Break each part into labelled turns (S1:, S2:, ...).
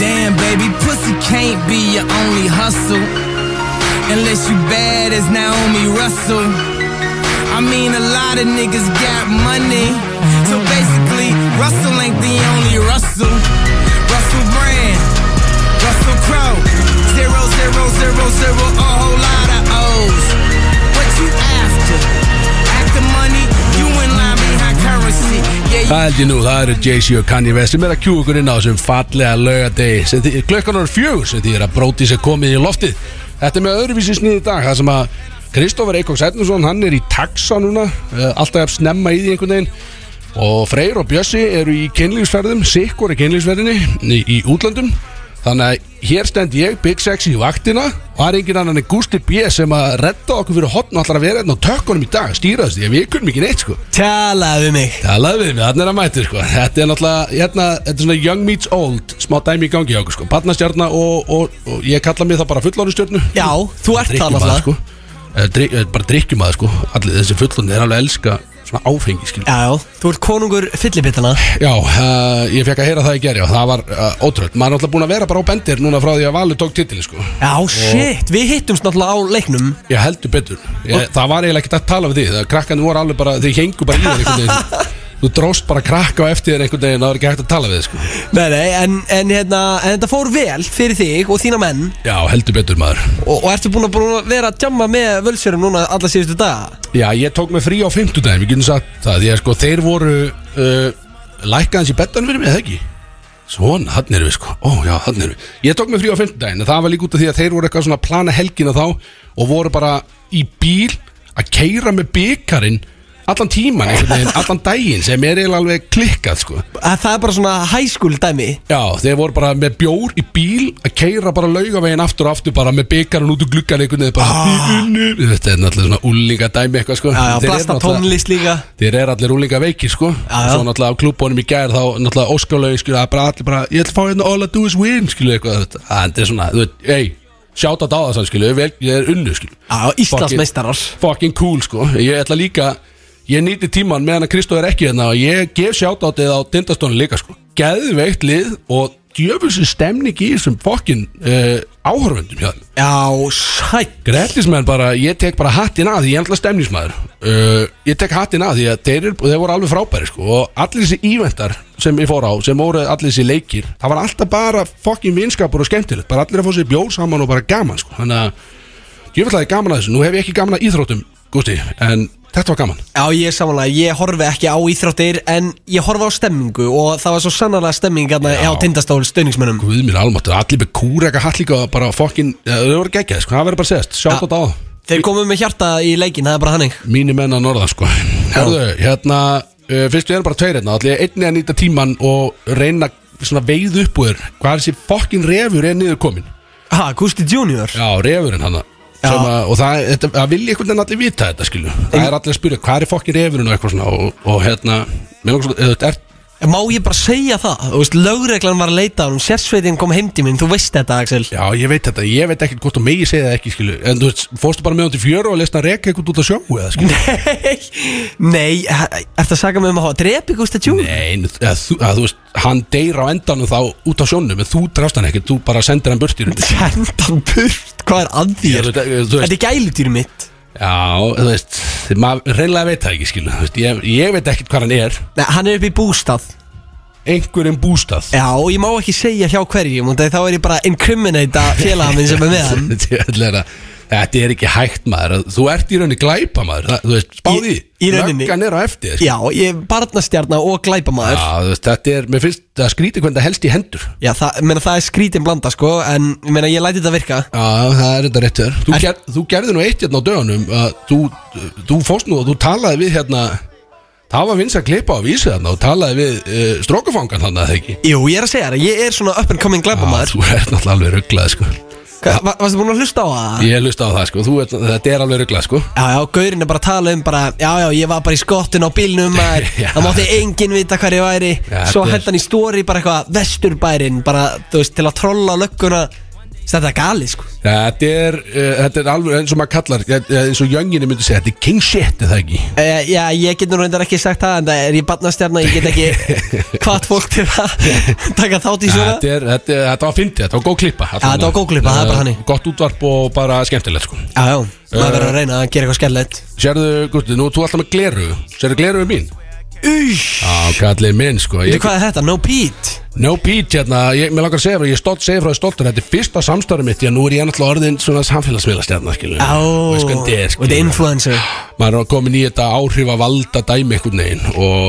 S1: Baby, pussy can't be your only hustle. Unless you bad as Naomi Russell. I mean, a lot of niggas got money. So basically, Russell ain't the only Russell. Russell Brand, Russell Crowe. Zero, zero, zero, zero, a whole lot of O's. What you after? After money, you in line behind currency. Yeah, you
S2: Það held ég nú, það eru Jay-Z og Kanye West sem er að kjú okkur inn á þessum fallega laugadegi sem því, klukkan er fjögur sem því er að bróti sér komið í loftið Þetta er með öðruvísi snið í dag það sem að Kristófar Eikóks Ednarsson hann er í taxa núna, eh, alltaf jafn snemma í því einhvern veginn og Freyr og Bjössi eru í kynlífsferðum sikkur í kynlífsferðinni í, í útlöndum þannig að hér stend ég Big Sexy í vaktina og það er engin annan en Gusti B sem að redda okkur fyrir hotn og allar að vera hérna á tökkunum í dag stýraðist því að við kunnum ekki neitt sko
S3: Talaðu við mig
S2: Talaðu við mig, þarna er að mæti sko Þetta er náttúrulega, hérna, þetta er svona young meets old Smá dæmi í gangi hjá okkur sko Barnastjarna og, og, og ég kalla mig það bara fullorðustjörnu
S3: Já, þú ert það
S2: Drykkjumaður,
S3: alltaf
S2: sko Eh, dryk, eh, Bara drikkjumaður sko Allir þessi fullorðin er alveg að elska svona áfengi skil
S3: Já, já, þú ert konungur fyllibitana
S2: Já, uh, ég fekk að heyra það í gerja og það var uh, ótröld Maður er náttúrulega búin að vera bara á bendir núna frá því að Valur tók titili sko
S3: Já, shit, við hittumst náttúrulega á leiknum
S2: Ég heldur betur ég, Það var eiginlega ekkert að tala við því Það krakkan voru alveg bara, þeir hengu bara í þér einhvern veginn Þú dróst bara krakka á eftir þér einhvern veginn Það var ekki hægt að tala við þig, sko
S3: Nei, nei, en, en, hérna, en þetta fór vel fyrir þig og þína menn
S2: Já, heldur betur maður
S3: Og, og ertu búin að, búin að vera að djamma með völsjörum núna alla síðustu daga
S2: Já, ég tók mig frí á fimmtudaginn, við getum sagt það Því að sko, þeir voru uh, Lækkaðans í bettan fyrir mig, eða ekki Svona, hann erum við sko Ó, já, hann erum við Ég tók mig frí á fimmtudaginn, en það var líka út af því að þeir voru eitthvað svona að plana helgina þá Og voru bara í bíl Að keira með byggarinn Allan tíman, einhvern veginn, allan daginn Sem er eiginlega alveg klikkað, sko
S3: Að Það er bara svona hæskúl dæmi
S2: Já, þeir voru bara með bjór í bíl Að keira bara laugaveginn aftur og aftur Bara með byggarinn út úr gluggan einhvern veginn Bara, ah. þetta er náttúrulega svona úlinga dæmi eitthvað,
S3: Já,
S2: sko
S3: já,
S2: Þeir eru
S3: blasta
S2: náttúrulega-
S3: tónlist líka
S2: Þeir eru allir úlinga veikir sko
S3: já.
S2: Svo náttúrulega á klubbónum í gær Þá náttúrulega óskalögi skilu Það er bara allir bara Ég ætla að fá hérna all I do is win Skilu eitthvað þetta Það er svona Þú veit Ei Sjáta á það skilu vel, Ég er unnu skilu
S3: Já, Íslandsmeistarar
S2: Fucking cool sko Ég ætla líka Ég nýti tíman meðan að Kristó er ekki hérna Og ég gef sjáta á þetta á Dindastónu líka sko Geðveikt lið Og djöfulsi stemning í þessum fucking uh, áhörfundum hjá þeim
S3: Já, sætt
S2: Gretlismenn bara, ég tek bara hattin að því ég er alltaf stemnismæður uh, ég tek hattin að því að þeir, er, þeir voru alveg frábæri sko, og allir þessi íventar sem ég fór á, sem voru allir þessi leikir það var alltaf bara fokkin vinskapur og skemmtilegt bara allir að fá sér bjór saman og bara gaman sko. þannig að ég vil að ég gaman að þessu nú hef ég ekki gaman að íþróttum, Gusti en þetta var gaman
S3: Já, ég er samanlega, ég horfi ekki á íþróttir en ég horfi á stemmingu og það var svo sannarlega stemming hérna á tindastól stöðningsmönnum
S2: Guð minn almáttur, allir með kúrega hatt líka og bara fokkin, þau voru geggjað sko, það verður bara að segjast, sjátt á þetta á þá.
S3: Þeir komu með hjarta í leikin, það er bara hannig
S2: Mínir menn að norða sko Herðu, hérna uh, Fyrst við erum bara tveir hérna Þannig að einni að nýta tíman og reyna svona veið upp úr þér Hvað er þessi fokkin refur er niður komin
S3: Ha, Gusti Junior?
S2: Já, refurinn hann
S3: Já.
S2: Sem að, og það, þetta, það vil einhvern veginn allir vita þetta skilju Það er allir að spyrja, hvað er fokkin refurinn og eitthvað svona Og, og hérna, mér langar svona, eða, er,
S3: Má ég bara segja það? Þú veist, lögreglan var að leita á hún, sérsveitin kom heim til mín, þú veist þetta Axel
S2: Já, ég veit þetta, ég veit ekkert hvort þú megi segja það ekki skilju En þú veist, fórstu bara með hann til fjöru og lesna reka eitthvað út að sjó eða skilju
S3: Nei, nei, er þetta að saga mig um að hafa drepi Gusti Junior?
S2: Nei, en þú- eða þú, að, þú veist, hann deyr á endanum þá út á sjónum En þú drafst hann ekkert, þú bara sendir hann burtir
S3: Sendan burt, hvað er að
S2: Já,
S3: þér?
S2: þú veit- þú
S3: Þetta
S2: veist,
S3: er gælutýr mitt
S2: já, þú veist maður reynlega veit það ekki skilu þú veist, ég, ég veit ekkert hvað hann er
S3: Nei, hann er upp í bústað
S2: einhverjum bústað
S3: Já, og ég má ekki segja hjá hverjum og þá er ég bara að incriminata félaga minn sem er með hann
S2: Þetta er allavega- þetta er ekki hægt maður þú ert í rauninni glæpa maður það, þú veist, spáði,
S3: Í- í rauninni.
S2: löggan er á eftir þér, sko.
S3: Já, ég er barnastjarna og glæpamaður Já,
S2: já, þú veist, þetta er, mér finnst það skríti hvernig það helst í hendur
S3: það, meina, það er skrítin blanda sko En ég meina, ég læti þetta virka
S2: Já, það er þetta rétt þér Þú, ger, þú gerði nú eitt hérna á dögunum að þú, þú fórst nú og þú talaði við hérna Það var vins að klippa á vísi þarna og talaði við uh, strókafangan þannig að það ekki
S3: Jú, ég er að segja það, ég er svona up and coming
S2: Já,
S3: glæpamaður
S2: Þú ert náttúrulega alveg rugglað sko
S3: Hva- va- Varstu búin að hlusta á það?
S2: Ég hlusta á það sko, þú, ert- þetta er alveg rugglað sko
S3: Já, já, gaurinn er bara að tala um bara Já, já, ég var bara í skottun á bílnum maður
S2: Já.
S3: Það mátti enginn vita hver ég væri
S2: Já,
S3: Svo
S2: þetta er-
S3: held hann í stóri bara eitthvað Vesturbærin, bara, þú veist, til að trolla lögguna Þetta er gali sko
S2: Þetta er, uh, þetta er alveg eins og maður kallar eh, eh, eins og jönginni myndi segja, þetta er king shit er það ekki
S3: e, Já, ég get nú reyndar ekki sagt það En það er ég barnastjarna, ég get ekki Hvað fólk til að taka þátt í svona
S2: Þetta, er, þetta, er- þetta var fyndið, þetta var góð klippa allavega.
S3: þetta var góð klippa, það er bara
S2: Eh,
S3: þannig.
S2: Gott útvarp og bara skemmtilegt sko
S3: Já, já, maður
S2: Eh.
S3: verður að reyna að gera eitthvað skellett
S2: Sérðu, Gusti, nú þú alltaf með gleru Sérðu gleru mín?
S3: Új,
S2: Á, kallið minn sko
S3: veitu
S2: ég,
S3: hvað er þetta? No Pete
S2: No Pete hérna, ég, mér langar að segja frá, ég stótt segja frá því stoltur Þetta er fyrsta samstarfið mitt, já nú er ég náttúrulega orðin svona samfélagsmiðlastjarnar skilur
S3: Á,
S2: Veist
S3: og
S2: hvernig þetta er,
S3: þetta er
S2: skilurðu.
S3: influencer
S2: maður er komin í þetta áhrif að valda dæmi einhvern veginn og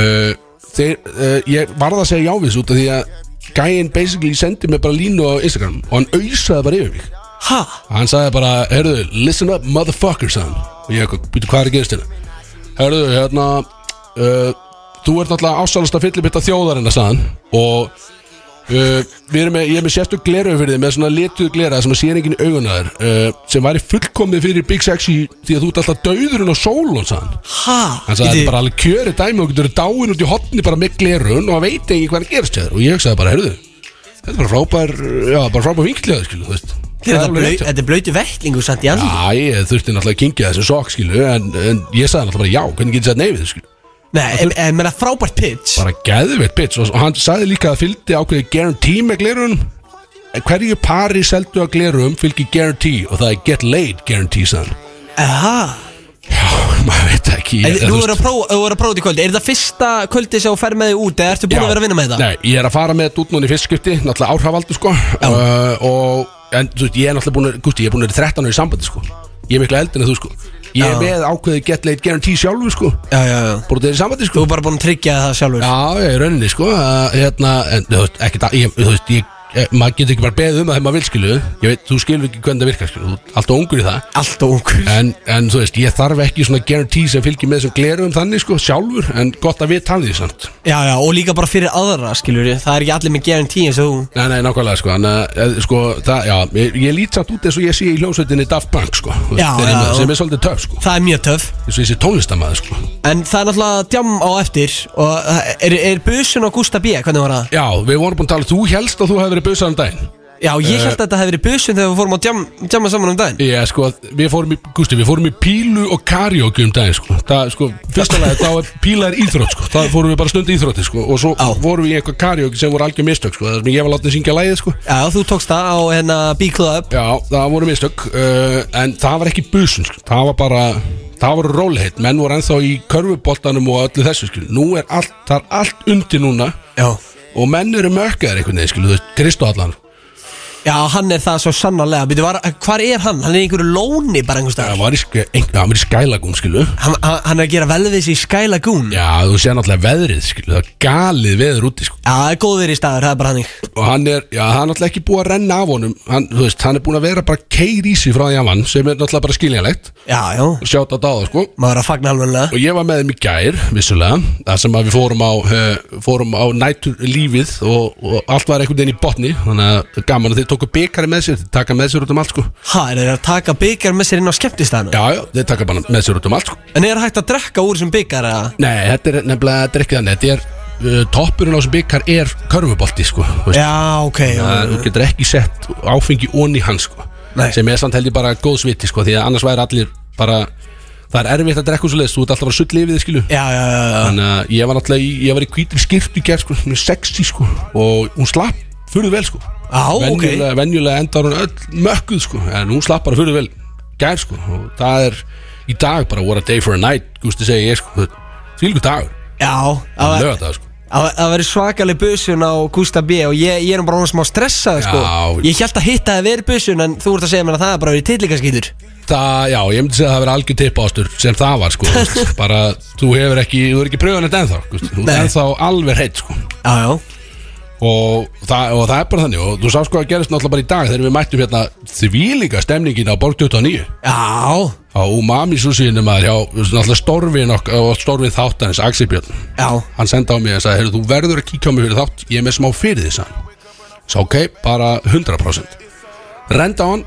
S2: uh, þeir, uh, ég varð að segja jávis út af því að gæinn basically sendi mér bara línu á Instagram og hann ausaði bara yfir mig
S3: Ha?
S2: hann sagði bara, heyrðu, listen up motherfucker son og ég eitthvað, býtu hvað er að gerast hérna heyrðu, hérna uh, þú ert náttúrulega ásálasta fyllibitta þjóðarinn að staðan og Uh, við erum með, ég er með sérstu gleru fyrir þig með svona letuð glera sem að sér enginn í augun á þér uh, sem væri fullkomið fyrir Big Sexy því að þú ert alltaf dauðurinn á sólun sann
S3: Ha?
S2: hann sagði þetta er bara alveg kjöri dæmi og getur dáin út í hotni bara með glerun og að veit ekki hvað er að gerast hjá þér og ég hugsaði bara, heyrðu þetta er bara frábær, já, bara frábær vinklið skilu, þú veist
S3: Þetta er
S2: alveg
S3: blau-
S2: rétt hjá-
S3: þetta er blöytu vettlingu samt í andli
S2: Já, ég þurfti náttúrulega að kynkja þessu sokk skilu en, en ég sagði náttúrulega bara já, hvernig getur þetta neyfið skilu
S3: Nei, en, en menna frábært pitch
S2: bara geðveitt bitch og og hann sagði líka að fylgdi ákveði guarantee með glerun hverju pari seldu að glerum fylgir guarantee og það er get laid guarantee sann
S3: Aha
S2: Já, maður veit það ekki
S3: En
S2: ég-
S3: nú
S2: þú
S3: er
S2: veist-
S3: að prófa, þú er að prófa þetta í kvöldi Er þetta fyrsta kvöldi sem þú fer með þig út Eða ertu búin
S2: Já.
S3: að vera að vinna með þetta?
S2: Nei, ég er að fara með þetta út núna í fyrstskipti Náttúrulega árhafaldur sko uh, Og, en þú veist, ég er náttúrulega búin að Gústi, ég er búin að vera 13 ára í sambandi sko Ég er mikla eldin en þú sko Ég er
S3: Já.
S2: með ákveðið get late guarantee sjálfur sko
S3: Já, já, já
S2: Búin þetta í sambandi
S3: Þú
S2: sko
S3: er bara búin að tryggja það sjálfur
S2: Já, ég er rauninni sko að, Hérna, en þú veist, ekki það ég- Þú veist, ég, eh, maður getur ekki bara beðið um það þegar maður vil skilu Ég veit, þú skilur ekki hvernig það virkar skilu Þú ert alltaf ungur í það
S3: Allt og ungur
S2: En, en þú veist, ég þarf ekki svona guarantee sem fylgir með þessum glerum þannig sko, sjálfur, en gott að við tala því samt.
S3: Já, já, og líka bara fyrir aðra, skilur Það er ekki allir með guarantee eins og þú
S2: Nei, nei, nákvæmlega, sko, en, uh, sko það, já, ég, ég lít samt út eins og ég sé í hljómsveitinni Daft Punk, sko, þú veist,
S3: Já,
S2: þeir eru með
S3: já,
S2: það,
S3: já.
S2: sem er svolítið töf, sko,
S3: Það er mjög töff
S2: eins og ég sé tónlistamæður, sko.
S3: En það er náttúrulega djám á eftir Og það- er, er busun og Gústa B, hvernig var það?
S2: Já, við vorum búin að tala, þú helst að þú hefði verið busar um daginn.
S3: Já, ég
S2: Eh.
S3: held að þetta hefði verið busun þegar við fórum að djam, djama saman um daginn
S2: Já, sko, við fórum í, Gusti, við fórum í pílu og karaoke um daginn, sko, það, sko, fyrsta lagi, þá er píla er íþrótt, sko, það fórum við bara stund í íþrótti, sko, og svo
S3: Já.
S2: fórum við í eitthvað karaoke sem voru algjör mistök, sko, það sem ég var látið að syngja lagið, sko.
S3: Já, þú tókst það á hérna B-Club
S2: Já, það voru mistök uh, En það var ekki busun sko. Það var bara, það voru róliheit Menn voru ennþá í körfuboltanum og öllu þessu skil. Nú er allt, það er allt undir núna
S3: Já
S2: Og menn eru mökkaðir einhvern veginn skil, Þú veist, Kristó allan
S3: Já, hann er það svo sannarlega Býtu, var, hvar er hann? Hann er í einhverju lóni bara einhvers
S2: Það
S3: staðar.
S2: var í, sk- ein- hann var í skælagum skilu
S3: hann, hann, hann er að gera velvis í Sky Lagoon Já,
S2: Já, þú sé náttúrulega veðrið skilu Það er galið veður úti sko.
S3: það er góður í staður, það er bara hannig
S2: Og hann er, já, hann er náttúrulega ekki búið að renna af honum hann, þú veist, hann er búin að vera bara keir í sig frá því að vann Sem er náttúrulega bara skiljanlegt
S3: Já, já,
S2: Sjátt að dáða sko
S3: maður er að fagna alveg
S2: Og ég var með þeim í gær, vissulega Það sem að við fórum á, uh, fórum á nætur lífið og, og allt var einhvern veginn í botni Þannig að það er gaman að þeir tóku byggarinn með sér Þeir taka með sér út um allt sko
S3: Ha, er þeir að taka byggar með sér inn á skemmtistæðinu?
S2: Já, já, þeir taka bara með sér út um allt sko
S3: En er hægt að drekka úr sem byggar eða?
S2: Nei, þetta er nefnilega, þetta er ekki þannig Þetta er, uh, toppurinn á þessum byggar er körfubolti sko þú veist.
S3: Já, ok, já,
S2: Það- Þú getur ekki sett áfengi onni hans sko
S3: Nei.
S2: Sem er samt held ég bara góðs viti sko Því að annars væri allir bara Það er erfitt að drekka svo leiðist, þú ert alltaf bara sull yfir þið skilu
S3: já, já, já, já.
S2: Þannig að uh, ég var náttúrulega í, ég var í hvítri skirtu í gerð sko, mjög sexy sko og hún slapp fyrir vel sko
S3: Á, ok
S2: venjulega, venjulega endar hún öll mökkuð sko en hún slapp bara fyrir vel gerð sko og það er í dag bara what a day for a night, gústi segi ég sko fylgur dagur,
S3: Já, það var-
S2: lögða það sko
S3: það var- það verið svakaleg busun á Gústa B og ég, ég er nú bara hún smá stressað sko.
S2: Já.
S3: Ég held að hitta það verið busun en þú ert að segja mér að það er bara verið tillikaskýtur
S2: Það, já, ég myndi segja að það vera algjör tippástur sem það var sko bara, þú hefur ekki, þú hefur ekki pröfun þetta ennþá Gústi. þú er
S3: Nei.
S2: ennþá alveg hreitt sko
S3: Já, já,
S2: og það, og það er bara þannig og þú sá sko að gerist náttúrulega bara í dag þegar við mættum hérna þvílíka stemningin á Borg 29
S3: já,
S2: á umami súsíinu maður hjá náttúrulega storfin ok, og storfin þáttanins Axel Björn
S3: já
S2: hann senda á mig og sagði heyrðu þú verður að kíkja á mig fyrir þátt ég er með smá fyrir því sann svo ok, bara 100% renda á hann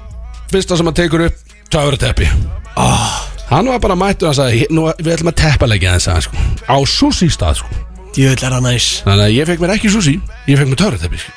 S2: fyrsta sem hann tekur upp töfrateppi oh. hann var bara mættur og sagði nú, við ætlum að teppalegja þess að sko á súsí stað sko
S3: Djöðl er það næs
S2: þannig að ég fekk mér ekki súsí ég fekk mér töfrateppi sko.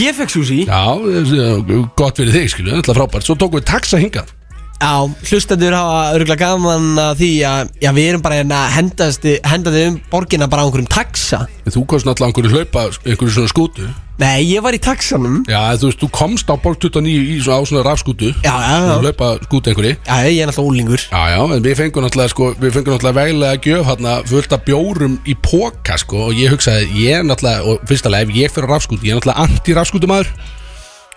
S3: Ég fekk sushi Já,
S2: Já, eh, gott fyrir þig skilju, þetta er frábært Svo tókum við taxa hingað
S3: hlustendur hafa örgulega gaman að því að Já, við erum bara hérna að hendast Hendaði um borginna bara á einhverjum taxa
S2: En Þú komst náttúrulega á einhverju hlaupa, einhverju svona skútu
S3: Nei, ég var í taxanum
S2: Já, þú veist, þú komst á Borg 29 í svona, á svona rafskútu
S3: Já, já, já.
S2: Hlaupa skútu einhverju
S3: Já, ég er náttúrulega úlingur
S2: Já, já, en við fengum náttúrulega, sko, við fengum náttúrulega veglega gjöf hérna fullt af bjórum í póka, sko, og ég hugsaði, ég er náttúrulega, og fyrst alveg, ef ég fyrir rafskút, ég er náttúrulega anti-rafskútumæður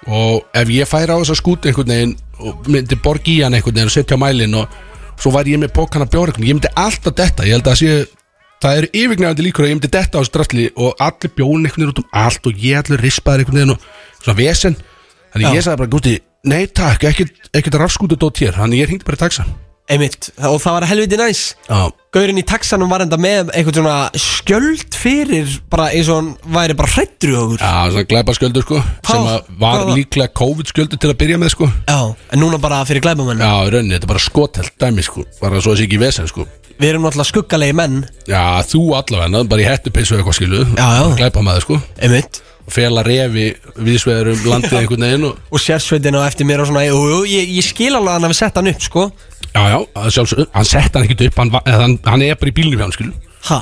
S2: og ef ég færi á þessa skút einhvern veginn og myndi borgi í hann einhvern veginn og setja á mælinn og svo var ég með pókana bjór einhvern veginn, ég myndi alltaf detta, ég held að sé, það eru yfirgnæfandi líkur að ég myndi detta á þessu drastli og allir bjórin einhvern veginn út um allt og ég allir rispaður einhvern veginn og svona vesen, þannig
S3: Já.
S2: ég sagði bara, gústi, nei takk, ekkert, ekkert rafskútudótt hér, þannig ég hringdi bara í taxa.
S3: Einmitt, og það var helviti næs
S2: Já,
S3: Gaurinn í taxanum var enda með einhvern svona skjöld fyrir bara eins og hann væri bara hrættur í okkur
S2: Já, svona glæpa skjöldur sko sem að var
S3: hvað var?
S2: líklega COVID skjöldur til að byrja með sko
S3: Já, en núna bara fyrir glæbamenn
S2: Já, í rauninni, þetta er bara skotelt dæmi sko bara svo þessi ekki í vesen sko
S3: Við erum náttúrulega skuggalegi menn
S2: Já, þú allavega, bara í hettupissu eitthvað skilu
S3: Já, já.
S2: Glæpa maður sko
S3: Einmitt
S2: Fela refi viðsveður um landið einhvern veginn og,
S3: Og sérsveitin á eftir mér og svona Jú, jú, ég, ég skil alveg að hann hafi sett hann upp, sko
S2: Já, já, að sjálfsög, hann sett hann ekkert upp hann, va- eða hann, hann er bara í bílnum hjá hann skilu
S3: Ha,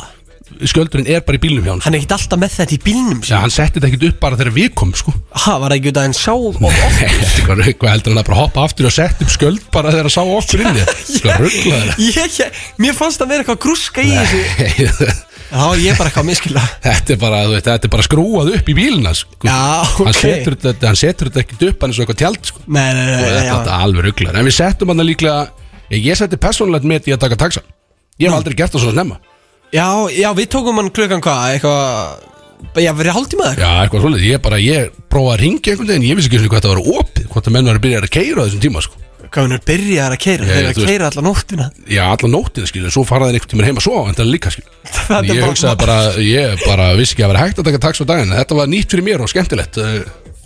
S2: Skjöldurinn er bara í bílnum hjá hann sko.
S3: hann er ekkert alltaf með þetta í bílnum
S2: Já,
S3: ja.
S2: hann setti þetta ekkert upp bara þegar við komum sko
S3: Ha, var það ekki út að hann sá og og-
S2: Eitthvað rugg, Hvað heldur hann að bara hoppa aftur og setja upp skjöld bara þegar hann sá okkur inni Sko rugglaður
S3: ég, ég, Mér fannst það vera eitthvað grúska í þessu Þá var ég bara eitthvað að miskila
S2: Þetta er bara, þú veist, þetta er bara skrúað upp í bílina sko.
S3: Já,
S2: Hann
S3: ok.
S2: setur þetta, hann setur þetta ekkert upp hann er svo eitthvað tjald sko.
S3: Nei, nei, nei,
S2: Og
S3: nei, Eh,
S2: Þetta þetta
S3: já
S2: er alveg rugglar En við settum hann líklega Ég, ég setti persónulegt mitt í að taka taxa Ég hef aldrei gert það svona snemma
S3: Já, já, við tókum hann klukkan hvað, eitthvað Já, verið hálftíma eða eitthvað
S2: Já, eitthvað svolítið Ég bara, ég prófaði að ringja einhvern veginn Ég vissi ekki svona hvað þetta var opið Hvort að menn var að byrja að keira á þessum tíma sko.
S3: Hvað hann er byrjaðar að keira,
S2: Já,
S3: þeir eru
S2: þú
S3: að keira alla nóttina
S2: Já, alla nóttina skilur Svo faraði einhvern tíma heima svo En það líka skilur
S3: Þetta er
S2: Ég
S3: bara-
S2: hugsaði bara, ég bara vissi ekki að vera hægt að taka taxa á daginn Þetta var nýtt fyrir mér og skemmtilegt eh,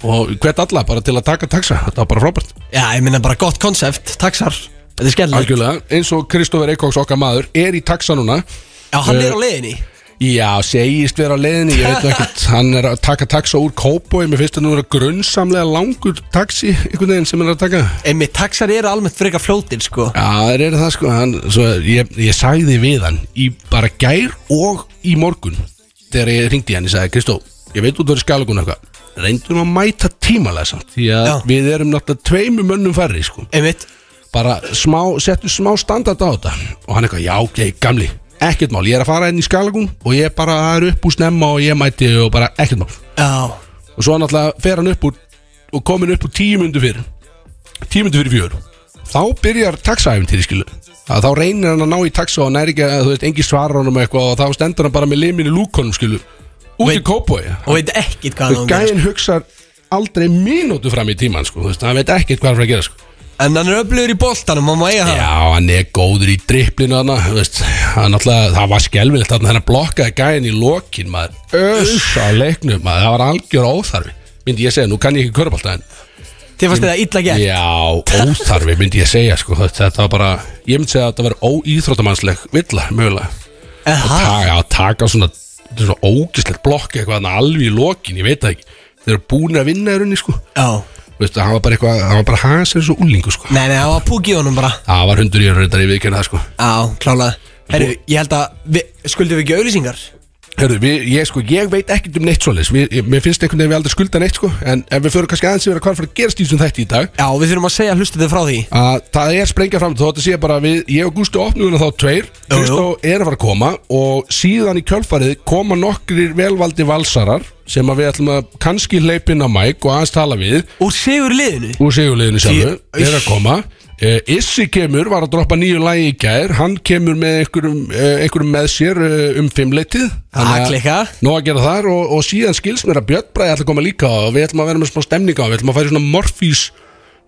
S2: Og hvert alla bara til að taka taxa Þetta var bara frábært
S3: Já, ég minna bara gott konsept, taxar Þetta er skellilegt
S2: Algjörlega, eins og Kristófur Eikóks okkar maður er í taxa núna
S3: Já, hann er á leiðinni
S2: Já, segist vera á leiðinni, ég veit nú ekkert Hann er að taka taxa úr Kópói Mér finnst að nú vera grunnsamlega langur taxi einhvern veginn sem hann er að taka
S3: Einmitt, taxar eru almennt frekar fljótir, sko
S2: Já, það er það sko hann, svo, ég, ég sagði við hann í bara gær og í morgun Þegar ég ringdi hann, ég sagði Kristó Ég veit út að vera skalagun eitthvað Reyndum að mæta tímalega samt Því að
S3: Já.
S2: við erum náttúrulega tveimur mönnum færri sko
S3: Einmitt,
S2: bara smá, settu smá standard á þetta og hann eitthvað, já, ok, gamli ekkert mál, ég er að fara inn í skalagun og ég bara það er upp úr snemma og ég mæti og bara ekkert mál
S3: já,
S2: og svo náttúrulega fer hann upp úr og komin upp úr tíu myndu fyrir tíu myndu fyrir fjör þá byrjar taxaæfin til skilu að þá reynir hann að ná í taxa og næri ekki að þú veist, engi svarar honum eitthvað og þá stendur hann bara með limin í lúkonum skilu út í
S3: Veit-
S2: kópói
S3: og veit ekkit hvað hann á að gera,
S2: gæðin hugsar aldrei mínútu fram í tíman sko, þú veist, hann veit ekkert hvað hann er að gera sko
S3: sko. En hann er öflugur í boltanum, hann má eiga það
S2: Já, hann er góður í dripplinu hann, veist, hann alltaf, það var skelvilegt þarna hann blokkaði gæðin í lokin maður, öss á leiknum maður, það var algjör óþarfi, myndi ég segja nú kann ég ekki körbálta en,
S3: Þið fannst þetta illa gert
S2: já, óþarfi myndi ég segja, sko, þetta- þetta var bara ég myndi segja að þetta var óíþróttamannsleg villa, mögulega,
S3: Eha,
S2: Ta- já, taka svona, þetta er svona ógislegt blokk eitthvað þarna alveg í lokin, ég veit það ekki þeir eru búin að vinna í rauninni, sko
S3: já
S2: Veistu, hann var bara eitthvað, hann var bara hans eins og úlingu, sko
S3: Nei, nei, það var púki í honum bara
S2: það var hundur í rauninni, ég viðkynna það, sko
S3: Já, klálega Herru, ég held að, við, skuldum við ekki auðlýsingar?
S2: Hörru, við, ég, sko, ég veit ekkert um neitt svoleiðis Við- ég- Mér finnst einhvern veginn að við aldrei skulda neitt sko. En ef við förum kannski aðeins yfir að hvað er að fara að gerast í þessum þætti í dag
S3: Já, við þurfum að segja hlustu þið frá því
S2: að Það er sprengja fram Þó þetta sé bara við Ég og Gústi opnum þá tveir
S3: jú.
S2: Kristó er að fara að koma Og síðan í kjölfarið koma nokkrir velvaldi valsarar Sem að við ætlum að kannski hleypin á mæk Og aðeins tala við
S3: Úr sigur liðinu
S2: Úr segjuleginu sjálfu
S3: Því-
S2: Er að koma Eh, Issi kemur, var að droppa nýju lægi í gær Hann kemur með einhverjum, eh, einhverjum með sér eh, um fimmleitið
S3: Það klikka
S2: Nó að gera þar og, og síðan skils mér að Björn Bræði ætla að koma líka og við ætlum að vera með smá stemninga og við ætlum að færa í svona morfís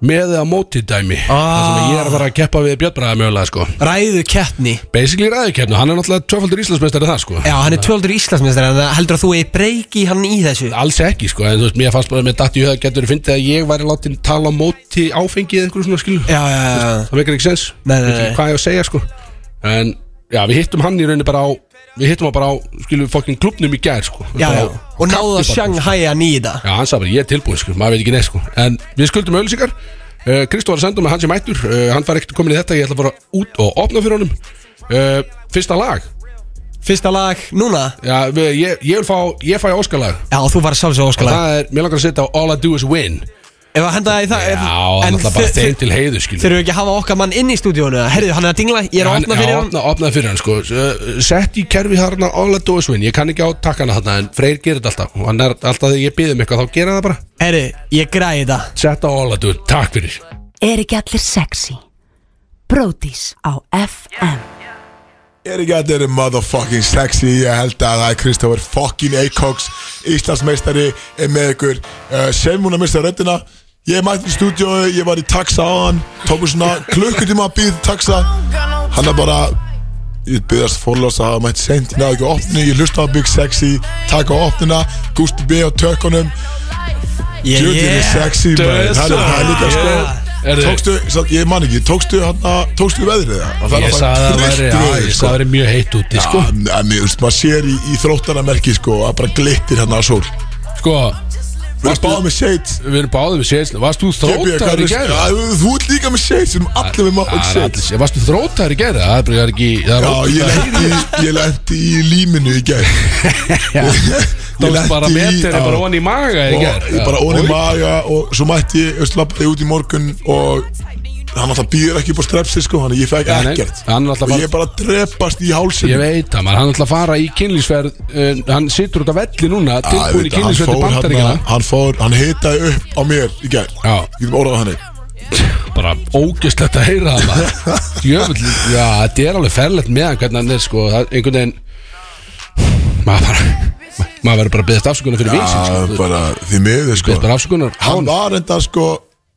S2: með eða móti dæmi ah. Það sem að ég er að fara að keppa við Björn Bræði mögulega sko
S3: Ræðu keppni
S2: Basically ræðikefnu, hann er náttúrulega tvöfaldur Íslandsmeistari það sko
S3: Já, hann er tvöldur Íslandsmeistar En heldur að þú eigi breyki hann í þessu
S2: Alls ekki sko, en þú veist, mér fannst bara með datt í höða getur fyndið að ég væri látin tala á móti áfengið einhverju svona skilu
S3: Já, já, já, já
S2: Það vekir ekki sens,
S3: Nei, nei,
S2: Veit ekki
S3: nei.
S2: hvað ég á að segja sko En já, við hittum hann í rauninni bara á Við hittum hann bara á, skilum við fokkin klubnum í gær sko
S3: Já,
S2: Bara
S3: já,
S2: á-
S3: og náðu að
S2: kaffi bara,
S3: Shanghai að nýta
S2: Já, hann sagði bara, ég er tilbúin, sko, maður veit ekki neitt, sko En við skuldum auðlýsingar uh, Kristó var að senda um að hann sem mættur uh, Hann var ekkert komin í þetta, ég ætla bara út og opna fyrir honum uh, Fyrsta lag
S3: Fyrsta lag, núna
S2: Já, við, ég, ég vil fá, ég fæ óskalag
S3: Já, þú var sjálfsög óskalag
S2: Það er, mér langar að setja á All I Do Is Win
S3: Ef að henda það í það
S2: Já, það er náttúrulega bara þeim til heiðu, skilur
S3: Þurfum við ekki að hafa okkar mann inn í stúdíónu Herðu, hann er að dingla, ég er að opna fyrir
S2: Já,
S3: hann
S2: opna, opnaði fyrir hann, sko S- Sett í kerfi þarna All I Do Is Win Ég kann ekki á takkana þarna, en Freyr gerir þetta alltaf Og Hann er alltaf þegar ég býðum eitthvað, þá gerir hann það bara
S3: Herðu, ég græði þetta
S2: Sett á All I Do, takk fyrir
S4: Er ekki allir sexy? Brótis á FM
S5: Ég er ekki að þetta er motherfucking sexy Ég held að það er Kristoffer fucking Eikoks Íslandsmeistari er með ykkur uh, Sem hún að mista röddina Ég mætti í stúdíói, ég var í taxa á hann Tóku svona klukkutíma að býð taxa Hann er bara Ég byggðast fórlása að mætti sent Ég náði ekki að opna, ég hlusta á Big Sexy Taka á opnina, Gusti B á tökunum
S3: Ég-
S5: Djöðin er
S3: ég-
S5: sexy maður. Það er- það er líka sko
S2: Er þið-
S5: Tókstu, svo- ég man ekki, tókstu hann Tókstu veðrið það?
S2: Ég sagði að það væri, já,
S5: veður, sko.
S2: ég sagði að það væri mjög heitt úti, sko
S5: Já, Ah, en- en ég veist, maður sér í, í þróttanamerki sko að bara glittir hérna á sól
S2: Sko,
S5: Við erum
S2: varstu-
S5: báðið með shades
S2: við erum báðið við séðslega Varst þú
S5: Gebbia, hvað
S2: þrótar
S5: er-
S2: í Ah, gæri?
S5: Já, Þú ert líka með shades, við erum allir með maður shades
S2: Varst þú þrótar í gæri? Það er bara- það er ekki það er
S5: Já,
S2: ótrúlega-
S5: ég lendi, ég lendi í líminu í gær Ég
S2: Tókst bara
S5: já.
S2: metir bara onni í maga í
S5: Og
S2: gær
S5: Ég bara onni maga og svo mætti ég, veist, lappaði út í morgun og hann alltaf býður ekki upp á strepsi sko, hann ég fekk
S2: Já, nei,
S5: ekkert
S2: hann alltaf
S5: og
S2: bara-
S5: ég bara drepast í hálsinn
S2: Ég veit það maður, hann ætla að fara í kynlýsferð uh, Hann situr út af velli núna
S5: Já, ég
S2: Tilbúin í
S5: veit að hann
S2: kynlýsferð til
S5: fór hérna.
S2: bandaríkjana
S5: þarna- Hann fór, hann hitaði upp á mér í gær
S2: Já.
S5: Ég getum orðað hann
S2: Bara ógjöslegt að heyra það maður Jöfull, já, þetta er alveg ferlegt með hann Hvernig hann er sko, það, einhvern veginn Maður bara Maður verður bara að byggðast afsökunar fyrir vinsinn sko.
S5: Já, bara því miður sko
S2: Byggðast bara afsökunar á
S5: Hann
S2: honum.
S5: var enda sko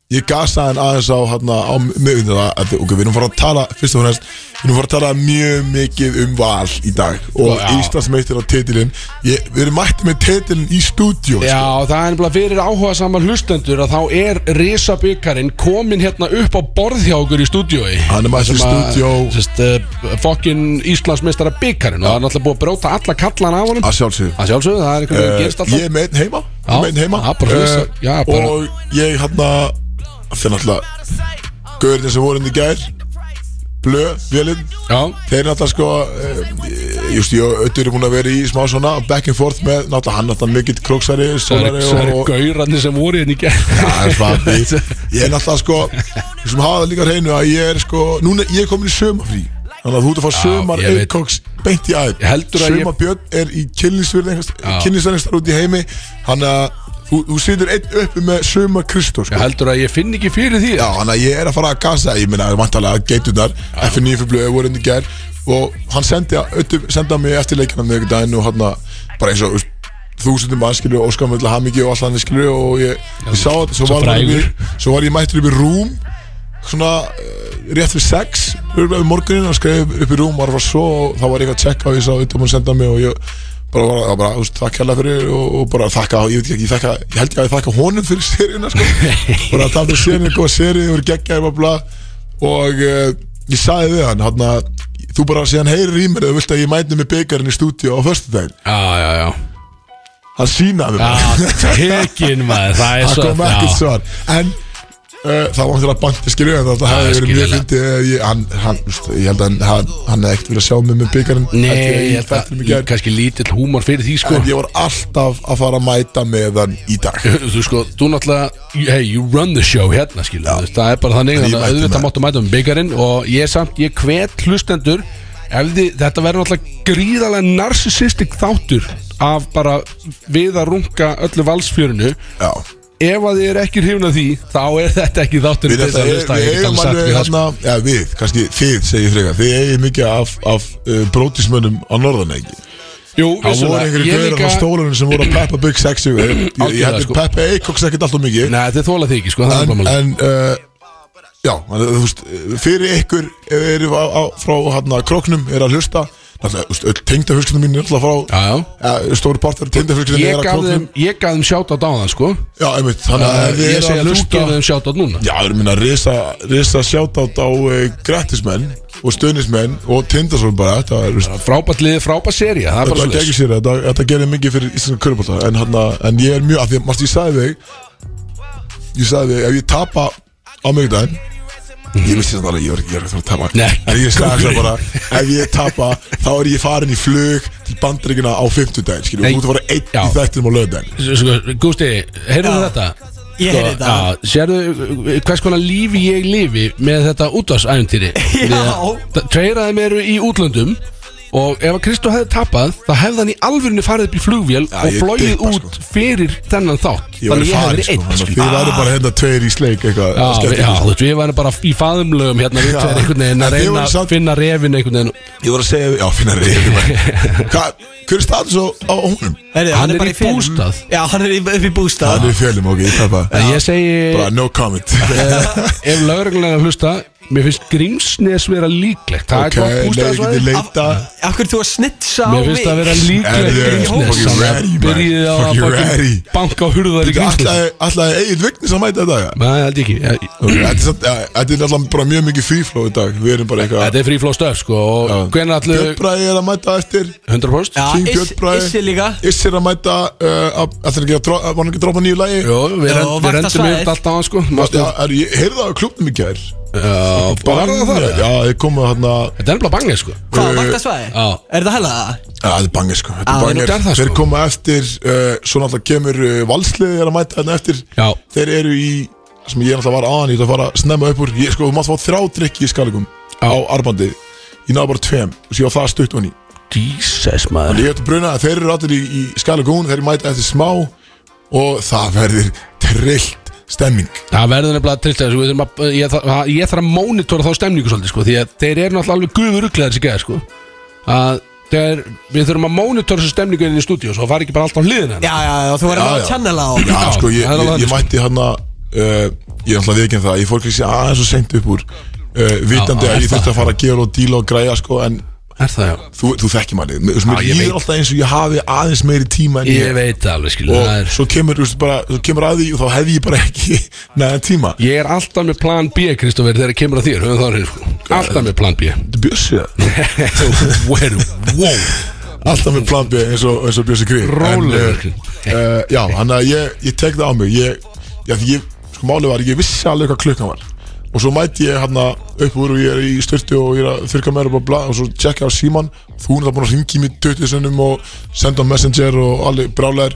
S5: Ég gasaði hann aðeins á hann á miðvindir að ok, við erum fara að tala, fyrst og fremst við erum fara að tala mjög mikið um val í dag og
S2: Já.
S5: Íslandsmeistir á titilinn ég, við erum mætti með titilinn í stúdíó sko.
S2: Já, það er nefnilega fyrir áhuga saman hlustendur að þá er Risa byggarinn komin hérna upp á borð hjá okkur í stúdiói
S5: Hann er mættur í stúdíó.
S2: Sest, uh, Fokkin Íslandsmeistara byggarinn og það er náttúrulega búið að bróta alla kallan af honum
S5: sko, að sjálfsögðu
S2: Það sjálfsögðu, það er einhvern
S5: Eh,
S2: veginn gerist alltaf
S5: Ég er með einn heima,
S2: Já,
S5: já, með einn heima.
S2: já, bara
S5: Eh,
S2: risa, já, bara-
S5: Og ég hann að Þeir náttúrulega Gaurinn sem voru inn í gær Blö, Vélinn
S2: Já,
S5: Þeir náttúrulega sko eh, Just ég og Öttur er búin að vera í smá svona Back and forth með náttúrulega hann náttúrulega mikill króksari
S2: það eru
S5: Sólari
S2: það eru
S5: og
S2: gaurarnir sem voru hérna í gerð
S5: Það er svati Ég er náttúrulega sko Ég sem hafa það líka á hreinu að ég er sko Núna ég er komin í sömafrí Þannig að þú ert að fá sömar
S2: ég veit.
S5: Eikoks beint í aðeins
S2: Heldur að ég-
S5: Björn er í kynlisverðingar út í heimi Þannig að þú, þú situr einn uppi með sömar Kristó sko.
S2: Ég heldur að ég finn ekki fyrir því
S5: Já, þannig að ég er að fara að gasa Ég minna, vantarlega geitunar F9 fyrir blöðu voru inn í gær Og hann sendi, öttu, sendi að mig eftir leikina með ykkur daginn Og hann bara eins og þú veist, þúsundum mann skilur og skamöld að hamingi og allt hann skilur og ég, ég sá þetta svo,
S2: svo
S5: var hann
S2: frægur.
S5: upp í- svo var ég mættur upp í rúm svona uh, rétt fyrir sex örugglega um morguninn og skreið upp í rúm og var að fara svo og þá var ég að checka og ég sá þetta mann senda mig og ég bara var að bara, þú veist, þakka hérna fyrir og, og bara þakka, ég veit ekki, ég, þakka, ég held ég að ég þakka honum fyrir seríuna sko. bara að tala um seríuna, góða seríu, það voru geggjaði bla, bla, og uh, ég sagði við hann, hann að þú bara síðan heyrir í mér eða þú vilt að ég mæti með byggarinn í stúdíu á föstudaginn
S2: Já, já, já
S5: hann sínaði mér
S2: Já, tekin maður, það er
S5: það
S2: svo
S5: kom ekkert svar en uh, það var náttúrulega bandið skilju en það hefði verið mjög
S2: skiljanlega.
S5: fyndið ef ég- hann, hann, þú veist, ég held að hann- hann, hann hefði ekkert vilja sjá mig með byggarinn
S2: Nei, ég held að kannski lítill húmor fyrir því sko
S5: en ég var alltaf að fara að mæta með hann í dag
S2: þú sko, þú náttúrulega hey, you run the show hérna skilur þú veist, það er bara þannig
S5: En ég
S2: þannig að
S5: mæti
S2: auðvitað
S5: með.
S2: máttu mæta um byggarinn og ég samt, ég hvet hlustendur ef þið, þetta verður náttúrulega gríðarlega narcissistic þáttur af bara við að runga öllu valsfjörinu
S5: já
S2: ef að þið er ekki hrifna því þá er þetta ekki þáttur
S5: Við, ætla, við, við eigum alveg
S2: sko.
S5: hérna, já við, kannski þið segir frekar, þið eigum mikið af, af uh, brótismönnum á norðan ekki.
S2: Jú,
S5: Það voru
S2: vissulega,
S5: einhverju
S2: ég
S5: gauður á
S2: líka
S5: stólunum sem voru að peppa Big Sexy, eh, ég, ég, ég
S2: Algjörlega,
S5: hefði
S2: sko.
S5: sko. peppa Eikoks ekkert alltaf mikið.
S2: Nei, þetta þóla þig ekki, sko, það er
S5: en,
S2: bara málið
S5: en uh, já, en, þú veist fyrir ykkur ef þið eru á, á, frá hann að króknum er að hlusta náttúrulega, þú veist, öll tengdafjölskyldum mín er alltaf frá
S2: Já, já.
S5: ja, stóri partur tengdafjölskyldum
S2: Ég
S5: er að
S2: gaf
S5: króknum
S2: þeim, ég gaf þeim sjátt á dáðan, sko
S5: já, einmitt, þannig að ef þið
S2: Ég
S5: eru
S2: segja
S5: að
S2: að þú
S5: hlusta
S2: gefur þeim sjátt á núna
S5: já, það er minna risa, risa sjátátt á uh, grættismenn eh, og stöðnismenn og tindasól bara þetta var, veist,
S2: Frábært lið, frábært seria Það er
S5: þetta
S2: bara
S5: var
S2: svo
S5: geggjur sér, þetta, þetta gerir mikið fyrir íslenska körubólta en, hana, en ég er mjög, af því að mást ég sagði þig ég sagði þig, ef ég tapa á miðvikudaginn ég vissi þetta alveg, ég var ekki ég var ekki að fara að tapa
S2: Mhm. Nei.
S5: en ég sagði það bara, ef ég tapa þá er ég farin í flug til bandryggina á 50 daginn, skiljum,
S2: Nei.
S5: þú ert að fara einn
S2: Já.
S5: í þættinum á löðdaginn
S2: Sko, Gústi, heyrðu
S3: Já.
S2: þetta? Sko,
S3: Ég heyrði þetta.
S2: já, Sérðu hvers konar lífi ég lifi með þetta útvarsæfntýri
S3: Já.
S2: Treyraði mér í útlöndum Og ef að Kristó hefði tapað þá hefði hann í alvörinu farið upp í flugvél Og
S5: ég
S2: flóið
S5: dippa, sko.
S2: út fyrir þennan þátt
S5: ég var
S2: Þannig ég hefði
S5: farin,
S2: verið
S5: sko,
S2: einn
S5: þannig að
S2: skilur.
S5: þið væri bara hérna tveir í sleik eitthvað,
S2: Já,
S5: skemmt
S2: við- já, þú veist, við varum bara í faðumlögum hérna Við
S5: Já.
S2: tveir einhvern veginn
S5: En
S2: að
S5: þið
S2: reyna
S5: voru
S2: að
S5: samt-
S2: finna refin einhvern veginn
S5: Ég voru að segja, já, finna reyði Hvað, hver er status á, á honum?
S3: Heyrðu,
S2: Hann er
S3: bara
S2: í
S3: felum.
S2: bústað.
S3: Já, hann er í- upp í bústað
S5: Það er í fjölum, ok, ég tappa
S2: En ég segi
S5: Bara no comment
S2: Ef lögreglan er að hlusta Mér finnst Grímsnes vera líklegt Það
S5: Ok,
S2: er gott
S5: nei, ég geti
S2: bústæðsvæði
S5: leita
S3: Akkur þú að snitsa á
S2: Mér finnst það vera líklegt
S5: Herðu,
S2: Grímsnes
S5: fucking
S2: Þannig að
S5: ready, man.
S2: byrjiði á að
S5: Fucking ready.
S2: fucking banka á hurðar í Grímsnes
S5: Alltaf eigin vignis að mæta þetta ja?
S2: Nei, það held ég ekki Ég-
S5: Ok, Þetta er samt- ja, þetta er alltaf bara mjög mikið frífló í dag Við erum bara eitthvað
S2: Þetta er free flow stöf sko Og hvernig allu
S5: Björnbræði er að mæta eftir
S2: 100%
S3: Já,
S5: King
S3: Iss-
S5: Björn Bragi.
S3: Issi líka
S5: Iss er að mæta uh, að- að þeir ekki að dró- að- Var hann ekki að droppa nýju lagi?
S2: Jó, við
S3: Já,
S2: rend- við
S3: vakta
S2: rendum
S3: svæðið.
S2: yfir allt á hann sko Mástu-
S5: Já, er- ég Heyrðu það á klubnum í gær
S2: Já, bara
S5: Bara
S2: það
S5: það?
S2: það
S5: Já, þeir komu hérna
S2: Þetta er bara bangið sko
S3: Hvað,
S5: Eh,
S3: vaktasvæði?
S2: já.
S3: Er það hella það?
S5: Já, þetta er bangið sko Þetta
S3: Já,
S5: er
S2: nú er
S5: bangið
S2: það, sko.
S5: Þeir koma eftir uh, Svo náttúrulega kemur uh, valsliðið er að mæta hérna eftir
S2: Já.
S5: Þeir eru í það sem ég náttúrulega var aðan Ég ætla að fara að snemma upp úr ég, Sko, þú mátt fá þrjá drikki í skalgum
S2: Já.
S5: Á arbandi Ég náðu bara tveim Og séu það stutt vann í
S2: Jesus maður
S5: Þannig ég ætla að bruna að þeir eru allir í, í skalgum Þeir mæta eftir smá Og það verður trillt stemming
S2: Það verður nefnilega trillt þessu, við þurfum að- Ég þarf að- ég þarf að mónitora þá stemningu svolítið sko Því að þeir eru náttúrulega alveg guðuruglega þessi geða sko Að þegar við þurfum að mónitora þessu stemningu inn í stúdíu Svo fari ekki bara alltaf á hliðina hennar.
S3: Já, já, já, þú verður
S5: Já,
S3: bara
S5: já.
S3: að channela á
S5: Já,
S2: Já,
S5: sko, ég,
S2: það er alveg
S5: ég, ég
S2: þannig,
S5: mætti hann að Ég er alltaf veginn það Ég fór kannski aðeins og seint upp úr uh, Vitandi
S2: Já,
S5: að
S2: já,
S5: ég
S2: það-
S5: þurfti að fara að gera og díla og græja sko, En
S2: Er það já?
S5: þú, þú þekkir manni Mér
S2: Já,
S5: mér
S2: ég veit.
S5: líður alltaf eins og ég hafi aðeins meiri tíma en
S2: Ég veit það alveg skilur
S5: Og
S2: það er,
S5: svo kemur, þú veist, bara, svo kemur að því og þá hef ég bara ekki neðan tíma
S2: Ég er alltaf með plan B Kristoffer þegar kemur að þér höfum það á hreinu, sko. Alltaf með plan B
S5: Þetta er Bjössi það
S2: Where, wow
S5: Alltaf með plan B eins og, eins og Bjössi Grið
S2: Rólegur.
S5: uh, uh, Já, hann að ég, ég tek það á mig Ég, já, því ég, sko málið var, ég vissi alveg hvað klukkan var Og svo mæti ég hann upp úr og ég er í styrtu og ég er að þurka mér og bla Og svo tjekka á síman Þú er það búin að ringi mig 20 sunnum og senda á messenger og allir brálegar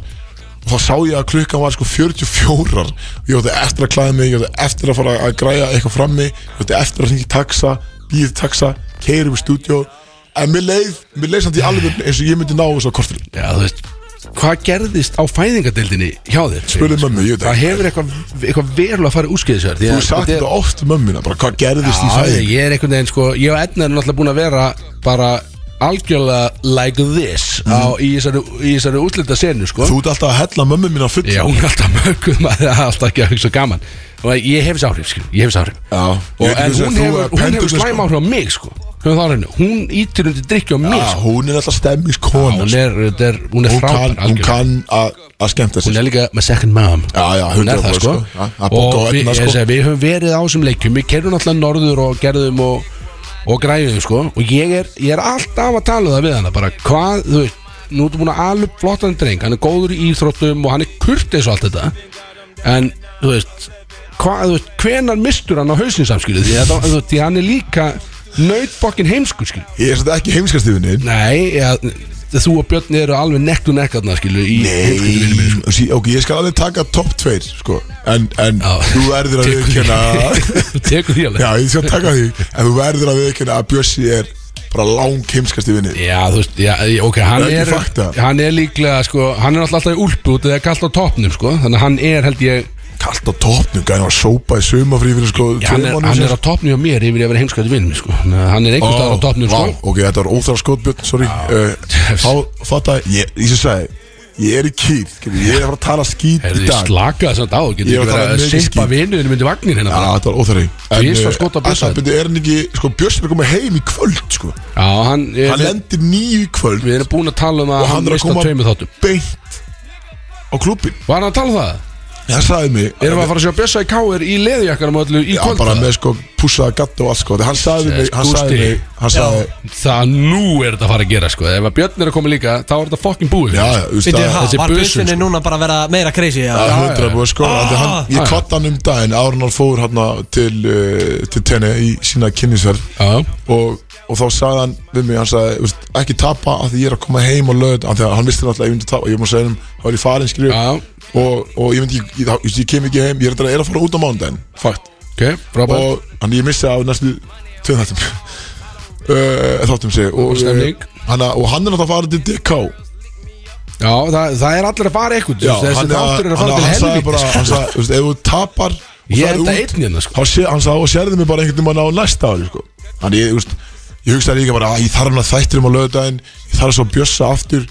S5: Og þá sá ég að klukkan var sko 44 Ég átti eftir að klæða mig, ég átti eftir að fara að græja eitthvað frammi Ég átti eftir að ringi taxa, býð taxa, keiri upp í stúdíó En mér leið, mér leið samt í alveg eins og ég myndi ná þessu á kortur
S2: Já þú veist Hvað gerðist á fæðingadeildinni hjá þér?
S5: Spurðu mömmu, ég veit
S2: Það
S5: ekki.
S2: hefur eitthvað, eitthvað verulega að fara úrskeiðisverð
S5: Þú sagt þetta oft mömmuna, bara hvað gerðist í
S2: Já,
S5: fæðing
S2: ég er einhvern veginn sko Ég og Edna er náttúrulega búin að vera bara algjörlega like this á, í þessari, í þessari útlita senu sko
S5: Mm. Þú ert alltaf að hella mömmu mín á full
S2: Já, hún er alltaf mögguð maður það er alltaf ekki að hugsa gaman og ég hef þessi áhrif, skil, ég hef þessi áhrif
S5: Já,
S2: og,
S5: ég veit ekki
S2: en
S5: hversu
S2: hún
S5: þú
S2: hefur,
S5: er
S2: hún hefur
S5: pendulum,
S2: slæm
S5: sko.
S2: áhrif á mig sko Höfum það á henni, hún ítir undir drikki á mig
S5: Já,
S2: sko.
S5: hún er alltaf
S2: Já,
S5: stemmingskona
S2: hún
S5: sko.
S2: er, þetta er, hún er
S5: Hún
S2: frábær
S5: kann, hún
S2: algjörlega.
S5: kann að að skemmta
S2: hún
S5: sér
S2: er líka my second mom
S5: Já, já,
S2: hún
S5: 100%
S2: er það sko,
S5: Já, að bóka á
S2: og við,
S5: einna
S2: sko.
S5: sko
S2: Segi, við höfum verið á þessum leikjum við kerjum alltaf norður og gerðum og, og græðum sko og ég er, ég er alltaf að tala um það við hana bara hvað, þú veist, nú ertu búin að alveg flottan dreng, hann er góður í íþróttum og hann er kurteis og allt þetta en þú veist, hvað, þú veist hvenar mistur hann á hausinsamskilu því, að- þú veist, því hann er líka nöyt fokkin heimsku skilu
S5: Ég er þetta ekki heimskastífinni
S2: nei, ja, þú og Björn eru alveg nekt og nekkarna skilu í heimsku
S5: Nei, sí, ok, ég skal alveg taka top 2 sko. en, en
S2: Já.
S5: þú verður að viðkjöna
S2: þú tekur því alveg
S5: Já, ég skal taka því En þú verður að viðkjöna að Bjössi er bara lang heimskast í vinni
S2: Já, þú veist, já, ok, hann
S5: Það er
S2: er,
S5: ekki fakta.
S2: hann er líklega, sko, hann er náttúrulega alltaf í úlpu út eða kallt á toppnum, sko, þannig að hann er, held ég,
S5: Kallt á topnum, gæði að sópa í sumafrí fyrir sko
S2: já, hann, er, hann er á toppnum hjá mér yfir að vera heimskvæði vinn, sko, Þannig að hann er einhvers staðar á toppnum, sko.
S5: Ok, þetta var óþraf skotbjörn, sorry uh, Þá fatta ég, ég sem sagði Ég er í kýr, skilur, ég er að fara að tala skýt
S2: Herðu,
S5: í dag
S2: ég
S5: Já,
S2: slakaði samt á, getur
S5: Ég var um
S2: ekki verið
S5: talað
S2: að
S5: mikið
S2: simpa
S5: skít.
S2: vinnuðinu myndi vagnin hérna bara.
S5: þetta var óþraf
S2: Tvisvar skot á Bjössa.
S5: Er hann ekki, sko, Björn er komið heim í kvöld, sko
S2: Já, hann, er,
S5: Hann lendir nýju í kvöld
S2: við erum búin að tala um að
S5: og
S2: hann
S5: hann er að
S2: mista
S5: koma
S2: tveimur þáttum.
S5: beint á klubin
S2: Var hann að tala um það?
S5: það sagði mig
S2: Erum við að fara að sjá Bjössa í káir í leðjakkanum og öllu í
S5: Já,
S2: kvöld
S5: bara með sko pússaða gatta og allt sko Þegar Hann sagði mig, hann sagði
S2: Gústi.
S5: mig Hann sagði,
S2: Það nú er þetta að fara að gera sko Ef að Björn er að koma líka, þá er þetta fokkin búið
S5: já, já, þú veist
S3: Býttu, ha,
S5: það
S2: þessi
S3: var
S2: busun,
S3: busunni
S2: sko.
S3: núna bara að vera meira crazy já.
S5: Það er
S2: já,
S5: hundra
S2: já.
S5: búið sko ah, hann,
S2: já.
S5: Ég kvart hann um daginn Árnar fór hann til, uh, til tenni í sína kynningsverð
S2: Já,
S5: og, og þá sagði hann við mig, hann sagði, "Þú veist, ekki tapa að því ég er að koma heim og lögð af því að hann vissi náttúrulega að ég myndi tapa, ég múið að segja hann þá er ég farin skrif
S2: Já.
S5: og, og ég myndi, ekki- ég, ég, ég kem ekki heim ég er að, er að fara út á mánudaginn
S2: fakt Ok, frábært
S5: og hann ég missi af næstu tveim þáttum uh, þáttum sig og, eh,
S2: Og stemning.
S5: hann, og hann er náttúrulega að fara til DK
S2: Já, það, það er allir að fara eitthvað
S5: Já,
S2: Þessi
S5: hann,
S2: þáttur er að fara
S5: hann-
S2: til
S5: hann sagði
S2: helvíti
S5: bara,
S2: sko.
S5: hann sagði, þú veist, ef þú tapar og
S2: Ég
S5: ferð
S2: er þetta
S5: út,
S2: einn hérna sko
S5: þá sé, hann sagði og sérði mig bara einhvern veginn á næsta ári sko. þannig ég, úst, ég hugsaði líka bara að ég þarf hann að þættir um á lögudaginn ég þarf svo að bjössa aftur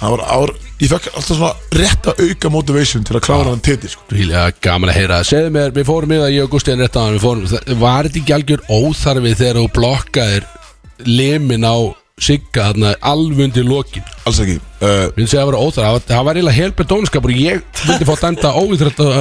S5: það var ár, ég fekk alltaf svona rétt að auka motivation til að klára hann titi sko.
S2: Rílega gaman að heyra Segðu mér, við fórum í það ég og Gústíðan rétt á hann fórum, það- Var þetta ekki algjör óþarfi þegar þú blokkaðir limin á Sigga þarna alveg undir lokin
S5: alls ekki uh,
S2: Við segja að vera óþarfi, það var- það var eiginlega helbjörn dónskapur og ég vildi fá dæmda
S5: Þetta-
S2: óíþrætt
S5: þetta-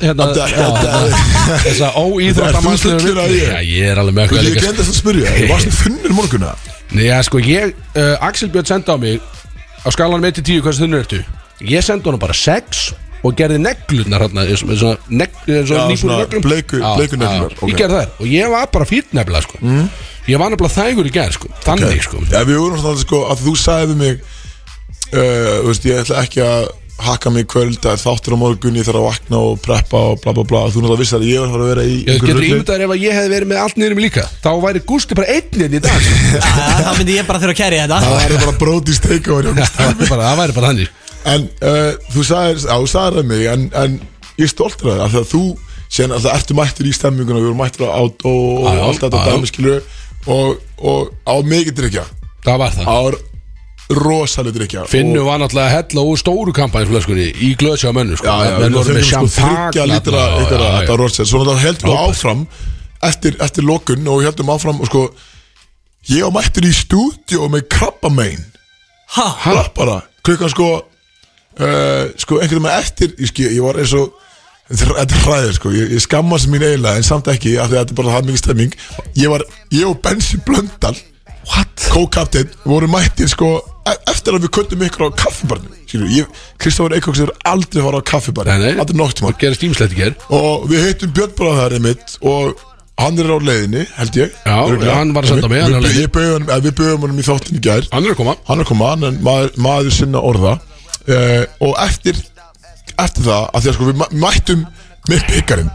S2: hérna, þessa
S5: Ert þú fullur
S2: óíþrætt
S5: að ég?
S2: Já, ég er alveg
S5: Þú
S2: með eitthvað
S5: veist, ég
S2: líka sko.
S5: glemt þess að spyrja, þú varst þunnur morgunna
S2: Nei, ja, sko, ég, uh, Axel Björn sendi á mig á skalanum 1 til 10 hversu þunnur ertu ég sendi honum bara 6 og gerði neglurnar hérna eins og- eins og negl- eins
S5: Já,
S2: og nýbúin
S5: svona
S2: neglum
S5: bleiku-
S2: Já,
S5: bleiku
S2: já,
S5: neglurnar, ok. Mm.
S2: ég gerði það og ég var bara fýrt nefnilega sko. ég var nefnilega þægur í gerð sko. þannig sko
S5: Já, við vorum svona sko, að þú sagði við mig uh, þú veist, ég ætla ekki að hakka mig í kvöld, það er þáttur á morgun ég þarf að vakna og preppa og bla bla bla þú náttúrulega vissar að ég var að fara að vera í
S2: Ég
S5: einhverju
S2: getur
S5: rugli.
S2: ímyndaður ef að ég hefði verið með allt niðurum líka Þá væri Gústi bara einninn í dag sko.
S3: það myndi ég bara þurfa að kæri þetta
S5: það var bara bróti steikóri
S2: Það væri bara- það væri bara þannig
S5: en uh, þú sagðir, á, þú sagðir að mig en, en ég er stoltur að það af því að þú sen að það ertu mættur í stemminguna við vorum mættur á át og,
S2: Já, já,
S5: og allt þetta
S2: já, já.
S5: dæmi skilur og, og á mikið drikja
S2: Það var það
S5: á rosalega drikja
S2: Finnu var náttúrulega að hella úr stóru kampænflöskunni Í glöðsjá mönnu sko.
S5: Já, já,
S2: Menn voru með champagne
S5: þryggja lítra
S2: þarna, já,
S5: eitthvað
S2: já, já.
S5: þetta rótset Svo náttúrulega heldum við
S2: Frábært.
S5: áfram eftir, eftir lokun og heldum áfram og sko Ég var mættur í stúdíó með krabbamein
S3: Ha?
S5: Rappara Klukkan sko uh, Sko einhvern veginn eftir Ég, skil, ég var eins og Þetta er hræður sko Ég, ég skammast mín eiginlega en samt ekki af því að þetta er bara það mikið stemming Ég var Ég og Bensi Blöndal
S2: What?
S5: Co-captain voru mættir sko e- eftir að við köttum ykkur á kaffibarnu skilur, ég, Kristófur Eikóks er aldrei að fara á kaffibarnu
S2: Nei, nei.
S5: aldrei noktum
S2: Það gerist ímslegt í gerð
S5: og við hittum Björn bara þar einmitt og hann er á leiðinni, held ég
S2: Já,
S5: Örugglega.
S2: hann var að senda
S5: Við-
S2: mig, hann er á
S5: við-
S2: leiðinni.
S5: ég beygði honum- eh, Við bauðum honum í þáttin í gær
S2: Hann er að koma
S5: Hann er að koma, hann er maður, maður sinna orða uh, Og eftir Eftir það, að því að sko við mæ- mættum Með byggarinn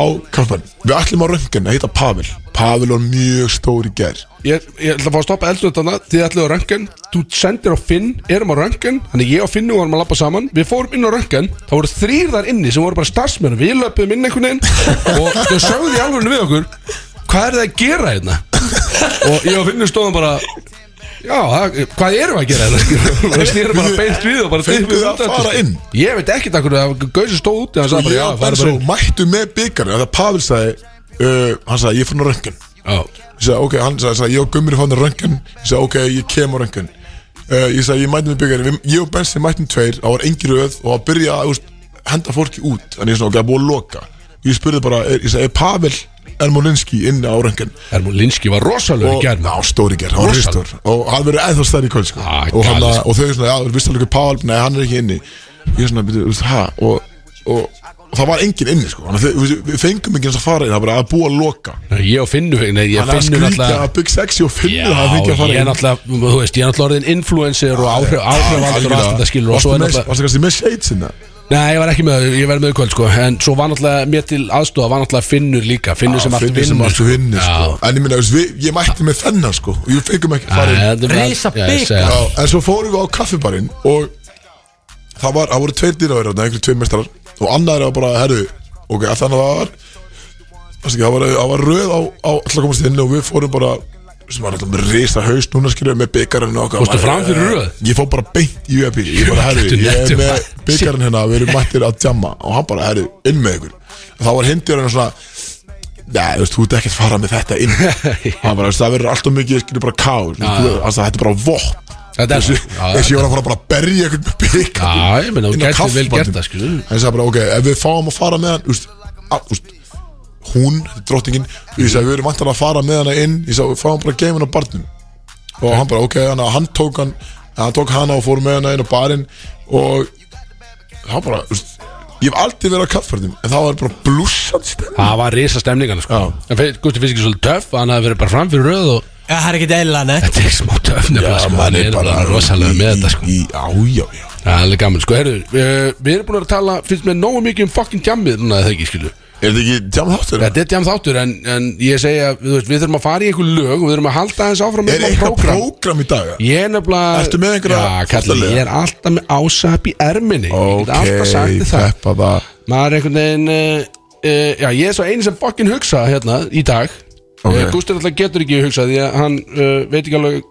S5: á kaffann Við ætlum á röngin að hitta Pavel Pavel var mjög stór í gær
S2: Ég, ég ætla að fá að stoppa eldnöndana Þið ætlaðu á röngan Þú sendir á Finn Erum á röngan Þannig ég og Finn vorum að lappa saman Við fórum inn á röngan Það voru þrýr þar inni Sem voru bara starfsmenn Við löpum inn einhvern veginn Og þau sögðu í alveg við okkur Hvað er það að gera hérna? Og ég og Finnur stóðum bara Já, það, hvað erum við að gera hérna? Það snýra bara beint við og bara
S5: Fenguð
S2: dyttu
S5: þið að
S2: út
S5: fara
S2: aftur.
S5: inn?
S2: Ég veit ekkert af hverju það Gauðs stóð úti Hann
S5: Og
S2: sagði bara
S5: ég
S2: já,
S5: og
S2: fara bara
S5: Benso mættum með byggarinn Það Pavel sagði uh, Hann sagði, ég fann á röngin
S2: inn Já,
S5: Ég sagði, ok, hann sagði, sagði ég og Gummir fann röngan Ég sagði, ok, ég kem á röngan uh, Ég sagði, ég mætti með byggjarinn Ég og Bensi mættum tveir, það var engi röð Og að byrja að úst, henda fólki út Þannig ég svona, ok, það er búið að loka Ég spurði bara, er, ég sagði, er Pavel Ermolinski inn á röngan
S2: Ermú Linski var rosalög í
S5: Og,
S2: gerð
S5: ná, stóri gerð, hann var
S2: Rosaleg.
S5: ristur Og hann verður eða stærri í kvöld, sko
S2: Ah,
S5: og, hann,
S2: galið, sko.
S5: og þau er svona, já, þú veist alveg hver Pavel Nei, hann er ekki inni Ég er svona, byrju, þú veist, ha, og, og, og það var engin inni, sko Þannig að þau- við- Við fengum ekki eins að fara inn, það var bara að búa að loka
S2: Nei, Ég og Finnu nei,
S5: Þannig
S2: ég
S5: að
S2: Finnur
S5: skrýta
S2: náttúrulega-
S5: að Big Sexy og
S2: Já,
S5: Finnur hafa fengið að fara
S2: ég er náttúrulega, þú veist, ég er náttúrulega orðin influencer og áhrif, áhrifavaldur og allt þetta skilur og svo er náttúrulega,
S5: Varstu kannski með shades inna?
S2: nei, ég var ekki með, ég verði með í kvöld sko, en svo var náttúrulega mér til aðstofa, var náttúrulega Finnur líka, Finnur sem allt
S5: Finnur sem
S2: vinnur
S5: allt vinnur
S2: Já.
S5: sko En ég minna, ég mætti með þennan sko Og ég fengum ekki að fara inn
S2: Nei, þetta er-
S3: Reisa
S2: Já, ég segi
S3: bikar.
S2: það.
S5: Já, En svo fórum við á kaffibarinn Og það var, það voru tveir dýraverðar Einhverjir tveir mestrar Og annar var bara, herru Ok, að þannig að það var varstu ekki, Það var, það var röð á, á alltaf komast inn Og við fórum bara sem var alltaf með risa haus núna skilja með byggarinn og okkar eh,
S2: Fórstu fram fyrir röð?
S5: Ég fór bara beint í UAP Ég bara, herru,
S2: Þetta er
S5: ég er
S2: nettur,
S5: með
S2: maður.
S5: byggarinn hérna Við erum mættir að djamma Og hann bara, herru, inn með ykkur Það var hindjörinn svona Nei, þú veist, þú ert ekkert fara með þetta inn Hann bara, þú veist, það verður alltaf mikið, skilur bara ká þú veist, þú- hann sagði, Þetta er bara vopn
S2: Þetta er-
S5: Þessi
S2: já,
S5: þessi ég var að fara bara að berja einhvern með bygg
S2: Já, ég meina, þú gæti vel gert það, skilur
S5: Hann sagði bara, ok, ef við fáum að fara með hann Úst, að, úst hún, þetta er drottningin Ég sagði, við erum vantan að fara með hana inn Ég sagði, við fáum bara geimin á barnum Og hann bara, ok, hann, hann tók hann Hann tók hana og fór með hana inn á barinn Og hann bara, úst Ég hef aldrei verið á kaffverðum En það var bara blússan stemning
S2: Það var risa stemningana, sko
S5: Já.
S2: En fe- Gusti finnst ekki svolítið töff Hann hafði verið bara fram fyrir röð og
S3: Já, það er ekki deila, nei
S2: Þetta er ekki smá töff nefnilega, sko Hann er bara rosalega með þetta, sko
S5: í, í, Já, já, já
S2: Það er alveg gaman, sko, herru Við við erum búin að tala, finnst mér nógu mikið um fucking jammið Núna, það ekki, skilur
S5: Er þetta ekki tjáma þáttur?
S2: Þetta er jam þáttur, en, en ég segja Við, veist, við þurfum að fara í einhver lög og við þurfum að halda aðeins
S5: Er
S2: áfram með
S5: eitthvað
S2: prógramm.
S5: prógram í dag? eða?
S2: Ég er nefnilega
S5: Ertu með einhverja
S2: Já, kallar,
S5: fótboltaliða?
S2: ég er alltaf með ásap í erminni Ég get alltaf sagt þér það
S5: peppa það
S2: Maður er einhvern veginn uh, uh, Já, ég er svo eini sem fokkin hugsa hérna í dag
S5: Ok.
S2: okay. uh, Gústir alltaf getur ekki hugsað Því að hann uh, veit ekki alveg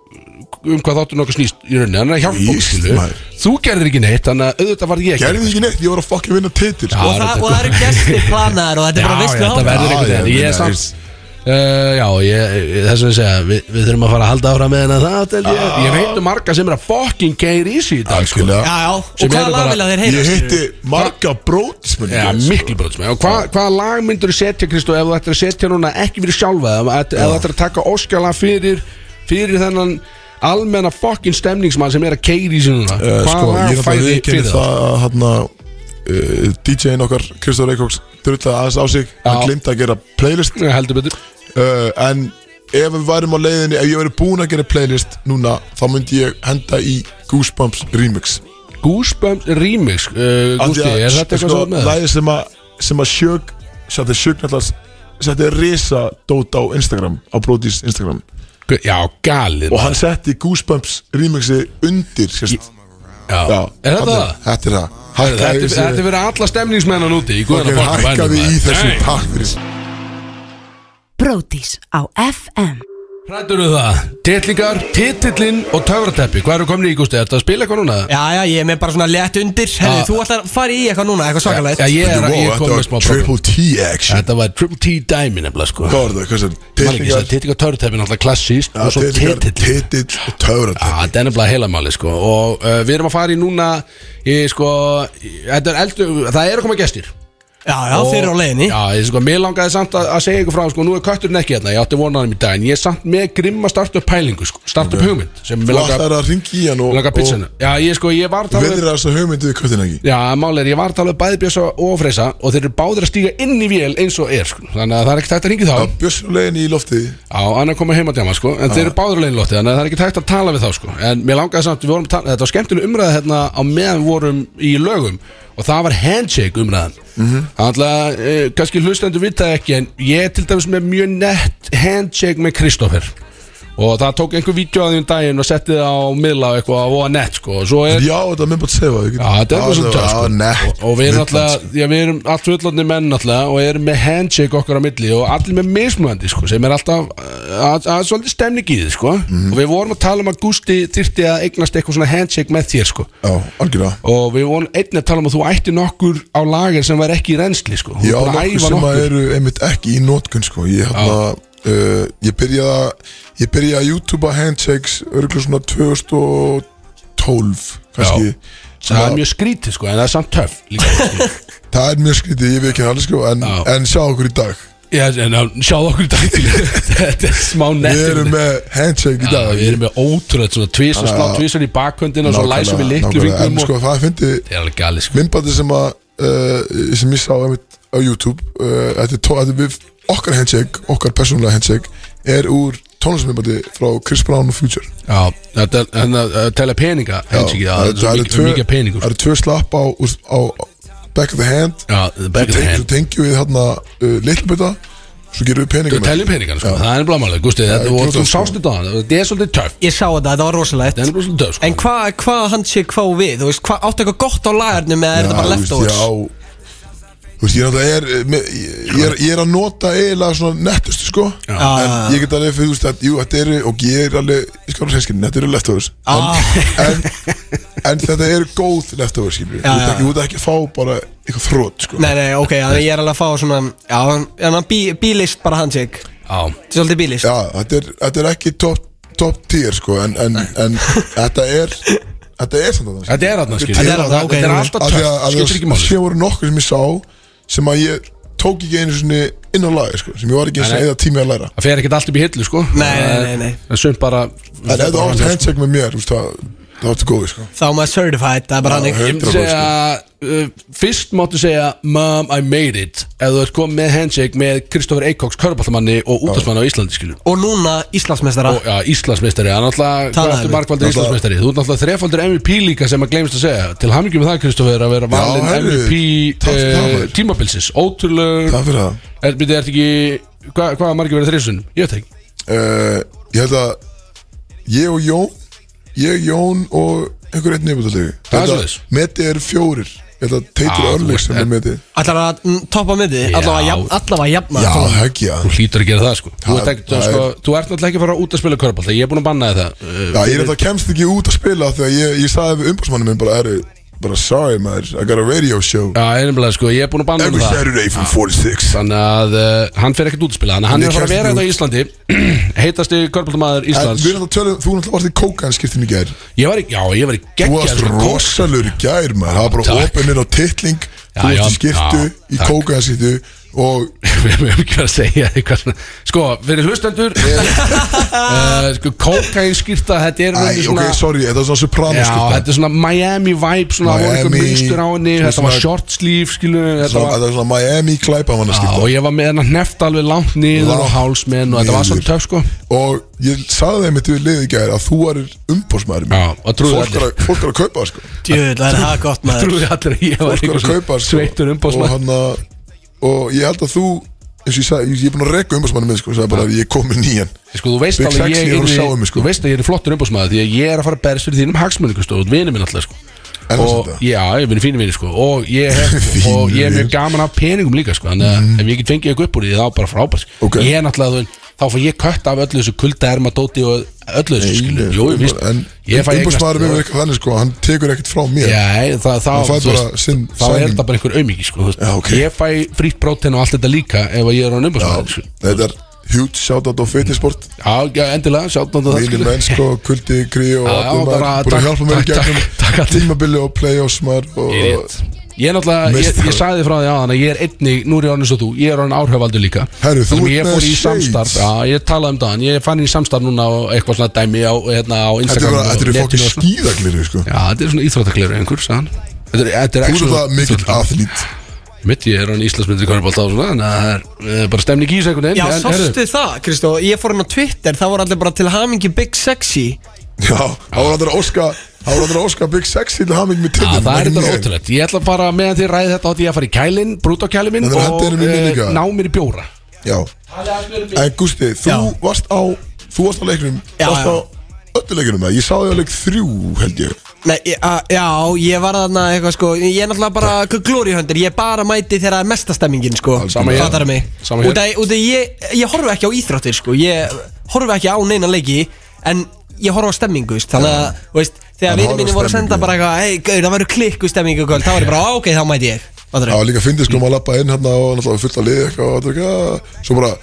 S2: um hvað þáttur nokkuð snýst í rauninni Hann er að hjálpa okkur
S5: Ís,
S2: skilu
S5: maður.
S2: Þú gerir ekki neitt, þannig að auðvitað var ég ekki
S5: Gerði ekki neitt, ég var að fokkin vinna titil sko.
S2: Já,
S3: Og það, og það eru gestir planaðar og þetta er bara
S2: Já,
S3: veist
S2: já, þetta
S5: áfram.
S2: verður einhvern
S5: Já,
S2: veginn
S5: já,
S2: Ég er
S5: ég meina,
S2: samt Uh, já, ég, þess að ég segja við, við þurfum að fara að halda áfram með hennar það tel ég, ég veit um marga sem er að fokkin geir í sig í dag sko.
S5: Algjörlega.
S3: Já, já,
S2: Sem
S3: og
S2: eru
S3: hvaða
S2: bara-
S3: lag vilja þeir heyra?
S5: Ég
S3: skilur?
S5: hitti marga brótismenn í
S2: Já,
S5: gær, sko.
S2: miklu brotsmenn Og hva, hvaða lag myndur þú setja, Kristó, ef þú ættir að setja núna ekki fyrir sjálfa þig, ef ef þú ættir að taka óskjala fyrir, fyrir þennan almenna fokkin stemningsmann sem er að keiri í sig núna
S5: Eh,
S2: Hvaða
S5: Sko, ég er
S2: lag færi
S5: náttúrulega
S2: fyrir
S5: viðkennið
S2: það?
S5: það að hérna uh, DJ-in okkar, Kristóf Reykjóks drullaði aðeins á sig, hann
S2: Já.
S5: glimta að gera playlist
S2: Ég Eh, heldur betur
S5: uh, en ef við værum á leiðinni, ef ég væri búin að gera playlist núna, þá myndi ég henda í Goosebumps remix
S2: Goosebumps Remix uh,
S5: Af því
S2: Gústi,
S5: að,
S2: er þetta eitthvað
S5: sko,
S2: svo með það?
S5: lagið sem að, sem að sjög Sætti sjög náttúrulega Sætti risa dót á Instagram Á Brodís Instagram
S2: Já, galið
S5: Og hann setti Goosebumps remixi undir sérst,
S2: já.
S5: já,
S2: Er þetta
S5: þarna-
S2: það?
S5: Þetta er það
S2: Þetta
S5: Hækkaði
S2: þetta-
S5: þessi-
S2: þetta er verið alla stemningsmennan úti í
S5: ok,
S2: guðanna fokkin
S5: Hækkaði í þessu takk fyrir
S4: Brótis á FM
S2: Rættur við það Tittlingar, tittillinn og töfrateppi Hvað eru komin í, Gústi? Er þetta að spila eitthvað núna?
S3: Já, já, ég er með bara svona létt undir Herðu,
S2: Já.
S3: þú ætlar að fara í eitthvað núna, eitthvað svakalegt
S2: Já, ég er
S5: Wow,
S2: ég er
S5: Þetta
S2: komin með smá
S5: var
S2: program.
S5: triple T action
S2: Þetta var Triple T dæmi nefnilega sko
S5: Hvað var það? Hvað sem? Titlingar
S2: Tittinga törutæpi náttúrulega klassíst og svo
S5: Titlingar
S2: titill
S5: Titill og töfratætt
S2: Já, þetta er nefnilega heilamáli sko og uh, við erum að fara í núna í, sko, í- þetta er eldur, það eru að koma gestir
S3: Já, já, þeir eru á leiðinni
S2: Já, ég, sko, mér langaði samt að, að segja ykkur frá sko, nú er kötturinn ekki hérna, ég átti vonaðum í dag en ég er samt með grimma startup pælingu sko, startup hugmynd sem
S5: Þú
S2: við langaði
S5: ætlar að ringi í hann og
S2: langa
S5: og
S2: pizzinu Já, ég sko, ég var að tala um-
S5: Viðra þessa hugmyndu við köttin ekki
S2: Já, málið er, ég var að tala um bæði Bjössa og Freysa og þeir eru báðir að stíga inn í vél eins og er sko. þannig að það er ekkert hægt að ringi þá
S5: Það bjössum leiðin í loftið
S2: Já, hann er komið heim að djama sko En þeir eru báður leinlótti Þannig að það er ekki hægt að tala við þá sko En mér langaði samt við vorum að tala, Þetta var skemmtileg umræða hérna Á meðan við vorum í lögum Og það var handshake umræðan
S5: Mhm.
S2: Þannig að e, kannski hlustendur vita ekki En ég er til dæmis með mjög nett handshake með Kristoffer Og það tók einhver vídeo að því um daginn Og setti það á miðla og eitthvað Og á nett sko Og svo er
S5: Já, þetta er minnbátt sefa
S2: Já, þetta er svona töff sko.
S5: sko
S2: og, og við erum alltaf, já, við erum allt fullotni menn alltaf og erum með handshake okkar á milli og allir með mismunandi sko, sem er alltaf uh, að, að svolítið stemning í þið sko.
S5: Mhm.
S2: og við vorum að tala um að Gusti þyrfti að eignast eitthvað svona handshake með þér sko.
S5: Já, algjörða
S2: og við vorum einnig að tala um að þú ætti nokkur á lager sem var ekki í reynsli sko. Þú
S5: Já,
S2: ert búin að
S5: nokkuð
S2: æfa
S5: sem að
S2: nokkur.
S5: eru einmitt ekki í nótkun sko Ég, hérna, uh, ég byrja Ég byrja að YouTube handshakes Örgulega svona 2012 kannski
S2: það er
S5: Svona-
S2: mjög skrítið sko, en það er samt töff líka, sko.
S5: Það er mjög skrítið, ég veit ekki alveg sko en,
S2: Já.
S5: en sjá okkur í dag
S2: já, en að- sjáðu okkur í dag til þetta er smá
S5: Við
S2: nettir
S5: erum með handshake í
S2: Já,
S5: dag
S2: við erum með ótrúlega svona tvísar slá tvísar í bakhöndin og svo
S5: Nákvæmlega,
S2: læsum við litlu
S5: nákvæmlega.
S2: fingrum
S5: En
S2: og
S5: sko það fyndi
S2: Það er alveg gali sko
S5: minnbæti sem að uh, sem ég sá einmitt á YouTube uh, þetta er tó- þetta er við okkar handshake okkar persónulega handshake er úr tónlisminnbæti frá Chris Brown og Future
S2: Já, þetta er hann að að tella peninga Hensikið, já, það er svo
S5: það
S2: mikið- mikið peningur sko.
S5: það eru tvö slapp á, úr- á back of the hand
S2: Já, the back of the
S5: svo
S2: hand
S5: tengjum við hérna uh, litlum bita svo gerum við
S2: Þú
S5: peningum
S2: tellir peningana sko, það er blámálega Gústi, þetta
S5: ég
S2: voru
S5: gera
S2: þú
S5: það, sko.
S2: sást þetta á hann Það er svolítið töff
S3: Ég sá þetta, þetta var rosalegt
S2: Það er bara svolítið töff
S3: En
S2: sko
S3: hvað hva hans sé hvað við? Þú veist, hva, áttu eitthvað gott á lagarnum eða er þetta bara leftovers?
S5: já Þú veist, ég náttúrulega er, eh, með- ég- ég er, ég er að nota eiginlega svona nettustu, sko
S2: Já.
S5: En ég get alveg fyrir, þú veist, að, jú, þetta eru, og ég er alveg, ég skal alveg hreinskilin, þetta eru leftovers
S3: Ah.
S5: en, en, en þetta eru góð leftovers, skilur Þú ert
S3: Já, já.
S5: ekki, þú ert ekki að fá bara eitthvað þrótt, sko
S3: Nei, nei, ok, þannig ég er alveg að fá svona Já, en hann bí, bílist bara handshake
S2: Já,
S3: Svolítið bílist
S5: Já, þetta er, þetta er ekki top top tier sko en, en, en þetta er þetta er samt að það
S2: Þetta er aðna, skilur
S3: Þetta er þarna, ok.
S2: Þetta er alltaf töff, skilur ekki máli
S5: Sér voru nokkur sem ég sá sem að ég tók ekki einu svona inn á lagi sko, sem ég var ekki eins
S2: Nei,
S5: og
S2: nei.
S5: eða tími að læra
S2: Það fer ekkert allt upp í hillu, sko
S3: Nei, nei, nei, nei.
S2: Það er sönd bara sko.
S5: en ef þú átt handshake með mér þú veist, það, það áttu góði sko
S3: Þá er maður certified, það er bara hannig
S2: Ég myndi
S5: 100%
S2: segja,
S5: sko.
S2: uh, fyrst máttu segja Mom, I made it Ef þú ert komið með handshake með Kristoffer Eikóks Körbáltamanni og útastmanni á Íslandi, skilur
S3: Og núna Íslandsmeistara
S2: Og, já, Íslandsmeistari, hann alltaf
S3: Talaðu
S2: Hvað ertu
S3: við.
S2: margvaldur
S5: Náttúrulega-
S2: Íslandsmeistari? Þú ert alltaf þrefaldur MVP líka sem að gleymst að segja Til hamingjum með það, Kristoffer, að vera valinn
S5: herri,
S2: MVP
S5: takk fyrir það,
S2: eh,
S5: maður.
S2: tímabilsins Ótrúlegur
S5: það fyrir það
S2: Er, byrju, ertu ekki Hvað hva margir verið þrisunum? Ég veit það ekki
S5: uh, ég held að ég og Jón ég, Jón og einhver einn
S2: Það er
S5: nefndalegu
S2: svoleiðis.
S5: meti er fjórir ég held að
S2: Já,
S5: Teitur
S2: þú
S5: Örlík
S2: veist,
S5: sem er
S2: en-
S5: meti
S3: Allar að mm, toppa miði
S2: Já.
S3: Allar að jafna
S5: já,
S3: svona.
S5: hekki já
S2: Þú hlýtur að gera það sko Þú
S5: Það-
S2: ert, ekki,
S5: það
S2: sko, þú ert náttúrulega ekki að fara út að spila körbálta Ég er búin að banna þér það uh,
S5: Já, ég er þetta kemst ekki út að spila þegar ég, ég sagði við umbásmannum minn bara, eru, bara sorry maður, I got a radio show
S2: Já, ég er nefnilega sko Ég er búin að banna
S5: every
S2: þér það
S5: Saturday from 4 to 6
S2: Þannig að uh, hann fer ekkert út að spila Þannig að hann
S5: Ég
S2: er að fara að
S5: kemst ekki
S2: vera þetta í Íslandi Heitasti körbáltamaður
S5: En
S2: Íslands
S5: við erum þetta tölum, þú náttúrulega varst í kókainskiptin í gær
S2: Ég var í, já, ég var í
S5: Þú
S2: sko- geggja
S5: varst rosalur í gær maður, það var bara
S2: Takk.
S5: opinir á titling
S2: Já,
S5: Þú varst í
S2: já,
S5: skiptu,
S2: já,
S5: í
S2: takk.
S5: kókainskiptu og
S2: Við höfum ekki verið að segja eitthvað svona Sko, fyrir hlustendur uh, Sko, kókainskýrta Þetta er
S5: Æ,
S2: rauninni
S5: ok, sorry, þetta er svona soprano
S2: Já,
S5: skipta
S2: þetta er svona Miami vibe svona, það voru eitthvað
S5: Miami,
S2: mynstur á henni
S5: svona
S2: þetta var
S5: svona-
S2: short sleeve, skilu þetta var,
S5: Þetta er svona Miami glæpamanna
S2: já,
S5: skipta
S2: og ég var með hennar neft alveg langt niður
S5: Langt
S2: og hálsmenn og þetta var svolítið töf, sko
S5: Og ég sagði þeim mitt við liðið í gær að þú varir umbásmannum
S2: Já, og trúðu allir.
S5: Fólk er að kaupa það sko
S3: Djöfull, það er það gott maður
S2: trúði allir að ég var
S5: fólk var að
S2: eitthvað
S5: kaupa sko.
S2: svona sveittur
S5: og,
S2: umbásmann
S5: hann að- og ég held að þú eins og ég sagði, ég er búin að rekka umbásmanni með sko, sagði bara að ég kom með nýjan
S2: Sko, þú veist
S5: Big
S2: alveg
S5: Sexy
S2: ég
S5: er að
S2: er
S5: sjá um mig, sko.
S2: Þú veist að ég er flottur umbásmaður Því að ég er að fara að berst fyrir þínum hagsmunni Kristóð, og vinur minn alltaf sko.
S5: Er það
S2: Og
S5: satt það?
S2: já, ég er fínir vinir sko. Og ég hef-
S5: Fínir
S2: og ég er
S5: vinir.
S2: mjög
S5: Mhm.
S2: gaman af peningum líka sko. Þannig að ef ég get fengið eitthvað upp úr því þá er bara frábært sko.
S5: Ok.
S2: Ég er náttúrulega þú veist, Þá fæ ég kött af öllu þessu kulda ermadóti Og öllu þessu skilu Jú, ég víst
S5: en
S2: Ég fæ eignast-
S5: umbásmanni með eitthvað þannig sko, hann tekur ekkert frá mér
S2: Já, það, það,
S5: Hann fær
S2: þú
S5: bara sinn
S2: þá er
S5: sæning.
S2: þetta bara einhver aumingi sko, þú veist.
S5: Já, ok.
S2: Ég fæ frýtt prótein og allt þetta líka Ef að ég er á umbásmaður sko.
S5: þetta er huge shoutout á fitnessport
S2: Já, já, endilega, sjátt
S5: Vili Mensko, sko, Kuldi, Krí og
S2: Já,
S5: allir
S2: bara
S5: maður búin
S2: takk-
S5: að hjálpa mér í
S2: takk-
S5: gegnum
S2: takk- takk allir.
S5: tímabili og playoffs maður og
S2: Ég veit. Ég er náttúrulega, ég, ég
S5: Meistari.
S2: sagði frá því aðan að ég er einnig, nú er ég orðin eins og þú, ég er orðin áhrifaldur líka
S5: Herru, þú
S2: Þar sem
S5: ert
S2: ég
S5: með
S2: fór í
S5: shades.
S2: samstarf, já, ég talaði um dagann, ég fann í samstarf núna og eitthvað svona dæmi á, hérna, á
S5: þetta
S2: Instagram
S5: er bara, þetta
S2: og
S5: er
S2: netinu
S5: fokkið
S2: og svona.
S5: skýðaglir sko.
S2: Já, þetta er svona íþróttakleru einhver, sagðan Þetta er, þetta er
S5: þú
S2: actual
S5: er það mikill
S2: íþróttakleifur.
S5: athlít
S2: Mitt, ég er orðin Íslandsmyndir kvörnbólt á svona, þannig að það er eh, bara stemning í þessu einhvern veginn
S3: Já,
S2: en, herru,
S3: sástu það, Kristó Ég fór inn á Twitter, það voru allir bara til hamingi Big Sexy
S5: já, það var aldrei að óska það var aldrei að óska Big Sexy til haming með
S2: Já,
S5: tindum
S2: það er þetta ótrúlegt Ég ætla bara meðan þið ræði þetta átti ég að fara í kælin, brúta kælin minn
S5: En þeir
S2: og
S5: hendu henni minni
S2: eh,
S5: líka.
S2: ná mér í bjóra
S5: já,
S2: Það
S5: En Gusti, þú
S3: Já.
S5: varst á Þú varst á leiknum
S3: Já,
S5: Varst
S3: já.
S5: á öllu leiknum eða? Ég sá þig á leik þrjú held ég
S3: Nei, ég- a- já, ég var þarna eitthvað sko Ég er náttúrulega bara glóriuhöndir Ég bara mæti þegar það er mesta stemmingin sko
S2: Sama hér.
S3: Fattar mig
S2: Sama hér.
S3: Út af- út af ég, ég horfa ekki á íþróttir sko Ég horfa ekki á neina leiki En ég horfa á stemmingu, veist Þannig að, þú veist, þegar
S5: Hann
S3: vinir
S5: horfir á
S3: mínu voru að senda
S5: stemmingu.
S3: bara eitthvað Hei, gauð, það verður klikku stemmingu kvöld Þá var ég bara, "Á, ok, þá mæti ég Fattar
S5: Það var líka fyndið sko maður lappa inn hérna og náttúrulega fullt að liði eitthvað og þetta er eitthvað Svo bara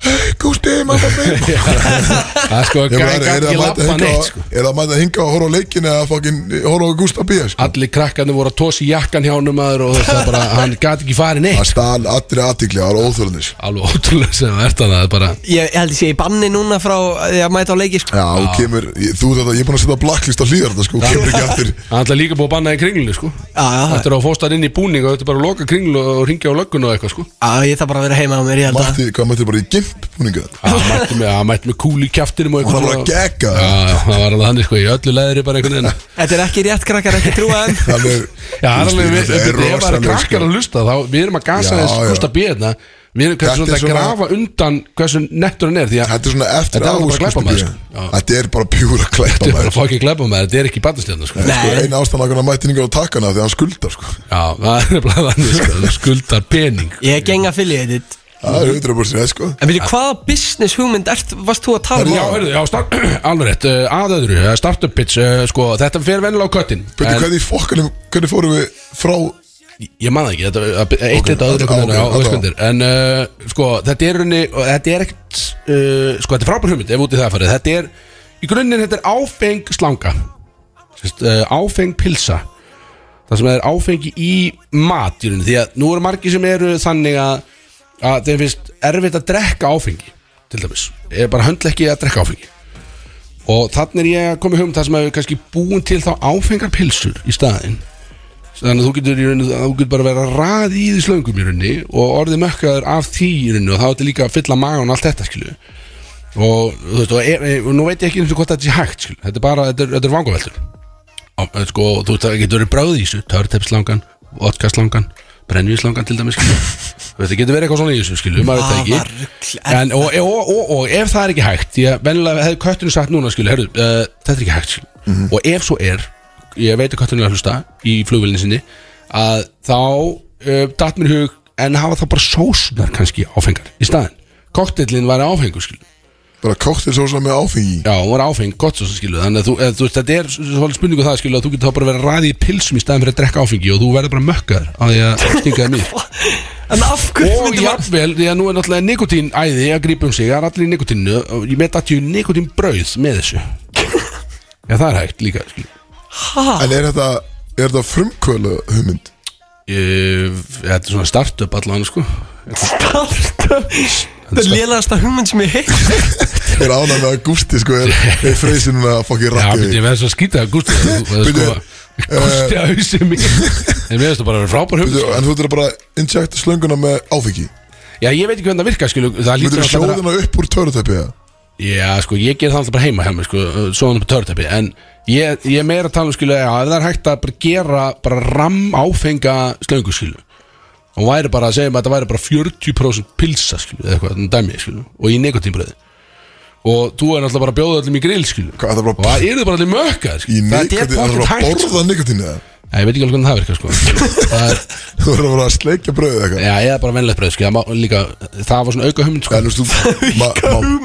S5: Hei Gusti, mamma minn
S2: er sko
S5: Ég bara,
S2: gæði
S5: er það
S2: ekki
S5: að mæta
S2: lappa
S5: hinga
S2: neitt sko.
S5: Er það að mæta hinga og horfa á leikin eða fokkin horfa á Gústa B sko
S2: Allir krakkarnir voru að tósi jakkan hjá honum maður og það bara, hann gæti ekki farið neitt
S5: Það stál allir aðtikli, það var óþjóðanis
S2: Alveg ótrúlega sem það ert hann að bara
S3: Ég, ég held að sé í banni núna frá því að mæta á leiki sko.
S5: Já, þú kemur, ég- þú þetta, ég er búin að setja blacklist á hlýðar þetta sko, þú kemur ekki aftur
S2: Hann ætla líka búið að banna í kringlunni sko
S3: Já, já, það-
S2: Þetta er að fósta inn í búning og þetta er bara að loka kringlu og ringja á löggun og eitthvað sko
S3: Já, ég þarf bara að vera heima á mér, ég held að
S5: Mætti, hvað mætti bara í gimp búninga þetta?
S2: Hann mætti með, hann mætti með kúli í kjaftinum og
S5: Það var
S2: eitthvað
S5: bara að gegga
S2: sko. Já, já, það var alveg þannig sko, í öllu leðri bara einhvern veginn
S3: Þetta er ekki rétt krakkar, ekki trúa þeim
S5: Þannig,
S2: Já, það er alveg, við,
S5: þetta sko.
S2: við, ef það er
S5: rosaleg,
S2: krakkar að hlusta þá, við erum að gasa
S5: Já,
S2: þess
S5: já.
S2: Gústa B. hérna Við erum
S5: Þetta
S2: kannski svona
S5: er
S2: að
S5: svona-
S2: grafa undan hversu nettur hann er Því að
S5: Þetta er svona eftir
S2: Þetta er alveg bara
S5: áherslu,
S2: glæpamaður,
S5: sko.
S2: sko. Já.
S5: Þetta er bara pjúra
S2: þetta er bara
S5: klæpamaður
S2: að fá ekki glæpa með þetta er ekki batastjarnar sko
S5: sko, Einu ástæðan að mætti hingað á takkana Þegar hann skuldar sko.
S2: Já, það er nefnilega þannig sko, þú skuldar pening
S3: Ég er geng affiliated
S5: Það er 100% eða, sko.
S3: En veitu, hvaða business hugmynd ert, varst þú að tala
S2: Já,
S3: um?
S2: heyrðu, já, start, alveg rétt, uh, að öðru, uh, startup pitch, uh, sko, þetta fer vennilega á köttin
S5: Beti,
S2: en
S5: hvernig, í fokkanum, hvernig fórum við frá
S2: Ég man það ekki, þetta, að- að- eitt
S5: Ok,
S2: þetta öðru
S5: þetta-
S2: okay,
S5: ok,
S2: okay,
S5: þetta-
S2: okay, En uh, sko, þetta er runni, þetta er ekkert, uh, sko, þetta er frábær hugmynd ef út í það farið Þetta er, í grunninn þetta er áfeng slanga Sest, uh, áfeng pilsa það sem er áfengi í mat í rauninni, því að nú eru margir sem eru þannig að, að þeim finnst erfitt að drekka áfengi til dæmis, er bara höndla ekki að drekka áfengi og þannig er ég að koma í hugum það sem hefur kannski búin til þá áfengar pilsur í staðinn þannig að þú getur, í rauninni, þú getur bara að vera ræð í því slöngum í rauninni og orðið mökkaður af því í rauninni og þá er þetta líka að fylla magan og allt þetta skilju og þú veist, og, er, er, og nú veit ég ekki eins og hvort þetta sé hægt skilju, þetta er bara, þetta er, þetta er vangaveldur Á- en sko, þú veist, það getur verið bráð í þessu törtepslangan, vodkaslangan brennvíslangan til dæmis skilju Þú veist, það getur verið eitthvað svona í þessu skilju, maður veit það
S3: Afar
S2: ekki
S3: rugl, er
S2: en, og, og, og, og ef það er ekki hægt því að venjulega hefði kötturinn sagt núna skilju, herru, uh, þetta er ekki hægt skilju og ef svo er, ég veit að kötturinn er að hlusta í flugvillinni sinni að þá uh, datt mér í hug en hafa það bara sósnar kannski áfengar í staðin, kokteillin var áfengur skilju
S5: Bara kóttir svo með áfengi í.
S2: Já, hún var áfeng, gott svo sem skilu Þannig að þú, eða, þú veist, þetta er svolítið spurningu það skilu að þú getur þá bara verið að ræði í pilsum í staðin fyrir að drekka áfengi og þú verður bara mökkaður á því að stinga það mér
S3: En af hverju
S2: Og
S3: myndi maður
S2: jafnvel, því að nú er náttúrulega nikotín æði að grípa um sig, það er allir í nikotinu og ég met að ég nikotín brauð með þessu Já, það er hægt líka skilu. Ah.
S5: En er þetta, er þetta frumkvölu hugmynd?
S2: Ég, Þetta er svona startup allan sko.
S3: starta Það er lélægasta hugmynd sem ég heilt
S5: Ég er ánægð með að Gústi sko er, er freysinum að fokki
S2: Já,
S5: rakka
S2: byrju, ég
S5: því
S2: verður svo að skýta það Gústi þú- þú-
S5: Bíddu,
S2: sko, Gústi að hausi mig En mér finnst það bara að vera frábær hugmynd
S5: Bíddu,
S2: sko.
S5: En þú ert bara að injecta slönguna með áfengi
S2: Já, ég veit ekki hvernig það virkar skilu Það
S5: Þú
S2: lítur
S5: ert
S2: alltaf að vera-
S5: sjóðina upp úr törutæpi eða?
S2: Já, sko, ég ger það alltaf bara heima hjá mér, sko, svona på törtepi, en ég, ég er meira að tala um, skilu, að ef það er hægt að bara gera, bara ram áfenga slöngu, skilu, og væri bara að segja mig að þetta væri bara 40% pilsa, skilu, eða eitthvað, þannig dæmi, skilu, og í nekotínbröði, og þú er náttúrulega bara að bjóða öllum í grill, skilu,
S5: Hvað, það er bara-
S2: og það eru bara allir mökkar,
S5: Í
S2: skilu, það
S5: nikotín,
S2: er
S5: það er
S2: pottþétt
S5: bara að
S2: hægt,
S5: borða nikotín eða?
S2: Nei, ég veit ekki alveg hvernig það virkar, sko, það er,
S5: Þú ert bara að sleikja bröðið eitthvað
S2: já, eða bara venlega bröð, skilu, það má- líka, það var svona auka hugmynd, sko,
S5: En þú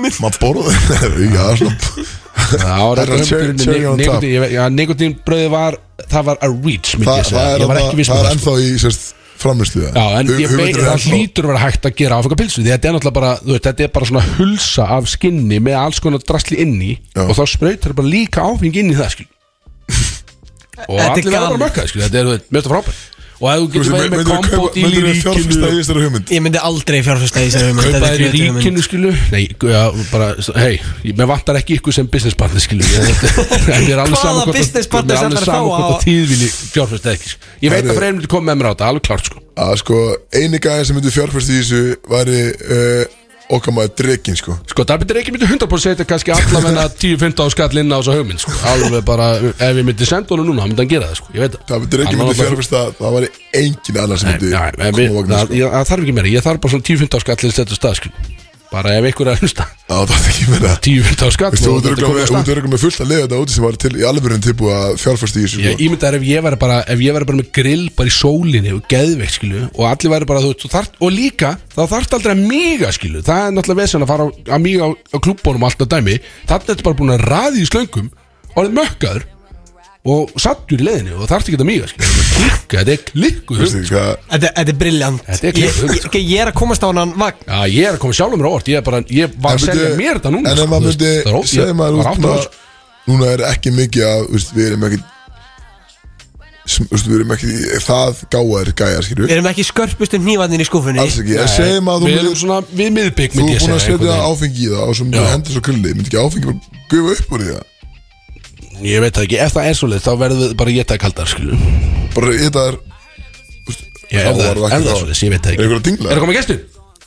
S5: veist, maður borða Já, það er svona
S2: Það
S5: Það er að cherry- cherry on top.
S2: var Nikotínbröði var Það var a reach myndi
S5: Þa, það,
S2: ég segja.
S5: er
S2: Ég var
S5: þarna-
S2: ekki viss um
S5: það er
S2: það
S5: ennþá
S2: sko.
S5: í sérst framistu
S2: Já, en ég veit að það hlýtur að vera hægt að gera áfengar pilsu Því þetta er náttúrulega bara, þú veit, þetta er bara svona hulsa af skinni með alls konar drasli inni
S5: Já.
S2: og þá sprautar bara líka áfengi inn í það, skil Og
S3: Þetta er
S2: allir verður bara
S3: galið.
S2: mökkað, skil, þetta er, þú veit, mjög frábær Og ef þú getur verið með kombo díl í ríkinu
S5: fjárfyrsta í þessari hugmynd
S3: Ég myndi aldrei fjárfesta í þessari hugmynd
S2: Kaupa
S3: Þetta er
S2: þér í
S3: glötuð hugmynd.
S2: ríkinu skilu Nei, gu- já, bara, hei, mér vantar ekki ykkur sem business partner skilu ég, en mér er alveg
S3: Hvaða
S2: sama hvort að-
S3: business partner
S2: mér er alveg
S3: ætlar að
S2: sama
S3: fá
S2: hvort
S3: á-
S2: að tíðvinni fjárfæst ekki sko. Ég veit
S5: Herru.
S2: að freyrinn myndi koma með mér á þetta, alveg klart sko
S5: að sko eini gæðin sem myndi fjárfyrsta í þessu væri uh, okkar maður drekkin sko
S2: Sko, það myndir ekki myndi 100% setja kannski allavega 10-15 á skall inn á þessu hugmynd sko. Alveg bara, ef ég myndi senda honum núna þá myndi hann gera það sko, ég veit
S5: það myndi ekki myndi
S2: náttúrulega-
S5: fjárfyrsta það væri engin annar sem myndi
S2: Nei, nei, en við-
S5: koma vagn
S2: það
S5: sko.
S2: ég- það þarf ekki meira, ég þarf bara svona 10-15 á skall í þetta stað sko Bara ef ykkur er að hlusta
S5: Já, það er ekki meira
S2: 10-15 á skall
S5: Veist, þú
S2: og
S5: ert
S2: þetta er
S5: örugglega
S2: komið af
S5: með-
S2: stað.
S5: þú ert örugglega með fullt að liða þetta úti sem var til í alvegurinn tilbúið að fjárfyrsta í þessu
S2: Ég
S5: sko.
S2: ímynda er ef ég væri bara, ef ég væri bara með grill bara í sólinni og geðveikt skilu og allir væri bara, þú veist, þú þarft, og líka þá þarft aldrei að miga skilu, það er náttúrulega vesen að fara á- að miga á, á klubbónum alltaf dæmi, þannig ertu bara búin að raði í slöngum orðið mökkaður og sattur í leiðinu og þarft ekki að miga skilu, klikka, þetta er klikku
S5: Veistu
S2: hugmynd.
S5: hvað-
S3: Þetta þetta er briljant
S2: Þetta er
S3: ég,
S2: glötuð hugmynd, sko.
S3: ég, ok, ég er að komast á hann vagn
S2: Já, ég er að koma sjálfum mér á orð, ég er bara, ég var
S5: En
S2: að selja
S5: byrju,
S2: mér þetta núna
S5: En
S2: sko,
S5: ef maður
S2: þú veist,
S5: myndi,
S2: það er ótt- ég-
S5: segja maður
S2: var átta
S5: út
S2: ára, sko.
S5: að Núna er ekki mikið að, þú veist, við erum ekki sem, þú veist, Við erum ekki Það gáðar gæjar, skilju
S3: Við erum ekki skörpustu nývarnin í skúfunni
S5: Alls ekki, en segja maður að þú
S2: Við erum
S5: myndir
S2: svona við miðbygg
S5: Þú
S2: myndi
S5: er
S2: ég
S5: búin að
S2: segja
S5: setja
S2: einhvern veginn.
S5: áfengi í það og svo
S2: Já.
S5: myndir hendur svo krulli Myndi ekki áfengi bara gufa upp úr því það
S2: Ég veit það ekki, ef það er svo þá verðum við bara að geta kaldar skilur
S5: Bara þetta er
S2: Já,
S5: Þá
S2: ef það
S5: var
S2: er,
S5: það ekki
S2: ef það er
S5: þá.
S2: svolítið, ég veit það
S5: Er
S2: ekki
S5: einhver að dingla?
S2: Er það komið gestur?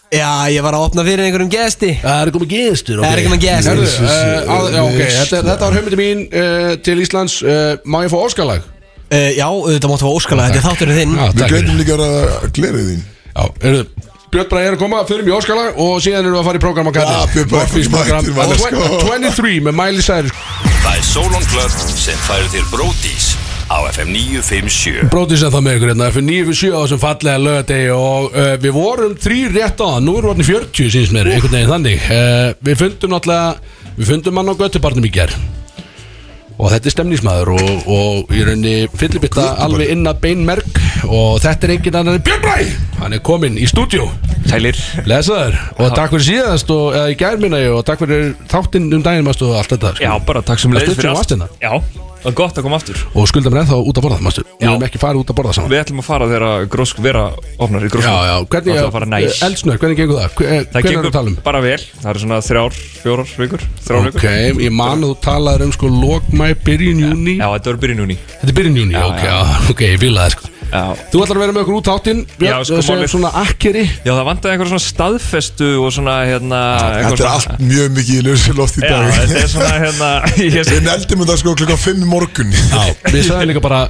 S3: Já, ég var að opna fyrir einhverjum gesti
S2: Það er komið gestur, ok
S3: Það er komið gestur.
S2: Herðu,
S3: Jesus,
S2: eh, á- Já, ok,
S5: veistla.
S2: þetta, þetta var hugmyndi mín uh, til Íslands uh, Má ég fá óskalag?
S3: uh, Já, þetta máttu fá óskala, þetta er þátturinn þinn
S2: Já,
S5: Við
S2: Ah, takk
S5: greitum
S2: fyrir.
S5: líka að glera þín
S2: Já, herðu Björn Bræði er að koma, förum í óskalag og síðan erum við að fara í prógram á
S5: Já,
S2: kallir
S5: Björn Bragi mættur, maður,
S2: sko.
S5: let's go.
S2: 23 með Miley Cyrus
S6: Það er Solon Club sem færir þér bródís á FM 957
S2: Brótið sem það með ykkur hérna, fyrir 9 fyrir 7 á þessum fallega lögadegi og uh, við vorum þrýr rétt á það, nú erum við orðin 40 síns meður, einhvern veginn þannig uh, Við fundum náttúrulega, við fundum hann á göttubarnum í ger og þetta er stemningsmaður og, og í rauninni fyllibitta alveg inn að beinmerk og þetta er enginn annar en Björn Bræ, hann er kominn í stúdjó
S7: Sælir
S2: Lesaður og takk fyrir síðast og eða í gær minna ég og takk fyrir þáttinn um daginn mástu og allt þetta sko.
S7: Já, bara takk sem
S2: Það
S7: leiðis
S2: stutt sem
S7: fyrir allt
S2: varst hérna.
S7: Já, það er gott að koma aftur
S2: og skulda mér ennþá út að borða mástu við
S7: Já.
S2: erum ekki farið út að borða saman
S7: Við ætlum að fara þegar grósk vera opnar í grósku
S2: Já, já, hvernig
S7: Það ætlum að fara næs
S2: Eldsnöð, hvernig gengur það? Hver,
S7: Það
S2: hvernig er um?
S7: gengur
S2: það talum?
S7: bara vel Það eru svona þrjár, fjórar vikur Þrjár
S2: Ok,
S7: vikur
S2: ég man að þú talaður um sko lokmæ, byrjun, júni
S7: Já, þetta voru byrjun júni
S2: Þetta er byrjun júni, ok, já, ok, ég vil að það sko
S7: Já
S2: Þú ætlar að vera með okkur út áttinn
S7: Já, sko,
S2: sem
S7: málið-
S2: svona akkeri
S7: Já, það vantaði einhver svona staðfestu og svona hérna
S5: Þetta er allt mjög mikið í lausi loft í
S7: Já,
S5: dag
S7: þetta er svona hérna ég,
S5: Við neldum þetta sko klukka 5 morgun
S2: Já, við sagðum líka bara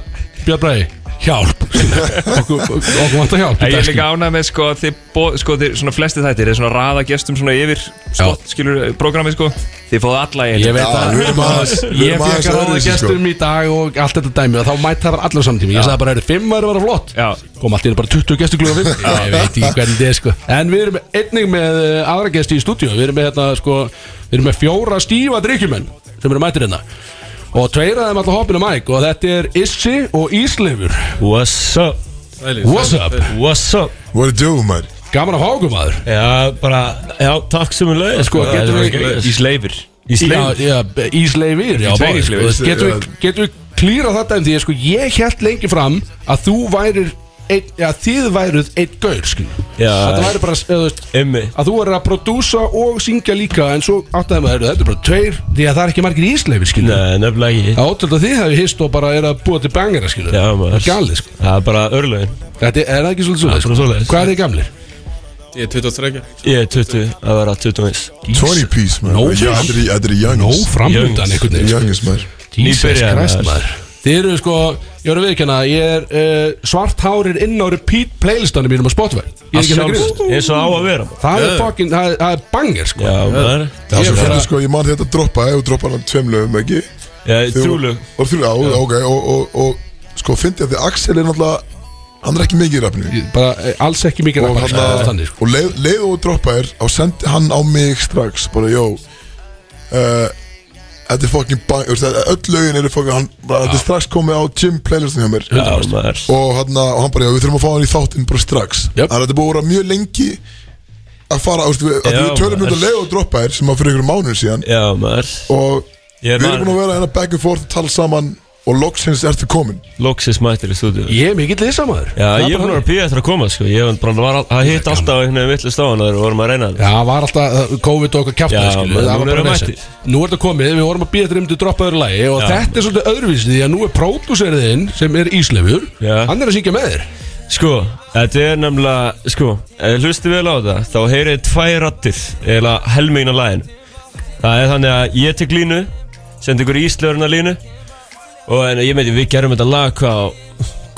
S2: Björn Bræði, hjálp Okkur, okkur vantar hjálp í dag,
S7: Ég er
S2: skilur.
S7: líka ánað með sko að þið, bo- sko, þið svona flesti þættir, þið svona raða gestum svona yfir slott, skilur, prógramið sko þið fóðu alla í einu.
S2: Ég veit
S5: Já,
S2: það
S5: við erum aðeins- við
S2: Ég
S5: erum aðeins
S2: fekk að ráða
S5: öðruvísi, sko.
S2: gestum í dag og allt þetta dæmi og þá mætti það bara allar samtími Ég sagði bara, eru fimm að vera flott
S7: Já.
S2: Kom allt í einu bara 20 gestur kluga fimm Ég veit ekki hvernig þetta er sko En við erum einnig með eh, aðra gesti í stúdíu Við erum með hérna sko Við erum með fjóra stífa drikkjumenn sem eru mættir hérna Og tveir af þeim alltaf hoppinu mæk og þetta er Issi og Ísleifur
S8: What's up?
S2: What's up?
S8: What's up?
S5: What do you do, maður?
S2: Gaman að fá okkur maður
S8: Já, bara, já, takk sem er leið
S2: Sko, getum við-
S7: Í sleifir
S2: Já, já, Ísleifir já,
S7: Tveir
S2: báðir, sko.
S7: Ísleifir,
S5: já.
S2: Getum við- Getum við klýra þetta en því sko, Ég held lengi fram að þú værir ein, já, Þið væruð einn gaur skilur.
S8: Já.
S2: Þetta væri bara eða, þú veist,
S8: Emmi
S2: Að þú værir að prodúsa og syngja líka En svo áttaði maður Þetta er bara tveir Því að það er ekki margir Ísleifir skilur.
S8: Nei, nefnilega ekki
S2: Það ótrúld að þið hefði hist og bara er að búa til bangera skilur.
S8: Já,
S2: Það er
S8: maður
S2: galið sko.
S8: Það er bara örlögin
S2: Þetta er- er það ekki svolítið
S8: Já,
S2: svoleiðis,
S8: bara svoleiðis.
S2: Hvað er þið gamlir?
S9: Ég er 23
S8: Ég er 20, að vera 21
S5: 20 piece, maður
S2: No
S5: Já,
S2: fish.
S5: Þetta er- þetta er youngins
S2: framhundan einhvern veginn sko.
S5: Youngins, maður
S2: Jesus
S8: Nýbyrjaður.
S2: Christ, maður. Þið eru sko, ég voru að viðkjanna Ég er uh, svarthárir inn á repeat playlistanum mínum á Spotify Ég er ekki að grýst
S8: Eins og á að vera bara.
S2: Það er fucking, það, er- það er banger sko
S8: Já, maður
S5: Það
S2: Ég
S5: er
S2: er
S5: svo
S2: bara-
S5: fyrir sko, ég man þetta droppa Ef þú droppar hann tveim lögum, ekki
S8: Já, trúlu
S5: Og þrjúlu, já, ok og- og- Og sko, fyndi að því Axel er náttúrulega Hann er ekki mikið í rafninu
S2: Ég- Bara eh, alls ekki mikið
S5: og,
S2: rappar, sko,
S5: hann,
S2: þannig, sko.
S5: og leið, leið og droppa þér og sendi hann á mig strax bara, jó uh, þetta er fucking bang þú veist, það- öll lögin eru fucking hann, bara, þetta er strax komið á gym playlistin hjá mér
S8: Já, maður
S5: og, hann, og hann bara, já, við þurfum að fá hann í þáttinn bara strax
S2: Jöp.
S5: þannig að þetta er búið að vera mjög lengi að fara, þú veist, við, að
S8: Já,
S5: við tölum
S8: maður.
S5: um að leið og droppa þér sem að fyrir einhverjum mánuð síðan
S8: Já, maður
S5: og
S8: Ég er
S5: við erum búin að
S8: maður
S5: vera hérna back and forth að tala saman og loksins ertu komin
S8: Loksis mættir í stúdíu
S2: Ég er mikill lýsamaður
S8: Já, ég er búin að vera að býja eftir að koma, sko Ég var bara að hitta alltaf einhvern veginn vittlust á hann Þegar við vorum að reyna það
S2: Já, það var alltaf, það- COVID og okkar kjátt
S8: Já, menn,
S2: það
S8: nú
S2: var bara
S8: erum við
S2: þessi
S8: mættir.
S2: Nú er þetta komið, við vorum að býja þeir um til að droppa öðru lagi Og
S8: Já.
S2: þetta er svolítið öðruvísi því að nú er pródúseriðinn sem er Íslefur
S8: Já.
S2: Hann er að syngja með þér
S8: Sko, þetta er nefnilega Sko, ef hlustu vel á þetta Þá heyrið tvær rattir Eða helmingin á lægin Það er þannig að ég tek línu Sendi ykkur íslöðurinn að línu Og en, ég meiti, við gerum þetta lag Hvað,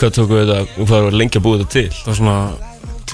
S8: hvað tókum við þetta Hvað var lengi að búa þetta til
S9: Það var svona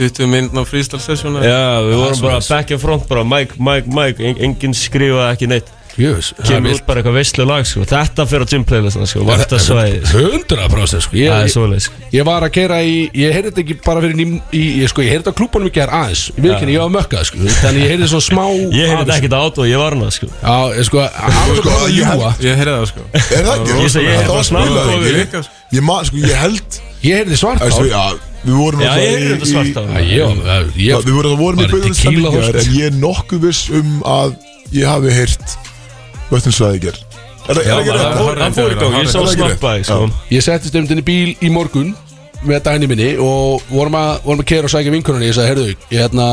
S9: 20 minn á freestyle session eða?
S8: Já, við vorum bara back and front Bara mic, mic, mic en, Engin skrifaði ekki neitt
S2: Jöfus,
S8: Kemur út bara eitthvað veistlu lag sko. Þetta fyrir að gymplayla sko. Varta svæði sko.
S2: 100% sko
S8: Það
S2: Ég-
S8: er svoleið sko.
S2: Ég var að keira í, ég heyrði þetta ekki bara fyrir ný, í, ég, sko, ég heyrði þetta á klúbunum í gerð aðeins Ég veit ekki, ég var mökkað, sko, þannig ég heyrði svo smá
S8: Ég heyrði
S2: aðeins.
S8: þetta ekkert át og ég var hana sko.
S2: Já, ég sko, aðeins
S5: sko,
S2: bara að
S5: ég held-
S2: ljúa
S9: Ég heyrði það sko
S5: er það ekki?
S8: Ég segi, ég
S5: Þetta
S8: er
S5: var
S8: bara snáð
S5: spilað,
S8: og
S5: ekki?
S8: við
S9: líka, sko.
S5: ég, man, sko, ég held
S2: Ég heyrði svart á
S5: Æstu, já, við vorum
S8: Já,
S5: náttúrulega
S8: ég heyrði þetta svart á
S2: Já, ég, ég,
S5: Já, Við
S2: ég,
S5: vorum, vorum í
S2: Bara
S5: byrjun
S2: tequila
S5: stemningar
S2: horst.
S5: En ég er nokkuð viss um að Ég hafi heyrt Vötninsvæðiger Er það er það ekki
S8: Það
S5: rétt?
S8: fór- það fór í gang, ég
S5: Það
S8: sá
S5: er ekki rétt.
S8: snappaði sko.
S2: ég settist um þenni bíl í morgun með dæni minni og vorum að, vorum að keira og sækja vinkunni Ég sagði, heyrðu, ég hérna,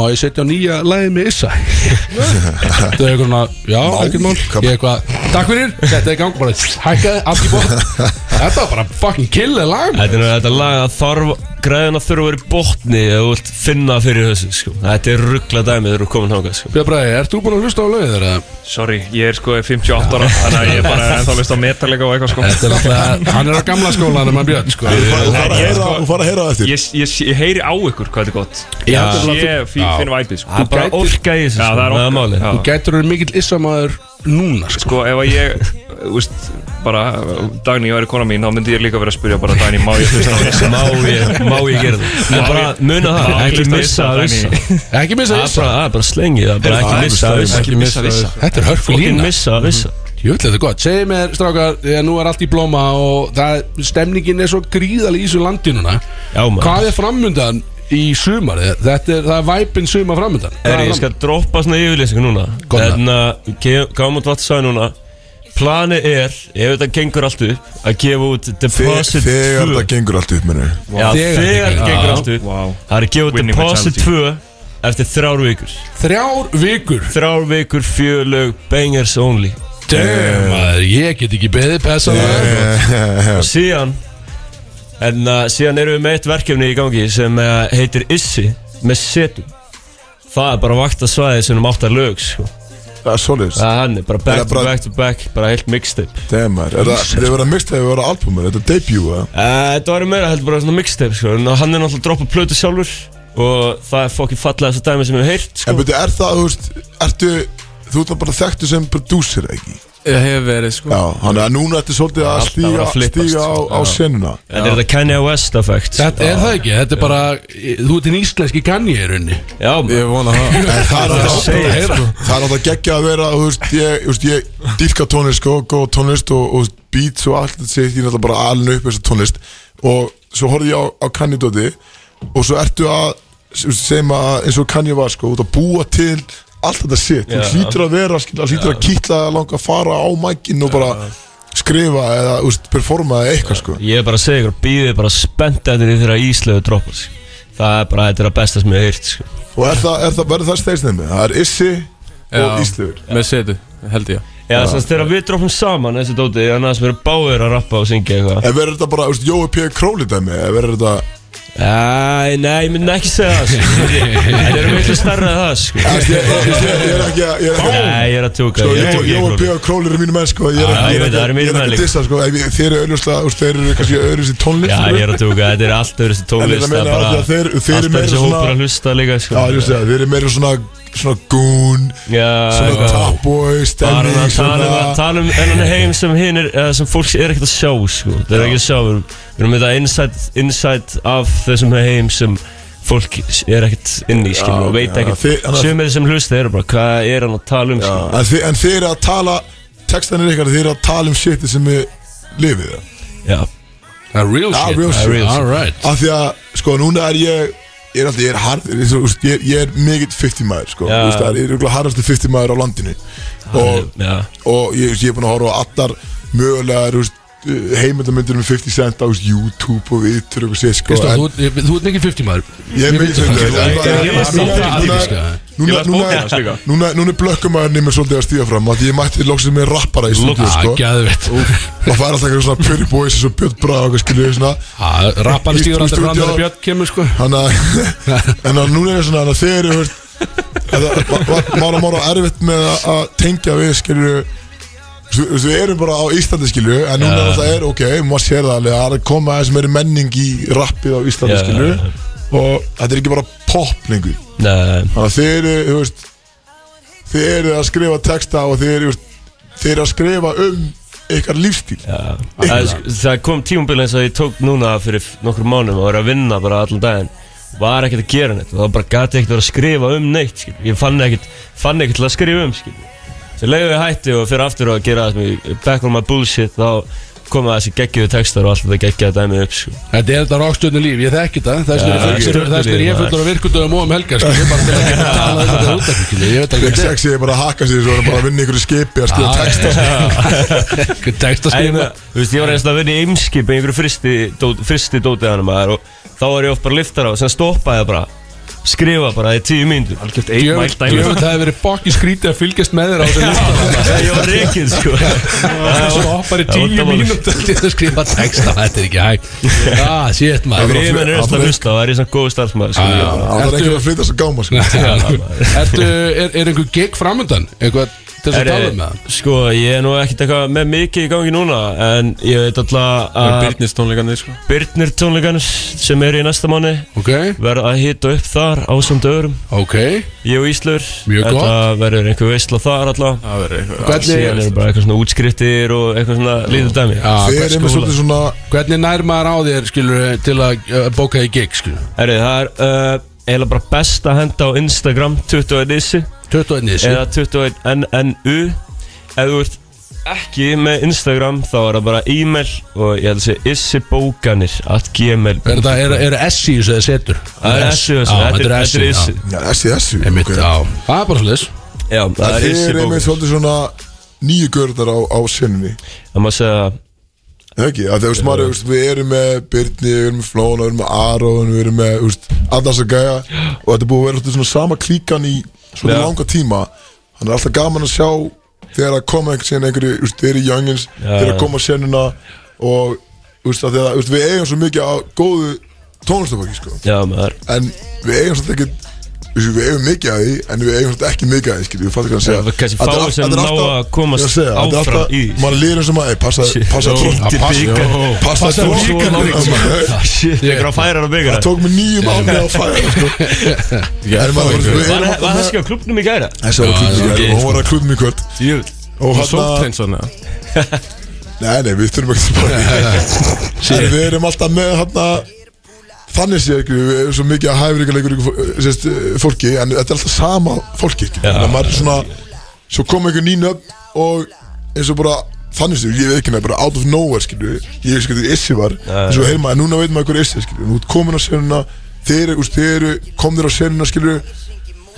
S2: má ég setja á nýja lagið með Issa? Það er eitthvað svona, já,
S5: Má
S2: ekkert mál
S5: ég, hvað-
S2: Ég eitthvað, takk fyrir, þetta er í gang, bara hækkaði, allt í bótt Þetta var bara fucking killer lag, maður.
S8: Þetta er nú þetta lag að þarf græðina þurfa að vera í botni ef þú vilt finna fyrir þessu sko. Þetta er ruggla dæmið þegar þú komin hangað sko.
S2: Björn Bræði, ert þú búin að hlusta á lögið þeirra?
S7: Sorry, ég er sko 58 ára þannig að ég er bara ennþá list á metalega og eitthvað sko
S2: Þetta er alltaf, hann er á gamla skólanum hann Björn sko
S5: Þú fara- þú fara að
S7: Ég,
S5: heyra-
S7: sko-
S5: Þú fara að heyra það eftir
S7: Ég, ég, ég heyri á ykkur hvað þetta er gott
S2: Já.
S7: Ég fí-
S2: Já.
S7: finn væpið sko
S8: Það er bara
S2: gætir-
S8: orka í þessu
S7: Já,
S8: sko.
S7: það er orka.
S8: málið
S7: Já.
S2: Þú gætur verið mikill issamæður núna sko
S7: Sko, ef að ég, úst, bara Dagný væri kona mín, þá myndi ég líka vera að spyrja bara Dagný, má ég hlusta á þessu?
S8: Má ég, má ég gera það En
S7: Má
S8: bara
S7: ég-
S8: muna það,
S7: Má ég
S8: ekki
S7: hlusta á
S8: missa
S7: Issa,
S8: að
S7: Dagný?
S8: vissa
S2: Ekki missa
S8: Það er
S2: issa
S8: bara, það er bara slengið, það er bara ekki missa að vissa
S9: Ekki missa vissa
S2: Þetta er hörku
S8: Fokkin
S2: lína
S8: missa að vissa
S2: Jöfnlega þetta er gott Segðu mér strákar, þegar nú er allt í blóma og það, stemningin er svo gríðalega í þessu landi núna
S8: Já maður
S2: Hvað er framundan í sumar Þetta er, það er væpin sumar framöndan
S8: Er ég skal droppa svona yfirlýsingu núna
S2: Góð með.
S8: Þannig að gáum út vatnsaði núna Planið er, ef þetta gengur allt upp Að gefa út
S5: Þegar
S8: Deposit 2
S5: það gengur allt upp minni
S8: Já,
S2: Þegar
S8: þegar þetta
S2: þetta
S8: gengur
S7: Já,
S8: allt upp
S7: vá.
S8: Það er að gefa út
S7: Winning
S8: Deposit 2
S7: mentality.
S8: Eftir þrjár vikur
S2: Þrjár vikur
S8: Þrjár vikur, fjölög, bangers only
S2: Damn, maður, ég get ekki beðið pessa yeah.
S5: Eh,
S8: Og síðan En uh, síðan erum við með eitt verkefni í gangi Sem uh, heitir Issi Með setu Það er bara að vakta svæði sem um áttar lög sko.
S5: Það er svolítið
S8: Það er hann, bara
S5: Er
S8: back
S5: það
S8: to
S5: bara-
S8: back to back Bara heilt mixtape
S5: Demar, er það, þið verða mixt eða þið verða albumur, þetta er debut eða?
S8: Eh, Þetta var meira heldur bara svona mixtape sko. En hann er náttúrulega að droppa plötu sjálfur Og það er fokkið fallega þess að dæmi sem við heilt
S5: En
S8: sko.
S5: betur, er það, þú veist, ertu, þú ert nú bara þekktu sem producer, ekki?
S9: Ég hef verið sko
S5: Já, þannig að núna ertu svolítið að
S8: Alltaf
S5: stíga,
S8: að flippast.
S5: stíga á, á senuna
S8: Þetta er þetta Kanye West effect sko.
S2: Þetta er það ekki, þetta er bara Þú ert einn íslenski kanni í rauninni
S8: Já,
S9: Ég vona það
S5: En það er
S8: það
S5: alltaf-
S8: segir
S2: heyra.
S5: það er alltaf geggja að vera, þú veist, ég, þú veist, ég dýrka tónlist, sko, góð tónlist og, og beats og allt þetta segir, ég er náttúrulega bara alinu upp þessa tónlist og svo horfði ég á, á Kanye Dóti og svo ertu að, sem að, eins og Kanye var, sko, út að búa til allt þetta sitt, þú
S8: Já.
S5: hlýtur að vera, skilja, þú hlýtur að kýtla að langa að fara á mækinn og bara skrifa eða, þú veist, performa eða eitthvað, sko
S8: Ég er bara að segja ykkur, býðið bara spennt eftir því þegar Íslegu droppar sko. Það er bara, þetta er að besta sem ég heilt sko.
S5: Og er það, er það, verður það stegsnefni? Það er Issi og Íslefur
S9: Með setu, held ég
S8: Já, þess að þegar við droppum saman þessi dóti Þannig að sem eru báðir að rappa og syngja eitthvað
S5: En verður þetta bara, þú veist, Jói P. Króli dæmi? Eða verður þetta,
S8: Æ, nei, ég myndi ekki segja það sko. Þetta er miklu starra en það sko.
S5: Þú veist, ég, ég, ég, ég, ég er ekki að, ég er ekki að
S8: Nei, ég er að tjóka
S5: Sko,
S8: ég er að
S5: Jói
S8: tjóka,
S5: Jói
S8: Glóri.
S5: P. og Króli eru mínu menn, sko Ég er
S8: Já,
S5: ekki,
S8: ég veit, það
S5: er
S8: eru
S5: ekki,
S8: mínir
S5: ég er
S8: menn
S5: ekki að
S8: líka.
S5: dissa, sko Ef ég- Þeir eru auðvitað, þú veist, þeir eru kannski auðvitað í tónlist sko.
S8: Já, ég er að tjóka, þetta er allt öðru þessi
S5: En ég
S8: tónlist
S5: meina
S8: Það er bara
S5: að þeir- þeir eru
S8: allt
S5: meira
S8: öðru þessi
S5: svona-
S8: hópur að hlusta líka sko.
S5: Já, ég veist það, þeir eru meira svona, svona goon
S8: Já,
S5: Svona
S8: eitthvað.
S5: top boy,
S8: Bara að
S5: stemning,
S8: tala um, að
S5: svona
S8: tala um ennan heim sem hinn er, eða sem fólk er ekkert að sjá sko. Það er ekki að sjá, við erum, við erum með þetta insight, insight af þessum heim sem fólk er ekkert inn í skil
S5: Já,
S8: og veit
S5: já,
S8: ekkert
S5: þið- annars-
S8: Sumir sem hlusta eru bara, hvað er hann að tala um skil
S5: En þið- En þeir eru að tala, textanir ykkar, þeir eru að tala um shiti sem við lifið það
S8: Já,
S2: Það er Ah, real
S5: Já,
S2: shit
S5: Ah, real shit.
S2: All right
S5: Af því að, sko, núna er ég Ég er alltaf, ég er harður Ég, er- úst, ég, ég er mikill 50 maður, sko
S8: Já.
S5: Úst, Það er ykkur harðastu 50 maður á landinu Og,
S8: já,
S5: og ég, úst, ég er búin að horfa á allar Mögulegar, eh, úst, heimendamyndir með 50 um cent á úst, YouTube og viðtur og sér, sko
S2: Kristó, þú, ert- ég- þú ert ekki 50 maður
S5: Ég er mikill 50
S2: maður
S5: maður
S8: Ég las
S5: Núna- núna-
S8: bókina
S2: hans líka.
S7: Ég
S5: Núna,
S7: las
S5: núna,
S7: bókina hans líka.
S5: núna, núna er blökkumæðurinn mér svolítið að stíða fram af Því ég mætti loksins með rappara í stúdíu sko.
S2: Gæðvitt
S5: Og það er alltaf einhver svona pjöri bóis Svo Björn Braga og eitthvað skilur svona
S2: Rappan
S5: Í-
S2: stíður
S5: í
S2: alltaf fram
S5: stúdíó.
S2: þegar Björn kemur sko
S5: Þannig að en að núna er svona þannig að þeir eru veist, þetta var- var- Mára mára erfitt með að- að tengja við skilju Við erum bara á Íslandi skilju En núna er það er ok, maður sér það alveg að Það er að koma aðeins meiri menning í rappið á Íslandi
S8: Já,
S5: skilju
S8: já, já.
S5: Og þetta er ekki bara pop lengur
S8: nei,
S5: Þannig að þeir eru, þú veist Þeir eru að skrifa texta og þeir eru Þeir eru að skrifa um ykkar lífstíl
S8: já það, það kom tímubil eins og ég tók núna fyrir nokkur mánum og var að vinna bara allan daginn var ekkert að gera neitt og það bara gati ekkert að vera að skrifa um neitt skil. ég fann ekkert, fann ekkert til að skrifa um skil. svo leiðu ég hætti og fyrir aftur að gera það sem ég back on my bullshit þá koma þessi geggjöðu textar og allt þetta geggjöðu dæmið upp sko.
S2: Þetta er þetta rockstjörnu líf, ég þekki þetta Þess
S8: Já,
S2: vegna er ég-
S8: rockstjörnulíf,
S2: þess vegna er ég fullur af virkundöðum og um helgar sko. Ég er bara til að geta tala um þetta út af ykkur Ég veit alveg
S5: Þeir
S2: hvað
S5: sexið er bara að haka sig Svo er bara að vinna ykkur í skipi að skrifa texta
S2: þetta er. Hvað text að
S8: Æ, ég
S2: skrifa
S8: meina, Þú veist, ég var eins og að vinna í eimskip í einhverju fristi, dót, fristi dótið hann maður og þá var ég oft bara liftar á og sem stoppaði ég bara, skrifa bara í tíu mínútur
S7: Algjört
S2: Djöfull,
S7: einmældæmi
S2: djöfull, það hefur verið fokki skrítið að fylgjast með þér á þessum lista
S8: ég var rekin sko
S2: Það svo hoppar í
S8: Það var
S2: tíu
S8: dálítið.
S2: mínútur til að skrifa texta Þetta er ekki hægt Ah, shit
S8: Ef
S2: maður
S8: ég menn er eftir að hlusta, það er ég svona góð starfsmæður sko.
S2: Já, já.
S5: Það er ekki að flytja svo gáma sko.
S2: Ertu, er, er einhver gig framöndan? Eitthvað til þess að
S8: Er,
S2: tala um það?
S8: sko, ég er nú ekkert eitthvað með mikið í gangi núna En ég veit alltaf
S9: Það er
S8: að
S9: Byrnis tónleikarnir sko
S8: Byrnir tónleikarnir sem eru í næsta manni
S2: Ok,
S8: Verða að hita upp þar á samt öðrum
S2: ok
S8: Ég og Íslur
S2: Mjög gott.
S8: Þetta verður einhver veistla þar alltaf
S9: Það verður eitthvað
S8: Síðan
S2: Hvernig,
S8: eru bara eitthvað svona útskriftir og eitthvað svona lítið dæmi
S2: á,
S5: Þeir eru með svolítið svona
S2: hvernig nær maður á þér skilur, til að uh, bóka í gig skilur?
S8: Herri, það er uh, eiginlega bara best að henda á Instagram 21 issi
S2: 21 þessu
S8: eða 21 NNU ef þú ert ekki með Instagram þá er það bara e-mail og ég held að segja issibókanir at gmail
S2: Er þetta, er, er S í þessu eða setur?
S8: Það er S í þessu,
S2: Já,
S8: þetta er-
S2: þetta er
S8: þetta er
S2: S
S8: issi.
S2: í
S5: Þessi, þessi
S2: Einmitt,
S5: ok.
S2: já Það er bara slis
S8: Já,
S5: Það
S8: það er
S5: þið er einmitt
S8: issibókanir
S5: svolítið svona nýju görðar á, á sinni
S8: Það má segja
S5: Það ekki, að þegar maður, þú veist, við erum með Byrni, við erum með Flóna, við erum með Aron, við erum með, þú veist, allans að gæja og þetta er búið að vera svolítið svona sama klíkan í svona
S8: Já.
S5: langa tíma þannig er alltaf gaman að sjá þegar að koma einhvern veginn einhverju, þú veist, þeir eru youngins þeir eru að koma á sennuna og, þú veist, að þegar, þú veist, við eigum svo mikið að góðu tónlistafólki, sko
S8: Já, maður
S5: en við eigum svolítið ekki þú veist, við eigum mikið að því, en við eigum svolítið ekki mikið að því, skilju, við fattum hvað að segja
S8: Já, kannski
S5: Þetta er
S8: fáir
S5: allt-
S8: sem
S5: þetta er
S8: ná
S5: alltaf-
S8: að komast
S5: ég er segja, þetta er
S8: áfram
S5: alltaf-
S8: í því.
S5: maður líður sem að, ei, passa, passa
S8: Jó,
S5: tvo-
S8: Þetta er byggar.
S5: Passa
S2: Passa
S5: tvo-
S2: byggar.
S5: tvo-
S2: Passa
S5: tvo-
S8: Ah, Shit, ég er á færar og byggar
S5: Það tók mig nýjum áni að færa sko. En maður við erum
S8: Var
S5: alltaf
S8: var það
S5: með-
S8: skjá klubnum í gæra?
S5: Þessi var klubnum í kvöld, hún var að klubnum í kvöld
S9: Ég
S5: Og hérna-
S9: var
S5: hann að,
S9: sóttreins svona
S5: nei nei, við þurfum ekki að spara En við erum alltaf með hann að Þannig sé ekki, við erum svo mikið að hæfri ykkur ykkur sérst, eh, fólki En þetta er alltaf sama fólki ekki Þannig að maður er svona Svo kom einhver nýn upp og eins og bara Þannig sé, ég veit ekki nefnir, bara out of nowhere skilju Ég veist ekki hvað Issi var En svo heyrði maður, en núna veit maður hver Issi er, skilju Nú ert komin á senuna, þeir eru, úst, þeir eru Komnir á senuna skilju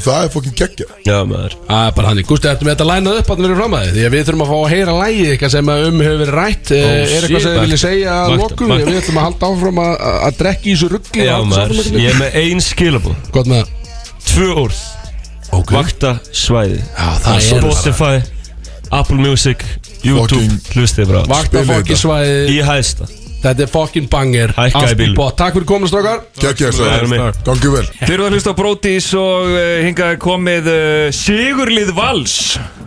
S5: Það er fokkin geggja
S8: Já, maður
S2: Það er bara hann Gústi, ættum við þetta lænað upp að það verið fram að þið Því að við þurfum að fá að heyra lægi eitthvað sem að um hefur verið rætt oh, Er
S8: shit.
S2: eitthvað sem þið viljið segja að
S8: Vakta,
S2: lokum
S8: vakta.
S2: Við ætlum að halda áfram að, að- að drekka í þessu ruggli
S8: Já, maður Ég er með ein skilabú
S2: Gott með það.
S8: Tvö orð
S2: Ok
S8: Vakta svæði
S2: Já, það er bara
S8: Spotify Apple Music YouTube
S5: Fucking-
S8: Hlustið bara á allt.
S2: Vakta
S5: Spilum
S2: fokkin
S5: þetta.
S2: svæði
S8: Í hæsta
S2: Þetta er fokkin banger
S8: Hækkaði
S2: Allt í
S8: bílnum.
S2: botn. Takk fyrir komin strókar
S5: Geggja
S8: Takk fyrir mig.
S5: þess að gangi vel
S7: Þeir eru að hlusta á Brótis og uh, hingað er komið uh, Sigurlið Vals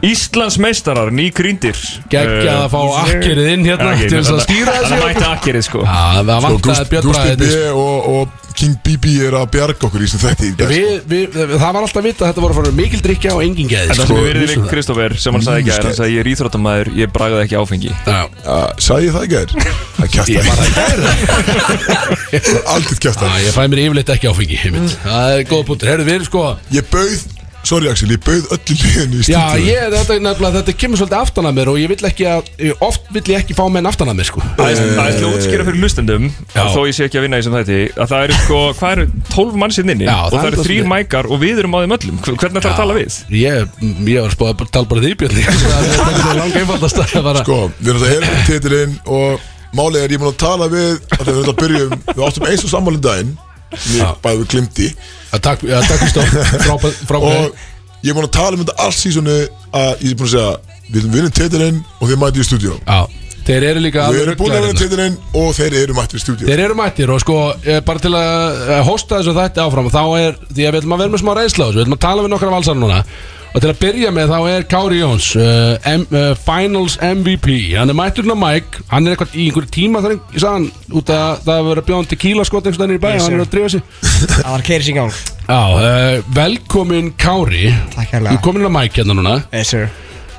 S7: Íslands meistarar, ný gríndir
S2: Geggjað að fá akkerið inn hérna til þess að skýra þessu. Ah,
S7: Það mætti akkerið sko
S2: Já, það
S5: Og
S2: vantaði
S5: Gúst-
S2: Björn
S5: Gústi
S2: Bræðið
S5: B og, og King BB er að bjarga okkur í sem þetta í dag
S2: við, við, Það var alltaf vita að þetta voru að fara mikil drikja og engin geði
S7: En það
S2: sko,
S7: sem við verðum
S2: vissum
S7: við Kristófer sem hann sagði ekki er hann sagði ég er íþróttamæður, ég bragði ekki áfengi
S2: það. Já.
S5: uh, Sæði ég það í gær? Það kæft
S2: Ég var
S5: að
S2: að gæra
S5: Aldrei kæft
S2: Já,
S5: að
S2: ég fæ mér yfirleitt ekki áfengi einmitt. Það er góð punktur, herru við erum sko
S5: Ég bauð Sorry Axel, ég bauð öllu liðinu í
S2: Já,
S5: stundinu
S2: ég, þetta er nefnilega, þetta kemur svolítið aftan að mér og ég vill ekki að, ég- oft vill ég ekki fá menn aftan að mér sko
S7: Það er- það er til að útskýra fyrir hlustendum
S2: Já.
S7: þó ég sé ekki að vinna í sem þætti að það eru sko, hvað eru 12 mannsinn inni
S2: Já,
S7: og
S2: það er
S7: það eru
S2: það
S7: þrýr
S2: sem er.
S7: mækar og við erum á þeim öllum Hvernig ætlar að tala við?
S2: Ég, ég var spáð að tala bara því Björn ég- Það er þetta er langt einfaldast að bara
S5: Sko, við erum þetta erum titilinn Og málið er ég mun að tala við Þegar við erum þetta að byrjum Við áttum eins og sammálinn daginn Við bæðum við glimti
S2: Já, Takk, já, takk fyrir stóð, frábæð
S5: Og ég er búin að tala um þetta allt sísoni Að ég er búin að segja Við erum vinnum titilinn og þeir mætið í stúdíu
S2: Já, þeir eru líka
S5: Við
S2: alveg
S5: erum búin að
S2: ruglaðir
S5: vinna
S2: hérna.
S5: titilinn og þeir eru mætið í stúdíu
S2: Þeir eru mættir og sko eh, bara til að eh, hósta þessu þætti áfram og þá er, því að við ætlum að vera með smá reynsla á þessu, við ætlum að tala við nokkra valsar núna og til að byrja með þá er Kári Jóns uh, M, uh, Finals MVP hann er mætturinn á Mike, hann er eitthvað í einhverju tíma þar ég sagði hann út að það hefur verið að bjóðan tequila skot einhvers veginn í bæ
S3: Yes,
S2: og hann er
S3: sir.
S2: að drífa sig
S3: Það var keiris í gang
S2: Já, uh, velkomin Kári
S3: Takk hérlega.
S2: Þú komin á Mike hérna núna
S3: Yes sir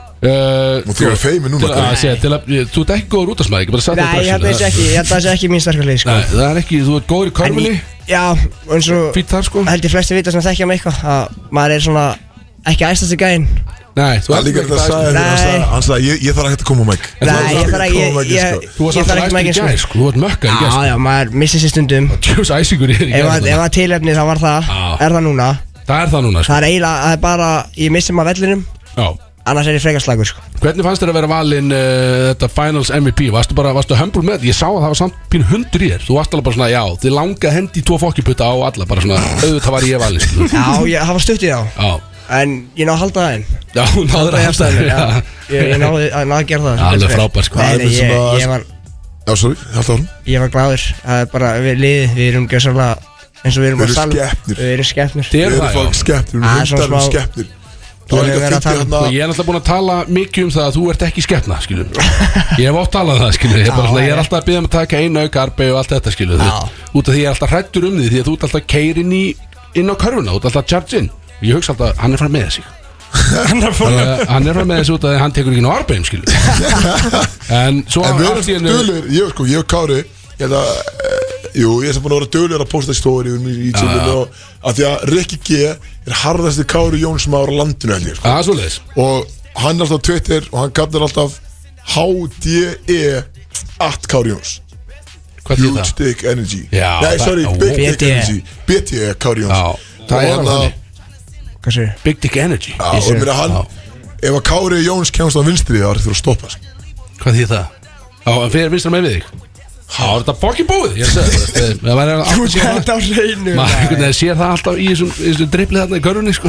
S2: uh,
S5: Og þú eru feiminn núna,
S2: til að,
S5: Kári.
S2: að segja, til að, eh, Þú ert ekki góður út að smæði, ekki bara sagt
S10: Nei, ég held að það sé ekki, ég held að það sé ekki mín sterkalið sko.
S2: hérna. Nei, það er ekki, þú ert góður í
S10: En
S2: körfunni
S10: ég- Já, og eins og
S2: Fýtt þar sko
S10: held ég flesti vita sem þekkja mig eitthvað að maður er svona ekki æstast í gæinn
S2: Nei, þú
S5: Það er
S2: ert
S5: líka
S2: ekki
S5: þetta að
S2: það,
S5: sagði
S10: Nei.
S5: Hann sagði- hann sagði, ég- ég þarf ekki að koma á mæk
S10: Nei, ég þarf ekki, ég, ég,
S2: Þú varst
S10: ég þarf ekki
S2: alltaf æstur í
S10: mækinn
S2: gær,
S10: sko
S2: sko, þú varst mökka í
S10: Já,
S2: gær
S10: já, maður missir sér stundum
S2: Tjós æsingur í þér í
S10: Ef
S2: gær
S10: að- ef
S2: þarna.
S10: að tilefni þá var það,
S2: hérna. Já.
S10: er það núna
S2: Það er það núna, sko
S10: Það er eiginlega, það er bara, ég missi maður vellinum
S2: Já.
S10: Annars er ég frekar slagur sko
S2: Hvernig fannst þér að vera valinn uh, þetta Finals MVP? Varstu bara, varstu humble með þetta? Ég sá að það var samt pín hundur í þér Þú varst alveg bara svona, já, þið langaði hendi í tvo fokkiputta á alla Bara svona, auðvitað var ég valinn, sko
S10: Já, ég, það var stutt í þá
S2: Já,
S10: En ég náði að halda það inn
S2: já, hún náður að hefsta
S10: Já, Ég, ég náði, ég náði að gera það
S2: Alveg frábær, sko.
S10: Nei, nei, ég,
S5: Svona-
S10: ég var
S5: Já, sorry, halda árum
S10: Ég var glæður, það er bara við liðið, við erum gjössalega eins og við erum
S5: Við erum
S10: á salnum.
S5: skepnur.
S10: Við erum skepnir
S2: Þið
S5: Við
S2: eru
S5: erum
S2: það,
S5: fólk
S2: já
S5: skeppnir, við
S10: Ah,
S5: erum
S10: svona
S5: hundar, við erum
S10: smá-
S5: skeppnir Það var
S10: Tónleika
S5: líka
S10: verið að
S5: fyndið
S10: tala um-
S5: hérna
S2: Og ég er alltaf búin að tala mikið um það að þú ert ekki skepna, skilur Ég hef oft talað um það, skilur Ég er, bara,
S10: Já,
S2: svona, ég er
S10: já.
S2: alltaf að byggja um að taka einu auka arbe og allt þetta, skilur
S10: Já.
S2: Út af því ég er alltaf hrættur um því Því að þú ert alltaf keirin í, inn á körfuna Þú ert alltaf að charge in Og ég hugsa alltaf, hann er frá með þessi Hann er frá með þessi út af því að hann tekur ekki ná arbeim, um, skilur En svo
S5: En við erum
S2: allt í
S5: svona
S2: einu-
S5: dölur, ég sko, ég og Kári Ég held að, eh, jú, ég er sem búin að vera dölur að posta stóri um í tíminu
S10: Ah.
S5: og að því að Rikki G er harðasti Kári Jónsmaður á landinu held ég sko.
S2: Já, svoleiðis
S5: og hann er alltaf á Twitter og hann kallar alltaf H-D-E at Kári Jóns
S2: Hvað
S5: þýð það? Huge Dick Energy
S2: Já,
S5: Nei,
S2: það-
S5: sorry,
S2: ó.
S5: Big Dick
S10: E.
S2: BDE.
S5: Energy BDE Kári Jóns hérna,
S2: það er hann þannig.
S10: Hvað séu?
S2: Big Dick Energy
S5: Já, og mér að hann Ef að Kári Jóns kemst á vinstri Það er þurfa að stoppa sko. sig.
S2: Hvað þýð það? Á, hann fyrir vinstra með við þig Há, er þetta fokkin búið? Ég segi það bara, Það væri alveg
S10: Þú
S2: átt sér
S10: þetta á hreinu
S2: Maður einhvern veginn sér það alltaf í þessum, þessum dripli þarna í körfunni sko.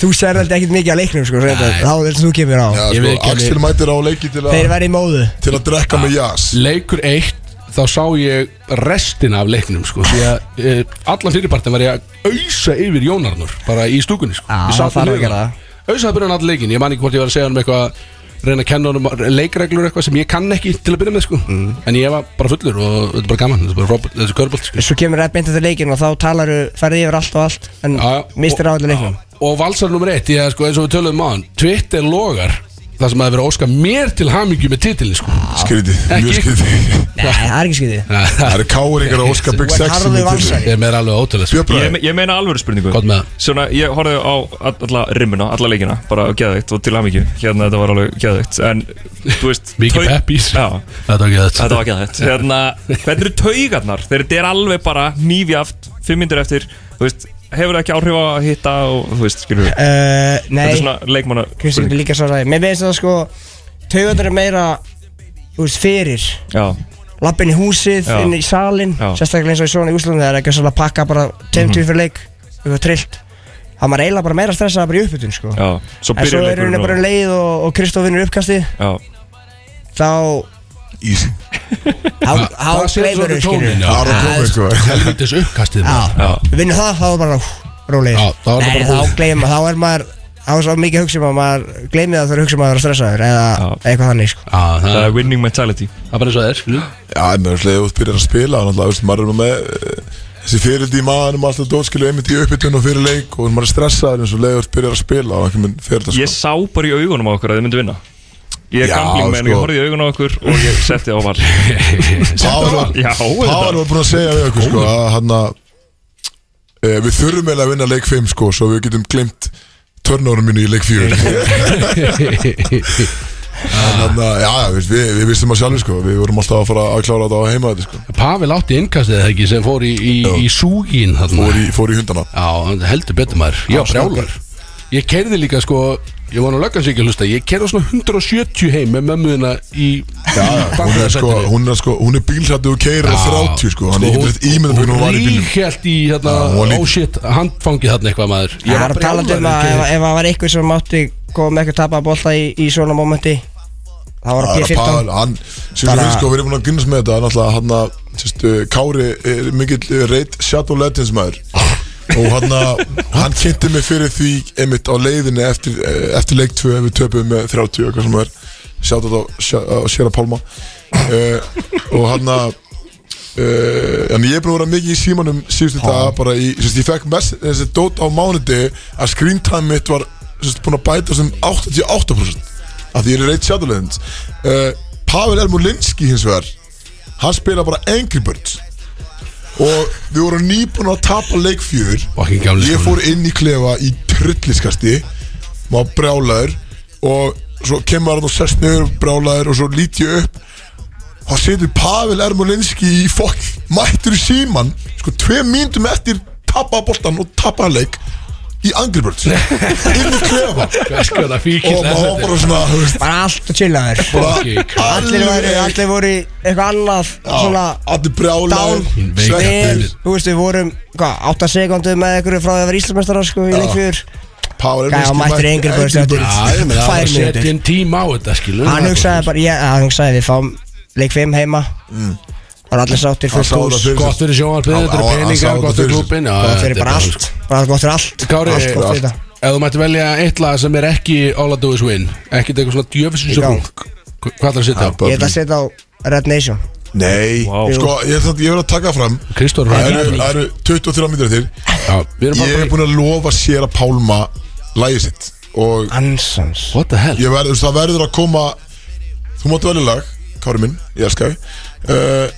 S10: Þú sérði alltaf ekkert mikið að leiknum sko, reyndar.
S2: Nei.
S10: Þá er þetta sem þú kemur á
S5: Já,
S2: Ég
S5: sko,
S2: veit ekki að
S5: Axel
S2: ég-
S5: mætir á leiki til
S10: Þeir
S5: að
S10: verði í móðu
S5: Til að drekka með jazz
S2: Leikur eitt Þá sá ég restina af leiknum sko, Því að e, allan fyrirpartin var ég að ausa yfir Jónarnur Bara í stúkunni sko.
S10: Já, það
S2: Ég sat
S10: þarf að
S2: við hliðina.
S10: gera það.
S2: Ausaði byrjan allan leikin Ég man ekki hvort ég var að segja hann um eitthvað reyna að kenna honum leikreglur eitthvað sem ég kann ekki til að byrja með sko.
S10: Mm.
S2: en ég var bara fullur og þetta er bara gaman þetta er bara Robert, þetta er körbolt sko.
S10: Svo kemur það beint eftir leikinn og þá talaru Ferði yfir allt og allt En
S2: Já, já.
S10: mistir á allir leiknum
S2: Já, Og valsar nummer eitt, ég, sko, eins og við töluðum á hann Twitter logar Það sem að vera að óska mér til hamingju með titilin sko.
S5: Skrítið,
S2: Ekki.
S5: mjög skrítið
S10: Nei, það er ekki skytið
S5: Það eru káringar að óska
S10: Þú
S5: Big
S10: ert
S5: Sexy
S10: harður
S5: með til
S10: valsari.
S5: þig.
S2: Ég er meira alveg ótrúlega sko.
S5: Björn
S7: Ég,
S5: Bræði
S7: me- ég meina alvöru spurningu
S2: Gott með það.
S7: Svona, ég horfði á all- alla rimmuna, alla leikina Bara geðveikt og til hamingju Hérna þetta var alveg geðveikt En, þú veist
S2: Mikið
S7: tau-
S2: peppís
S7: Já,
S2: Þetta var ekki
S7: þetta var geðveikt Hérna, hvernig eru taugarnar? Þeir þetta er alveg bara nýfjaft Fimm myndir eftir, þú veist Hefur það ekki áhrif á að hitta og, þú veist, skilur við
S10: Uh,
S7: Þetta er
S10: nei,
S7: svona leikmanna
S10: Kristján er
S7: spurning.
S10: líka svo ræði Mér veist það sko Tauðar er meira Þú veist, fyrir
S7: Já,
S10: Lappin í húsið,
S7: Já.
S10: inn í salin
S7: Já. Mhm.
S10: Sérstaklega eins og í svona í Úslandið Það er ekki að pakka bara Tveim tvíð fyrir leik Þú veist, trillt Það maður eiginlega bara meira stressað Bara í uppbytun sko
S7: já, svo
S10: En svo
S7: byrjar
S10: er rauninni bara um
S7: leikurinn
S10: leið og, og Kristof vinnur uppkasti
S7: og-
S10: Þá
S5: Easy
S10: Há- Há gleifur skilur
S5: Það er að koma eitthvað
S2: Helvitis uppkastið
S10: Já,
S2: maður.
S7: Já,
S10: við vinnum það, þá er bara Rólegir
S2: Já, þá er það
S10: Nei,
S2: bara
S10: þá
S2: búið.
S10: gleifum, þá er maður Þá er svo mikið hugsa um að maður Gleimið að það er hugsa um að það er stressaður Eða
S7: Já.
S10: eitthvað þannig sko
S2: Já, Það
S7: það
S2: er
S7: er winning mentality
S2: það er bara eins og það er skilju.
S5: Já, en mér finnst að þú byrjar að spila og náttúrulega, veist, maður er með eh, þessi fyrirldi í maðanum alltaf dótskilu einmitt í uppbytun og fyrir leik og maður er stressaður eins og leiður byrjar að spila og einhvern veginn sko. fyrir það
S7: Ég sá bara í augunum á okkur að þið myndu vinna Ég er
S5: Já,
S7: gambling menn, ég
S5: sko.
S7: horfði í augunum á okkur og ég setti á val
S5: Páður var,
S7: Já,
S5: Páður var búin að segja við okkur sko, að hann að e, við þurfum eiginlega að vinna leik 5 sko, svo við getum glimt törnórum mínu í leik 4 þannig að, já, já, við, við, við vistum að sjálfi sko, við vorum alltaf að fara að klára þetta á heima þetta sko,
S2: Pavel átti innkastið eða ekki sem fór í, í, í súgin þarna.
S5: fór í, fór í hundana
S2: Já, hann heldur betur maður Já, brjálur Ég kerði líka sko Ég vona að löggan sér ekki að hlusta Ég kerði á svona 170 heim með mömmuðina í
S5: Já, já, hún er sko, hún er sko, hún er bílsættu og keirir á 30 sko, hann ég getur eitthvað ímyndum hvernig hún var í bílnum
S2: Ríkjælt í hérna,
S5: Já, hún var lítil.
S2: oh shit, handfangið þarna eitthvað maður
S10: Ég var talandi um að ef,
S2: brjálaður,
S10: ef það var einhver sem mátti koma með eitthvað tapaða bolta í, í svona momenti Það var
S5: Það er að
S10: P15
S5: Pavel, hann, sem
S10: Bara-
S5: við sko, við erum búin að grunast með þetta, náttúrulega hann að, sérstu, Kári er mikill eh, reit Shadow Legends maður og hann að, hann kynnti mig fyrir því einmitt á leiðinni eftir, eh, eftir leik 2 við töpuðum með 30 eitthvað sem er, Shadow á, á Sjera Pálma uh, og hann að uh, en ég er búin að vera mikið í símanum síðustu dag bara í, sérstu, ég fekk mess, þessi dót á mánuði að screen time mitt var, sérstu, búin að bæta sem 88% að því ég er reitt Shadowlands uh, Pavel Elmolinski hins vegar hann spila bara Angry Birds og við vorum nýbúin að tapa leikfjör
S2: Fucking gamli
S5: ég
S2: skólinn.
S5: fór inn í klefa í trulliskasti maður brjálaður og svo kemur hann og sest niður brjálaður og svo lít ég upp þá setur Pavel Ermolinski í fokk mættur í síman sko tvei mínútum eftir tapa boltan og tapa leik í Angry Birds inn í klefa
S2: Hvers konar fíkill
S5: og
S2: er
S5: maður var
S2: þetta?
S5: bara svona þú veist,
S10: Bara allt að chilla þér sko.
S5: bara
S10: Allir voru, allir voru í eitthvað annað
S5: Já,
S10: Svona
S5: allir brjálaður
S10: Down.
S2: Veik
S10: Við,
S5: svekktir.
S10: þú veist, við vorum, hvað, 8 sekundu með einhverju frá því að vera Íslandsmestara sko í leikfjör
S5: Power
S10: Gæja,
S5: Erlinski
S10: mættur í
S5: mætti
S10: Angry Birds
S5: Angry
S10: eftir.
S2: Já, ég meina, það var
S10: Tvær
S2: að setja
S10: mínútur.
S2: inn tíma á þetta skilu
S10: Hann hugsaði bara, ég, hann hugsaði við fáum leik 5 heima
S5: Mm.
S10: Það var allir sáttir
S5: Hann
S10: fyrir
S5: sá það
S10: skús
S5: fyrir
S2: Gott fyrir sjónvarpið,
S5: Já,
S2: þetta eru
S5: já, hann sá
S2: peningar,
S5: þetta
S2: gott
S5: fyrir
S2: fyrir
S5: sér.
S2: klubin
S10: Gott fyrir bara allt Bara gott fyrir
S3: sko.
S10: allt
S2: Kári,
S10: Allt gott fyrir þetta
S2: ef þú mætti velja eitt lag sem er ekki All I Do Is Win Ekkert eitthvað svona djöfisins
S10: Í gang.
S2: rung Hvað ætlar að setja á?
S5: Bara-
S10: Ég ætla að setja á Red Nation
S5: Nei,
S7: Vá.
S5: sko, ég, ætla- ég verð að taka fram
S2: Kristóður
S5: Það eru- það eru 23 mínútur eftir
S2: Já, við erum
S5: Ég
S2: bara
S5: er búin að lofa sér að pálma lægið sitt Og
S10: Ansans
S2: What the hell?
S5: ég verð, þú veist, það verður að koma Þú máttu velja lag, Kári minn, ég elska þig uh,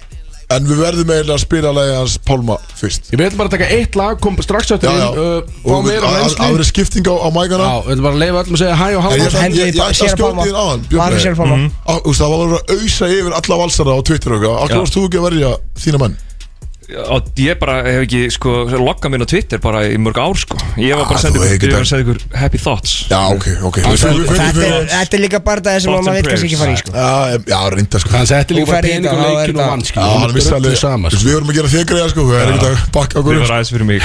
S5: En við verðum eiginlega að spila lagið hans Pálma fyrst
S2: Ég veit bara að taka eitt lag, kom strax eftir
S5: Já, já
S2: inn, uh, fá
S5: Og
S2: meira
S5: að-
S2: reynslu.
S5: að- að vera skipting á, á mækana
S2: Já, við ætlum bara að leifa öllum að segja hæ og há
S5: En ég ætla- ég- ég ætla að skjóta þér á hann
S10: Bara sér Pálma. Mhm.
S5: Ah, Það var að vera að ausa yfir alla valsara á Twitter og eitthvað Akkur
S7: Já.
S5: varst þú ekki að verja þína menn
S7: og ég bara hef ekki sko, loggað mér á Twitter bara í mörg ár sko. ég var
S5: Ah,
S7: bara að
S5: þú
S7: senda ykkur,
S5: hefur
S7: ég var
S5: ekki-
S7: að senda ykkur happy thoughts
S5: Já, ok, ok
S7: Ah,
S5: Við-
S7: þetta-
S5: við- við-
S10: Þetta
S5: við-
S10: er- þetta er líka barndagið sem maður
S7: Thoughts and
S10: veit kannski ekki fara í sko
S5: Já, em- já, reynda sko
S2: Hann setti
S10: Þú
S2: líka bara
S10: ferð í
S2: pening
S10: þetta,
S2: og
S10: þá er
S2: leikin og
S10: þetta-
S2: vann
S5: Já, hann vissi alveg
S2: sama, sko.
S5: Við vorum að gera þér greiða sko Það er ekki að bakka okkur
S7: þið var aðeins fyrir mig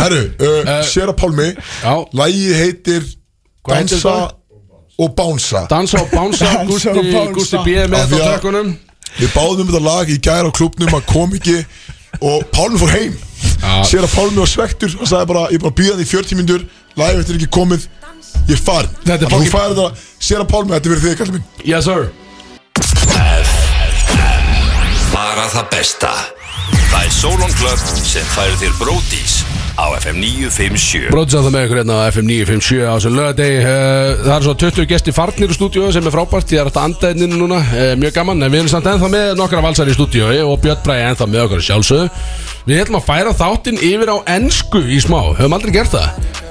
S5: Herru, uh, Sera Pálmi
S2: Eh, Já.
S5: Lægið heitir
S2: Hvað heitir
S5: Dansa
S2: það?
S5: og Bánsa
S2: Dansa og bánsa,
S10: Dansa og
S2: Gústi,
S10: bounce.
S2: Gústi B. er
S5: Af því
S2: með þetta á
S5: að-
S2: tökunum
S5: Við báðum um þetta lag í gær á klubnum að kom ekki og Pálmi fór heim Sér að Pálmi var svektur og sagði bara, ég er bara að býða hann í 40 mínútur Lægið þetta er ekki komið, ég er farin
S2: Þetta er
S5: Þú
S2: fucking-
S5: færið þetta, Sér að Pálmi, þetta verður þig, kallið minn
S2: Yes sir
S6: Bara það besta Það er Solon Club sem færir þér Bródís á FM 957
S2: Bróðsað það með ykkur hérna á FM 957 á þessum lögadegi Eh, Það er svo 20 gesti farnir í stúdíu sem er frábært, ég er alltaf andaðinni núna eh, mjög gaman, en við erum samt ennþá með nokkra valsar í stúdíu og Björn Bræði ennþá með okkar að sjálfsögðu Við ætlum að færa þáttinn yfir á ennsku í smá, höfum aldrei gert það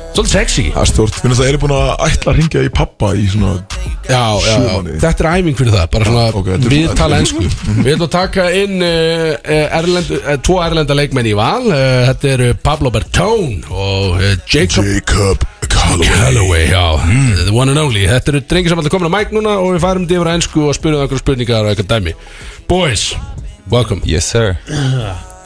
S2: Svolítið sexy Já,
S5: Það er stort, finnst það er búin að ætla að ringja í pappa í svona
S2: já, já,
S5: Sjömanni.
S2: þetta er æfing fyrir það bara svona,
S5: ok, þetta er
S2: við
S5: svona-
S2: tala ennsku Við ætlum að taka inn uh, erlend, uh, tvo erlenda leikmenn í val uh, Þetta eru Pablo Bertone og uh, Jacob
S5: Jacob Calloway
S2: Callaway, já, the one and only Þetta eru drengir sem allir komin á mæk núna og við farum yfir á ennsku og spyrjum okkur spurningar og eitthvað dæmi Boys, welcome
S9: Yes, sir.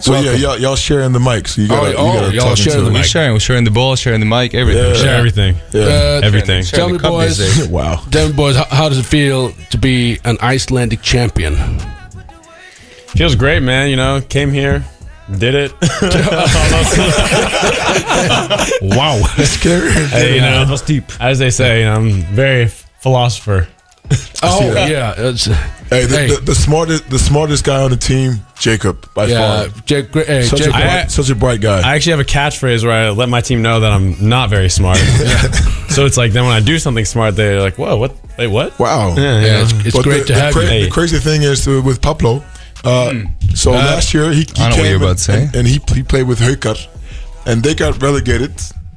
S5: So yeah, y'all, y'all sharing the mic, so you gotta,
S2: Oh,
S5: you
S2: oh,
S5: gotta
S2: y'all
S5: talk
S2: sharing
S5: into
S2: the
S9: We're sharing, we're sharing the ball, sharing the mic, everything.
S5: Yeah. Share
S9: everything.
S5: Yeah.
S2: uh,
S9: Everything.
S2: Tell me boys,
S5: Wow.
S2: tell me boys, how, how does it feel to be an Icelandic champion?
S9: Feels great, man. You know, came here, did it.
S2: Wow
S5: Scary.
S9: Hey, you know, deep. As they say, you know, I'm very philosopher.
S2: Oh,
S5: that.
S2: yeah, it's,
S5: Hey, the,
S2: Hey.
S5: The, the smartest, the smartest guy on the team, Jacob, by
S2: yeah,
S5: far.
S2: Jake, Gr- hey,
S5: Such a,
S2: Jake,
S5: bright, such a bright guy.
S9: I actually have a catchphrase where I let my team know that I'm not very smart. so it's like then when I do something smart, they're like, "Whoa, what? Wait, what?"
S5: wow.
S9: Yeah,
S2: yeah,
S9: yeah.
S2: it's, it's
S5: But
S2: great
S5: the,
S2: to have
S5: the,
S2: you
S5: cra-
S9: Hey. Hmm.
S5: the crazy thing is uh, with Pablo. Uh, So last year he, he
S9: know what
S5: came
S9: you're about
S5: and,
S9: to say.
S5: and, and he, he played with Hukar, and they got relegated.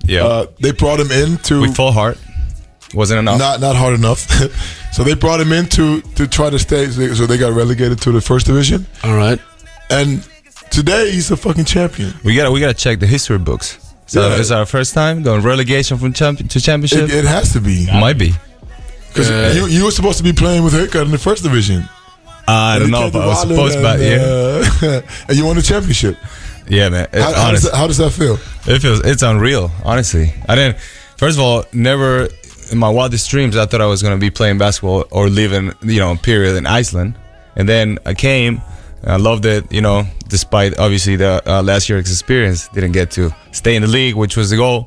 S9: Yeah.
S5: Uh, they brought him in to
S9: full heart. Wasn't enough.
S5: not not hard enough. so they brought him in to to try to stay. So they, so they got relegated to the first division,
S2: All right
S5: and today he's a fucking champion.
S11: We gotta we gotta check the history books. So
S5: Yeah.
S11: if it's our first time going relegation from champ- to championship.
S5: It, it has to be
S11: Might be.
S5: because you, you were supposed to be playing with Hukar in the first division.
S11: I don't know, but I was supposed
S5: and,
S11: to. Yeah,
S5: uh, and you won the championship.
S11: yeah, man. It,
S5: How, how, does
S11: honest,
S5: that, how does that feel?
S11: it feels it's unreal. Honestly, I didn't. First of all, never in my wildest dreams I thought I was gonna be playing basketball or living you know period in Iceland. And then I came. and I loved it. You know, despite obviously the uh, last year's experience, didn't get to stay in the league, which was the goal.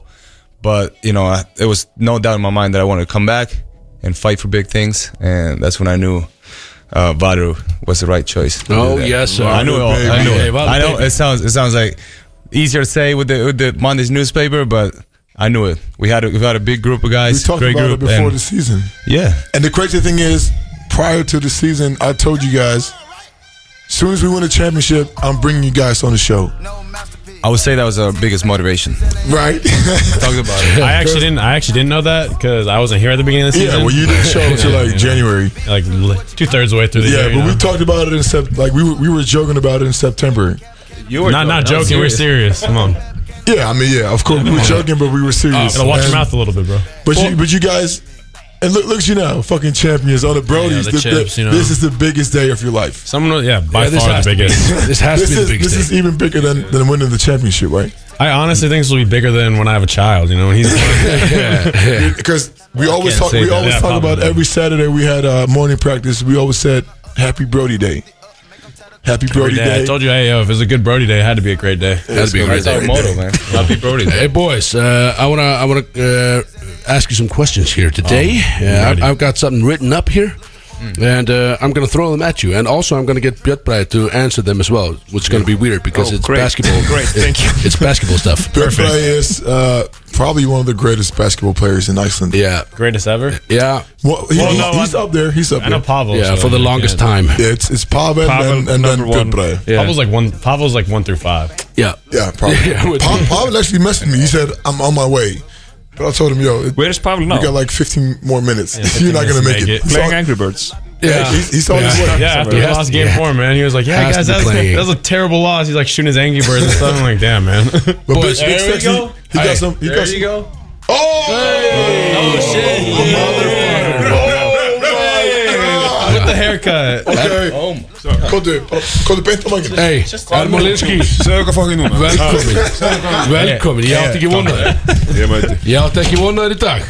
S11: but you know I, it was no doubt in my mind that I wanted to come back and fight for big things and that's when I knew uh, Vadu was the right choice to
S2: Oh,
S11: do that.
S2: yes, sir.
S11: I knew it all I knew
S2: Hey,
S11: it.
S2: Vadu,
S11: I know
S2: baby.
S11: it sounds it sounds like easier to say with the with the Monday's newspaper but I knew it we had a, we had a big group of
S5: We
S11: guys
S5: talked
S11: great
S5: about it
S11: group
S5: before
S11: and,
S5: the season.
S11: yeah
S5: And the crazy thing is, prior to the season, I told you guys, soon as we win a championship, I'm bringing you guys on the show.
S11: I would say that was our biggest motivation
S5: Right?
S11: talk about it
S9: I actually didn't. I actually didn't know that because I wasn't here at the beginning of the
S5: yeah,
S9: season.
S5: well, you didn't show until like January.
S9: like two thirds way through the
S5: Yeah,
S9: year. you
S5: but we
S9: know?
S5: talked about it in Sep- like we were, we were joking about it in September.
S11: you were
S9: not not joking. We're serious. Come on,
S5: Yeah, I mean, yeah, of course we were joking, but we were serious.
S11: Oh,
S9: gotta watch your
S5: And-
S9: mouth a little bit, bro.
S5: But you, but you guys, and look, look at you now, fucking champions on the Brodies.
S9: the
S5: Th- th-
S9: champs, you know.
S5: This is the biggest day of your life.
S9: Someone, yeah, by
S2: Yeah, this
S9: far
S2: has
S9: the
S2: to be-
S9: biggest.
S2: This has to
S5: this
S2: be the
S5: is
S2: biggest
S5: this
S2: thing
S5: is even bigger than, than winning the championship, right?
S9: I honestly think this will be bigger than when I have a child. You know, when he's
S5: Because we always
S11: can't
S5: talk
S11: say
S5: we
S11: that.
S5: always
S9: Yeah,
S5: talk about
S9: probably.
S5: every Saturday we had uh, morning practice. We always said Happy Brody Day, Happy Brody
S9: Yeah, I
S5: Day.
S9: told you, hey, yo, if it was a good Brody day, it had to be a great day.
S2: That'd be a great
S11: our motto man happy Brody
S2: Hey boys, uh, I wanna I wanna uh, ask you some questions here today.
S9: Oh,
S2: Uh, I've, I've got something written up here, and uh, I'm gonna throw them at you, and also I'm gonna get Björn Bræði to answer them as well, which is gonna be weird because
S7: Oh,
S2: it's
S7: great.
S2: basketball.
S7: Great, thank you.
S2: It's basketball stuff.
S5: Perfect. is uh, probably one of the greatest basketball players in Iceland.
S2: Yeah,
S9: greatest ever.
S2: Yeah.
S5: Well, he-
S9: Well,
S5: he-
S9: no,
S5: he's
S9: I-
S5: up there. He's up
S9: I know
S5: there.
S9: Pavel, Yeah, so, for the yeah. longest time.
S5: Yeah, it's it's Pavel, and, and then Gudbrandur.
S9: Pavel's like one. Pavel's like one through five.
S2: Yeah.
S5: Yeah, probably. Pa- Pavel actually messaged me. He said, I'm on my way. But I told him, yo, it-
S7: Where's Pavel now?
S5: You got like 15 more minutes.
S7: Yeah, 15
S5: You're not going to
S7: minutes
S5: make
S7: to
S5: it.
S7: make it. Playing Angry Birds.
S5: Yeah, he's, he's on
S9: yeah.
S5: his way.
S9: Yeah, after he lost game four, man, he was like, "Yeah,
S5: Has
S9: guys,
S5: to
S9: that was,
S5: play.
S9: that was a terrible loss." He's like shooting his Angry Birds and stuff. I'm like, "Damn, man." But
S5: Boys, Big Sexy, He got some. He got some.
S9: go.
S5: Oh!
S9: Oh shit! Motherfucker! With the haircut.
S5: Okay. Kóttu, bara- kóttu beint á mangin
S2: Hey, Herman Linski
S12: Segðu hvað fangin núna
S2: Velkomin Velkomin, ég átti ekki vona þér
S12: Ég mæti
S2: Ég átti ekki vona þér í dag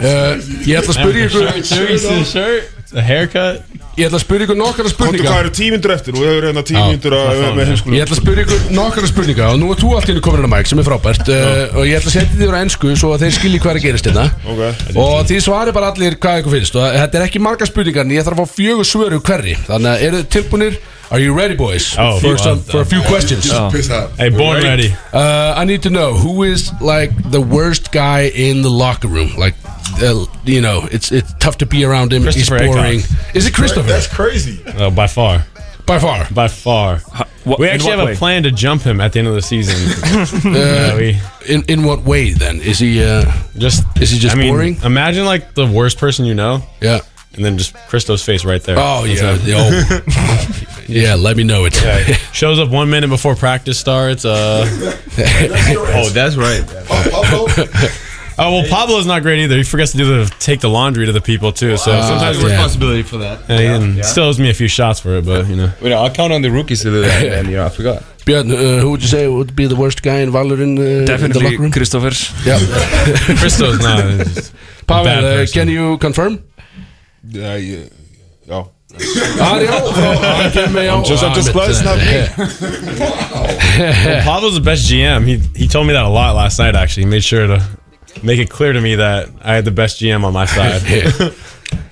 S2: uh, Ég ætla að spyrja ykkur
S9: The haircut
S2: Ég ætla að spyrja ykkur nokkara
S12: Kóttu hvað
S2: spurningar
S12: eru tímindur eftir Þú hefur hérna
S2: Já,
S12: tímindur
S2: það er
S12: með
S2: Ég ætla að spyrja ykkur nokkara spurningar og nú er þú allt í hennu komin að mæk sem er frábært uh, og ég ætla að setja þér á ensku svo að þeir skilji hvað er að gerast hérna
S12: Ok
S2: og þið svarið bara allir hvað ykkur finnst og þetta er ekki margar spurningar en ég þarf að fá fjögur svöru hverri þannig að eru þið tilbúinir Are you ready boys
S9: Oh,
S2: for,
S9: fuck.
S2: some, for a few questions
S5: Oh,
S9: Just piss out. Hey, born We're ready. ready.
S2: Uh, I need to know who is like the worst guy in the locker room like uh, you know it's, it's tough to be around him he's
S9: Christopher Eckhoff.
S2: boring is it Christopher
S5: That's crazy
S9: Oh, by far.
S2: By far.
S9: By far.
S7: what-
S9: we
S7: in
S9: actually
S7: what
S9: have
S7: way?
S9: a plan to jump him at the end of the season.
S2: Uh,
S9: Yeah, we-
S2: in, in what way then is he uh,
S9: just
S2: is he just
S9: I mean,
S2: boring
S9: Imagine like the worst person you know.
S2: Yeah.
S9: And then just Christo's face right there.
S2: Oh, yeah,
S9: it.
S2: yo. yeah, let me know it.
S9: Yeah, shows up one minute before practice starts. Uh, oh,
S11: that's right.
S9: Oh well, Pablo's not great either. He forgets to do the take the laundry to the people too. So
S11: Wow. Sometimes
S9: yeah.
S11: responsibility for that. Yeah,
S9: Yeah, he didn't-
S11: yeah.
S9: still owes me a few shots for it, but you know.
S11: You know, I count on the rookies to do that, and you know, I forgot.
S2: Björn, uh, who would you say would be the worst guy in Valorant uh, in the
S7: Definitely
S2: locker room?
S7: Christopher.
S2: Yeah.
S9: Christo's not. he's a bad
S2: Pavel, uh,
S9: person.
S2: can you confirm?
S12: Já, ég Já
S2: Ah, já, já, hann kemur, já.
S12: Oh, I'm just, I'm just
S9: Ah, mitt,
S12: blessed
S9: uh,
S12: not me
S9: Well, Pablo's the best GM. He he told me that a lot last night. Actually, he made sure to make it clear to me that I had the best GM on my side.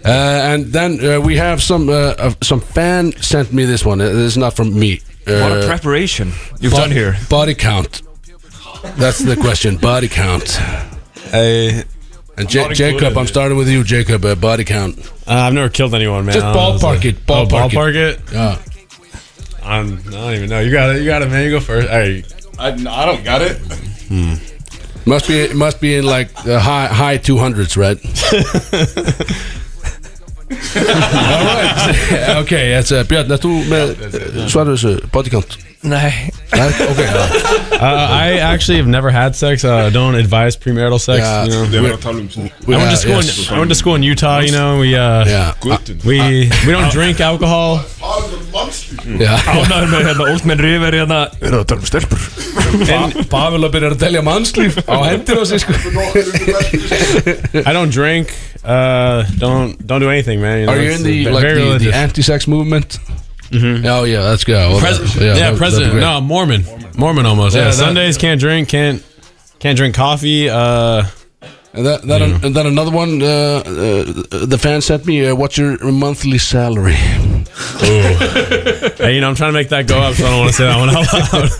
S2: Uh, and then uh, we have some uh, uh, some fan sent me this one. Uh, this is not from me. Uh,
S7: What a preparation you've
S2: bo-
S7: done here.
S2: Body count. That's the question. Body count.
S9: Uh,
S2: and Ja-
S9: Not
S2: Jacob,
S9: included.
S2: I'm starting with you, Jacob. Uh, body count.
S9: Uh, I've never killed anyone, man.
S2: Just
S9: I don't know,
S2: ballpark
S9: it's like-
S2: it, ballpark
S9: oh,
S2: it.
S9: ballpark it.
S2: Yeah.
S9: I'm, I don't even know. You got it. You got it, man. You go first. All right.
S12: I, I don't got it
S2: Must be it must be in like the high high 200s, right? Alright. ok, þetta er Björn, er þú með svaru þessu body count?
S9: Nei.
S2: Nei, ok
S9: Uh, I actually have never had sex. Uh, don't advise premarital sex.
S2: Yeah,
S9: you know.
S12: Þeir verða að tala um svona
S9: I went to school.
S12: yes.
S9: In, I went to school in Utah. You know, we uh,
S2: Yeah.
S12: Good.
S9: we we don't drink alcohol. Oh,
S7: Ánaður með hérna Old Man River hérna Við erum að tala um stelpur
S2: Pavel að byrja að telja mannslíf á hendur á sig sko
S9: I don't drink. Uh, don't don't do anything, man. know,
S2: Are you
S9: it's
S2: in the,
S9: ve-
S2: like,
S9: very
S2: the, the
S9: religious.
S2: anti-sex movement? Mm-hmm. Oh yeah, that's good well,
S9: Pres-
S2: that-
S9: yeah,
S2: that- that'd
S9: president.
S2: be great.
S9: No, Mormon. Mormon almost. Yeah,
S2: Yeah, that-
S9: Sundays can't drink. Can't can't drink coffee. Uh,
S2: And, that, that and then another one, uh, uh, the fan sent me, uh, what's your monthly salary?
S9: hey, you know, I'm trying to make that go up, so I don't want to say that one out loud.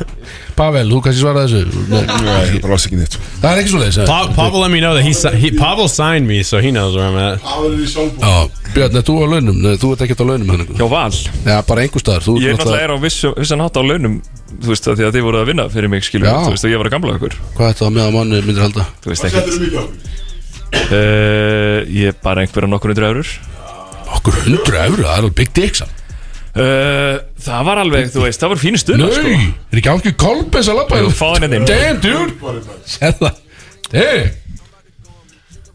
S2: Pavel, þú kannski svara þessu Nei,
S12: Nei, ég bara alls ekki neitt
S2: Það er ekki svo leiðis
S9: Pa- Pavel let me know that he, si- he Pavel signed me, so he knows where I'm at.
S2: Björn, er þú á launum? Nei, þú ert ekkert á launum hann
S7: Hjá Val
S2: Já, bara einhver staðar Þú
S7: Ég er
S2: ert
S7: náttúrulega
S2: náttúrulega
S7: er á vissu, vissan hátt á launum Þú veist að því að þið voru að vinna fyrir mig skilur
S2: Já.
S7: Þú veist að ég var að gamla ykkur
S2: Hvað þetta á meðan manni myndir halda?
S7: Þú veist ekki uh, Ég er bara einhverja nokkur hundra eurur
S2: Okkur hundra eurur, það er alveg big dick samt
S7: uh, Það var alveg, þú veist, það var fínu stund
S2: Nei, er ekki ánkið kolbens að lappa
S7: Jú, fáðu henni inn.
S2: Damn, dude Sérða Hey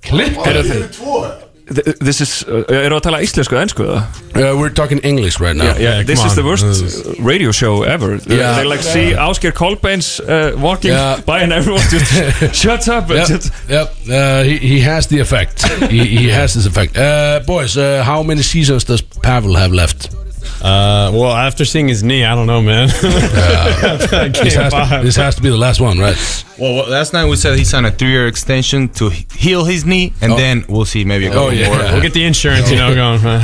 S2: Klikka
S7: Heyrðu þið th- This is, uh, erum við að tala íslensku eða ennsku eða?
S2: uh, We're talking English right now
S7: Yeah,
S8: Eh,
S7: yeah, this
S9: come
S7: is the
S9: on.
S7: worst
S9: This
S7: uh, radio show ever. They-
S2: Yeah.
S7: They like see Oscar Colbane's uh, walking
S2: Yeah.
S7: by and everyone just shuts up. and
S2: Yep,
S7: just-
S2: yep. Uh, he, he has the effect. he, he has this effect. Uh, boys, uh, how many seasons does Pavel have left?
S9: Uh, well, after seeing his knee, I don't know, man.
S2: This
S9: Game
S2: has, to,
S9: five.
S2: this has to be the last one, right?
S11: Well, well, last night we said he signed a three-year extension to he- heal his knee, and
S2: Oh.
S11: then we'll see maybe a
S2: Oh,
S11: couple
S2: yeah.
S11: more.
S9: We'll get the insurance, you know, going. Man.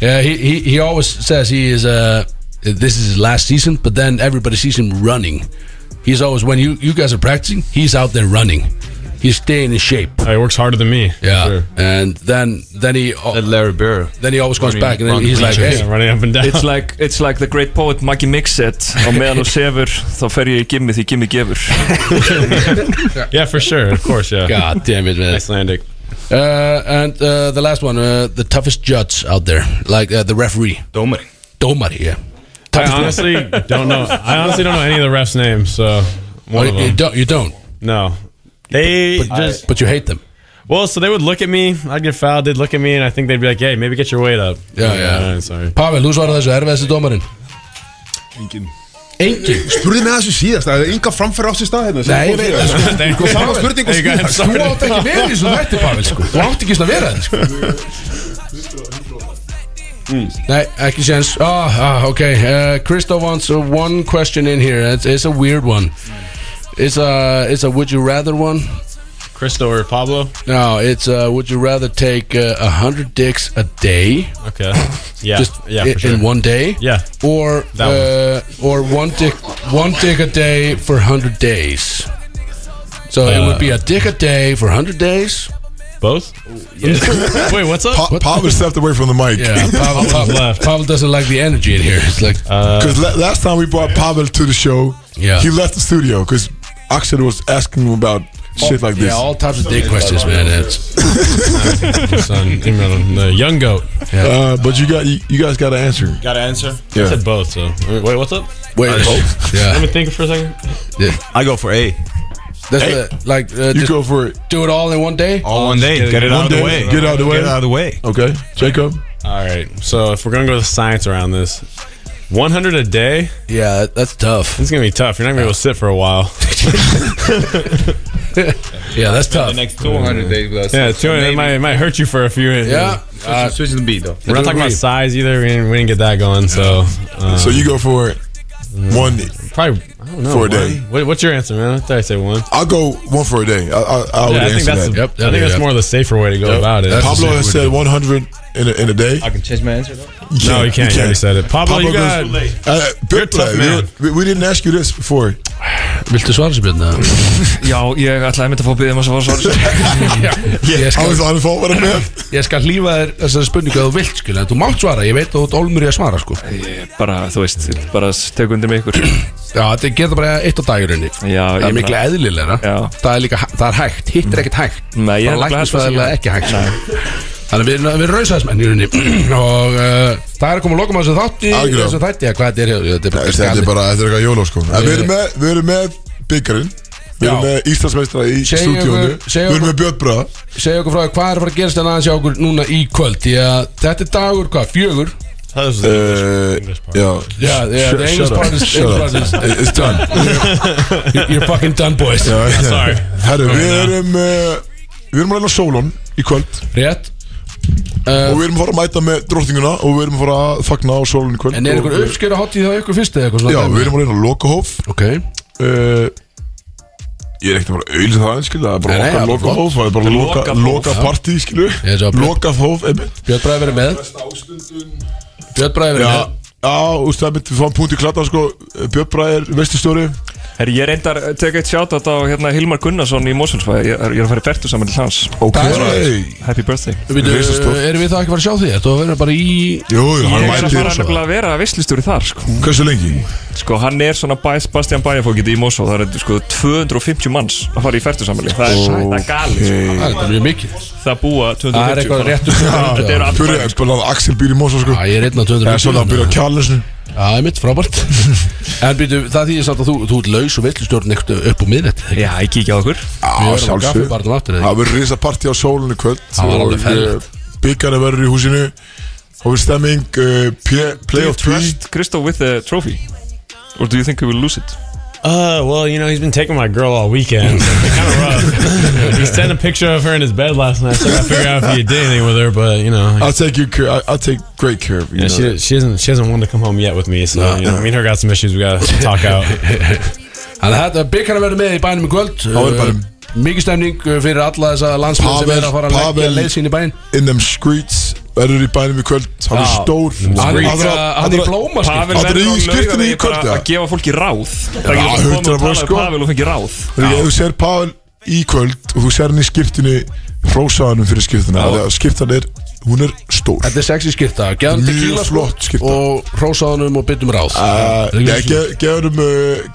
S2: Yeah, he, he, he always says he is uh this is his last season, but then everybody sees him running. He's always when you, you guys are practicing, he's out there running. he's staying in shape.
S9: he works harder than me.
S2: Yeah, and then then he
S11: Larry Bird.
S2: Then he always comes
S7: Running-
S2: back and then
S7: running
S2: he's like,
S7: pictures.
S2: hey,
S7: It's like, it's like the great poet Maggie Mix said Á meðan þú sefur, þá fer ég í gimmi því gimmi gefur
S9: Yeah, for sure. Of course, yeah.
S2: God damn it, man.
S9: Icelandic.
S2: Uh, and uh, the last one, uh, the toughest judge out there, like uh, the referee.
S11: Domari.
S2: Domari, yeah.
S9: I honestly don't know. I honestly don't know any of the refs' names. So one
S2: Oh,
S9: of
S2: you
S9: them.
S2: don't- you don't.
S9: No, they
S2: But- but
S9: just.
S2: but you hate them.
S9: Well, so they would look at me. I'd get fouled. They'd look at me, and I think they'd be like, "Hey, maybe get your weight up."
S2: Já, já.
S9: All right, sorry.
S2: Pavel, þú svarar þessu erfiðasti dómarinn
S12: Engin
S2: Engin
S12: Spurði mig þessu síðast Það er enga framfæra á sér stað hérna
S2: Nei, ég veit það, sko.
S12: sko Það var spurning og
S2: Hey, guys,
S12: síðast
S2: sorry. Þú átt ekki verið í þessu þætti, Pavel, sko. Þú átt ekki svona að vera þetta,
S9: Mm.
S2: Nei, ekki séns Ah, ah, ok uh, Christo wants uh, one question in here It's, it's a weird one It's a, it's a would you rather one
S9: Christo or Pablo?
S2: No, it's a would you rather take uh, 100 dicks a day
S9: Okay. Yeah.
S2: Just
S9: yeah.
S2: i- in one day
S9: Yeah.
S2: Or
S9: That
S2: uh, or one dick one dick a day for 100 days So it would be a dick a day for 100 days
S9: Both? Wait, what's up?
S5: Pa- Pavel stepped away from the mic.
S2: Yeah, Pavel, Pavel, Pavel doesn't like the energy in here. It's like
S9: Uh,
S5: Because last time we brought Pavel to the show,
S2: Yeah.
S5: he left the studio because Axel was asking him about shit like this.
S2: Yeah, all types of dick questions, man. It's,
S9: Son, Imran, the young goat.
S5: Uh, but you got you, you guys got to answer.
S9: Got to answer?
S5: Yeah.
S9: I said both. So wait, what's up?
S2: Wait,
S9: Uh,
S2: both? Yeah.
S9: Let me think for a second.
S11: I go for A.
S2: that's
S11: Hey.
S2: what- like uh,
S5: You
S2: just
S5: go for it.
S2: do it all in one day.
S11: All one day. Get it
S5: One
S11: out of
S5: day,
S11: the way.
S5: Get it out of the way.
S11: Get it out of the way.
S5: Okay, Jacob.
S9: All right. So if we're gonna go with science around this, 100 a day.
S2: Yeah, that's tough.
S9: It's gonna be tough. You're not gonna be able to sit for a while.
S2: Yeah, that's tough.
S11: next 200 days with us.
S9: Yeah, 200. It might, it might hurt you for a few.
S2: Yeah, uh,
S11: Switching the beat, though.
S9: We're not talking about size either. We didn't, we didn't get that going. So. uh,
S5: So you go for it. One. day.
S9: Probably I don't know,
S5: For a
S9: one.
S5: day.
S9: What, what's your answer, man? I thought I said one.
S5: I'll go one for a day. I, I, I would
S9: Yeah, I think
S5: answer
S9: that's
S5: that.
S9: the-
S2: Yep,
S9: I think
S2: yeah,
S9: that's
S2: yeah.
S9: more the safer way to go
S2: Yep.
S9: about it.
S2: That's-
S5: Pablo has
S2: That's-
S5: said 100 in a, in a day.
S11: I can change my answer, though.
S9: no, you can't. You already said it. Pablo, you got.
S5: goes- uh,
S9: You're a
S5: big
S9: tough
S5: play.
S9: man.
S5: We, we didn't ask you this before.
S2: Viltu svara sér björna?
S7: Já, ég ætlaði myndi að fá að byggja maður sem var svar
S2: Ég
S5: I
S2: skal,
S5: was on the phone with a man.
S2: ég skal hlýfa þér þessari spurningu að þú vilt skilja en Þú mátt svara, ég veit að þú ert olmur í að svara sko Já,
S7: Bara, þú veist, bara teku undir mig ykkur
S2: þetta getur bara eitt á dagurinni
S7: Já,
S2: Það
S7: ég
S2: er miklu
S7: bara-
S2: eðlilegra
S7: Já.
S2: Það er líka, hæ- það er hægt, hitt er ekkert hægt
S7: Nei, ég
S2: Það er
S7: nefnilega held að það sé
S2: læknisfræðilega
S7: hægt.
S2: ekki hægt sko. Þannig að við, við erum rauðsæðismenn í rauninni Og uh, það er að koma að lokum á þessu þátti
S5: Algjörlega.
S2: Þessu þætti, að hvað þetta er Þetta er bara
S5: Þetta er
S2: skandi.
S5: bara, þetta er eitthvað jóló sko En Við erum með, við erum með byggarinn Við erum
S2: Já.
S5: með Íslandsmeistra í
S2: Segjum
S5: stúdíónu
S2: okkur-
S5: Við
S2: segjum
S5: erum
S2: okkur-
S5: með Björnbra
S2: segja okkur frá því hvað er að fara að gerast en aðeins hjá okkur núna í kvöld því að þetta er dagur, hvað, fjögur
S9: That was the English part.
S5: Eh, Já
S2: já, já, the English part is,
S5: Shut
S2: English part
S5: up
S2: is
S5: It's done
S2: you're, you're fucking done boys
S9: Sorry.
S5: Herru, við erum eh, Við erum að reyna Solon í kvöld
S2: rétt
S5: Og
S2: uh,
S5: við erum að fara að mæta með drottninguna Og við erum að fara að fagna á Solon í kvöld
S2: en
S5: Og-
S2: er ykkur uppskjör að hotti þá ykkur fyrst eða eitthvað
S5: Já,
S2: svona
S5: við erum að reyna Lokahóf
S2: ok,
S5: Eh, Ég er ekkert að fara að auðvitað það einskil Það er bara
S2: Nei,
S5: okkar
S2: nei, það er bara
S5: Lokahóf Það er bara loka-
S7: Lokahóf,
S5: lokapartí skilu
S2: Ég sá Björn.
S5: Lokahóf, einmitt
S2: Björn Bræði verið með Björn Bræði verið
S5: Já,
S2: með
S5: já, úst, það mitt, við fáum punkt í klata sko, Björn Bræðir, veistustjóri
S7: Herri, ég reyndar að teka eitt sjátt á hérna Hilmar Gunnarsson í Mósulsfæði Ég er ég er að fara í Bertu saman til hans
S5: Ok
S7: Happy birthday
S2: Við
S5: Við erum
S2: veitum, eh,
S5: stórt.
S2: erum við það ekki að fara að sjá því þetta var að vera bara í
S5: Jú, jú, hann
S7: Ég er að
S5: mætir
S7: fara nefnilega að vera veslistúri þar sko.
S5: Hversu lengi?
S7: sko, hann er svona bæ, Bastian Bæjafókiti í Mosó Það er sko 250 manns að fara í fertusamæli Það er, það er gali sko.
S2: Það er Ah, þetta mjög mikið
S7: Það búa 250
S2: Það er eitthvað
S7: bara.
S2: réttur
S7: Þetta eru allir
S5: Byrja,
S7: bæjar, sko.
S5: bara að Axel býr í Mósa sko
S2: Já, ég er einn á
S5: Það er
S2: 200
S5: svona að byrja á kjallesnu
S2: Já, ég mitt, frábært En býtu, það þýðir samt að þú, þú ert laus og veitlustjórn eitthvað upp á miðnætt
S7: Já, ég kíkja á okkur
S5: Já,
S2: verðum á
S5: sjálfsög
S2: kaffibarnum aftur, eða ekki?
S5: Það verður risa partí á sólunni í kvöld
S2: Það var alveg ferlegt.
S5: Byggjarni verður í húsinu Og við stemming uh, P- Playoff P
S7: Trust Kristó with the trophy Or do you think we will lose it?
S9: Uh, well, you know, he's been taking my girl all weekend. kind of rough. he sent a picture of her in his bed last night, so I gotta figure out if he did anything with her. But you know,
S5: I'll take, you care, I- I'll take great care of you
S9: yeah,
S5: you know
S9: she, she hasn't she hasn't wanted to come home yet with me. So you know, I mean, her got some issues. We gotta talk out.
S2: Þannig að þetta byggar að vera með í bænum í kvöld
S5: er bænum.
S2: Uh, Mikið stemning uh, fyrir alla þessa landsmenn sem
S5: Pavel-
S2: er að fara að leggja
S5: Pavel-
S2: leið sín í bæn
S5: In them streets Verður í bænum í kvöld Hann er
S2: Já.
S5: stór
S2: Hann er
S5: Aðra-
S2: líka- hann er í
S5: aðra-
S2: blóma
S7: Pavel
S5: Þetta er
S7: verður
S5: í
S7: á
S5: skyrtunni
S7: laugardegi
S5: í kvöld,
S7: bara
S5: eða?
S7: að gefa fólki ráð Það
S5: Já,
S7: getur
S5: 100%
S7: komið og talað um
S5: sko.
S7: Pavel og fengi ráð
S5: Þegar þú sér Pavel í kvöld og þú sér hann í skiptinu hrósaðanum fyrir skiptuna
S2: Já.
S5: þegar skiptan er, hún er stór
S2: Þetta er sexy skipta, gefum
S5: Mjög
S2: tequila sko,
S5: flott skipta.
S2: Og hrósaðanum og byttum ráð
S5: Uh,
S2: Er ekki svo-
S5: Geðurum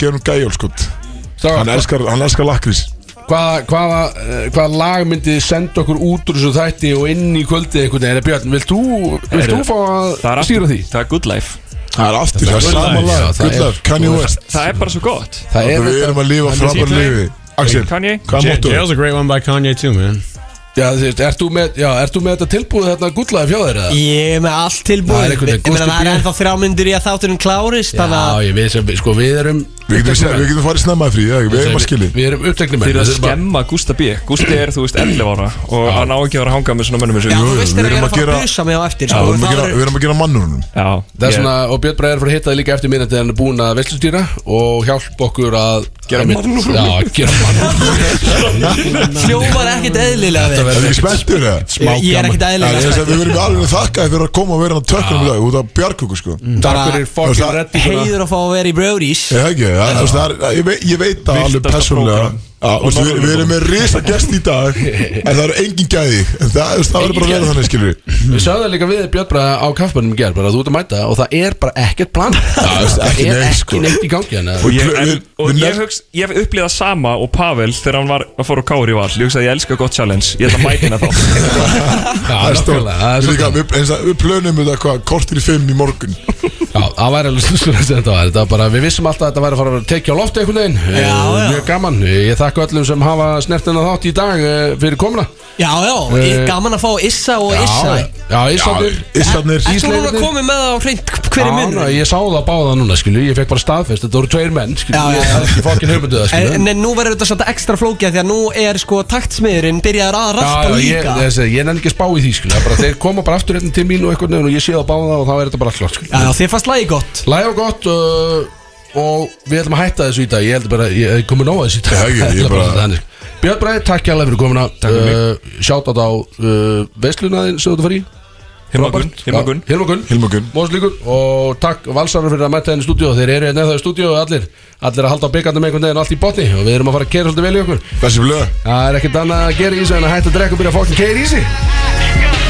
S5: Geðurum gæjól sko
S2: Strákar,
S5: Hann
S2: hvað-
S5: elskar, hann elskar lakrís
S2: Hvaða, hvaða, eh, hvaða lag myndið þið senda okkur út úr þessu þætti og inn í kvöldið einhvern veginn? Er Björn, vilt þú, vilt þú fá
S7: Það er
S2: að
S7: aftur-
S2: stýra því?
S7: Það er good life
S5: Það er aftur, það er
S7: Good
S5: sama lag,
S7: Life. Já, það
S5: Good
S7: er-
S5: Life, Kanye
S7: það-
S5: West.
S7: Það er bara svo gott
S2: Það
S5: er Við erum að lifa frábæru lífi. Axel,
S7: Kanye
S5: hvað
S9: Ja-
S5: máttu?
S9: Jail's a great one by Kanye too, man.
S2: Já, þú veist, ert þú með, já, ert þú með þetta tilbúið þarna gullaði fjá þeir eða?
S3: Ég er með allt
S2: Það er
S3: tilbúið
S2: einhvern veginn
S3: Ég meina,
S2: Gústi
S3: Það er
S2: B.
S3: ennþá þrjá myndir í að þátturinn klárist Þannig að
S2: Já, ég við sem, sko, við erum
S5: Við getum, séð- við getum farið snemma í frí, það, við erum að skilja
S2: Við erum uppteknir
S7: Þeir eru að skemma Gústa B Gústi er, þú veist, 11 ára Og hann á ekki að vera að hanga með svona mönnum eins og-
S5: Já, þú veist þeir
S7: Við
S5: eru
S7: erum
S5: að fara að
S3: busa mig á eftir,
S5: Já,
S7: sko,
S5: Við erum að
S7: það
S5: gera-
S7: verður-
S5: við erum að gera mannunum
S7: Já,
S2: Það er svona, og Björn Bræðar fyrir að hitta þið líka eftir minna þegar hann er búin að veslustýra og hjálpa okkur að Gera
S7: mannúð.
S2: Já, gera
S3: Hljómar ekkert eðlilega vel.
S5: Er ekki spenntur eða?
S3: Smá Ég- ég er gaman. ekkert eðlilega
S5: Já, ég veist að Við
S3: spenntur.
S5: verðum alveg þakkaði fyrir að koma og vera hann á tökkunum í dag út af bjargöku sko
S3: Mm. Bara
S5: Það-
S3: Heiður að fá að vera í Brody's
S5: Ég hef ekki, það- þú veist, það er- ég veit- ég veit það alveg
S7: Villtasta
S5: persónulega
S7: prógram.
S5: Já, þú veist, Við við erum með risa gest í dag En það eru engin gæði En það þú veist, það verður bara að vera þannig skilur
S2: Við sagðum það líka við Björn Bræðar á kaffbannum í gerð bara þú ert að mæta og það er bara ekkert plan Það
S5: ekki
S2: er
S5: neitt, sko.
S2: ekki neitt í gangi hann
S7: Og ég, en, og ég, hugsa, ég hef upplýðað sama og Pavel þegar hann var að fóra á Kári val Ég hugsa að ég elska gott challenge, ég ætla að mæta hérna þá
S5: Það er stórt. Við líka- við- eins og Við plönum þetta hvað, kortir í fimm í morgun
S2: Já, það væri alveg slúskur að þetta var Þetta var bara, við vissum alltaf að þetta væri að fara að tekja á lofti einhvern veginn Já, já Mjög gaman, ég þakka öllum sem hafa snertina þátt í dag eh, fyrir komuna
S3: Já, já,
S2: Eh,
S3: ég- gaman að fá Issa og Issa
S2: Já, Íslandur
S5: Íslandir
S3: Ertu núna að koma með það á hreint hver er munur?
S2: Já, ég sá það báða núna, skilju Ég fekk bara staðfest, þetta voru tveir menn, skilju
S3: Já, já.
S2: Ég hafði ekki fokkin hugmyndu það, skilju
S3: En en nú verður þetta svolítið ekstra flókja því að nú er sko taktsmiðurinn byrjaður að rappa
S2: Já, já, ég,
S3: líka
S2: þessi, ég nenni ekki að spá í því skilja, bara, Þeir koma bara aftur hérna til mín og einhvern veginn og ég sé það báða og þá er þetta bara klart
S3: Já, já, þér fannst lagi gott
S2: Læg og gott uh, og við ætlum að hætta þessu í dag Ég held bara, ég hef komið nóg að þessu í dag
S5: Já, ég- ég
S2: Ætla bara
S5: bara-
S2: að það þannig. Björn Bræði, takk hjá fyrir komuna uh, Sjátt á þá uh, veislunaðin sem þú ert að fara í
S7: Hilmagun, Hilmagun
S2: Hilmagun
S5: Hilmagun
S2: Móslíkur og takk Valsarar fyrir að mæta henni í stúdíu þeir eru hérna eða í stúdíu og allir allir að halda á byggandum einhvern veginn allt í botni og við erum að fara að kera svolítið vel í okkur
S5: Þessi blöð
S2: Það er ekkert annað að gera í þessu en að hætta að drekka og byrja að fokkin keira í sig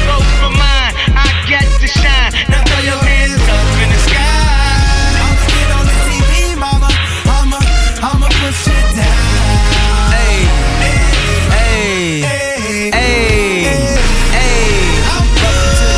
S13: goes for mine. I get to shine. Now throw your hands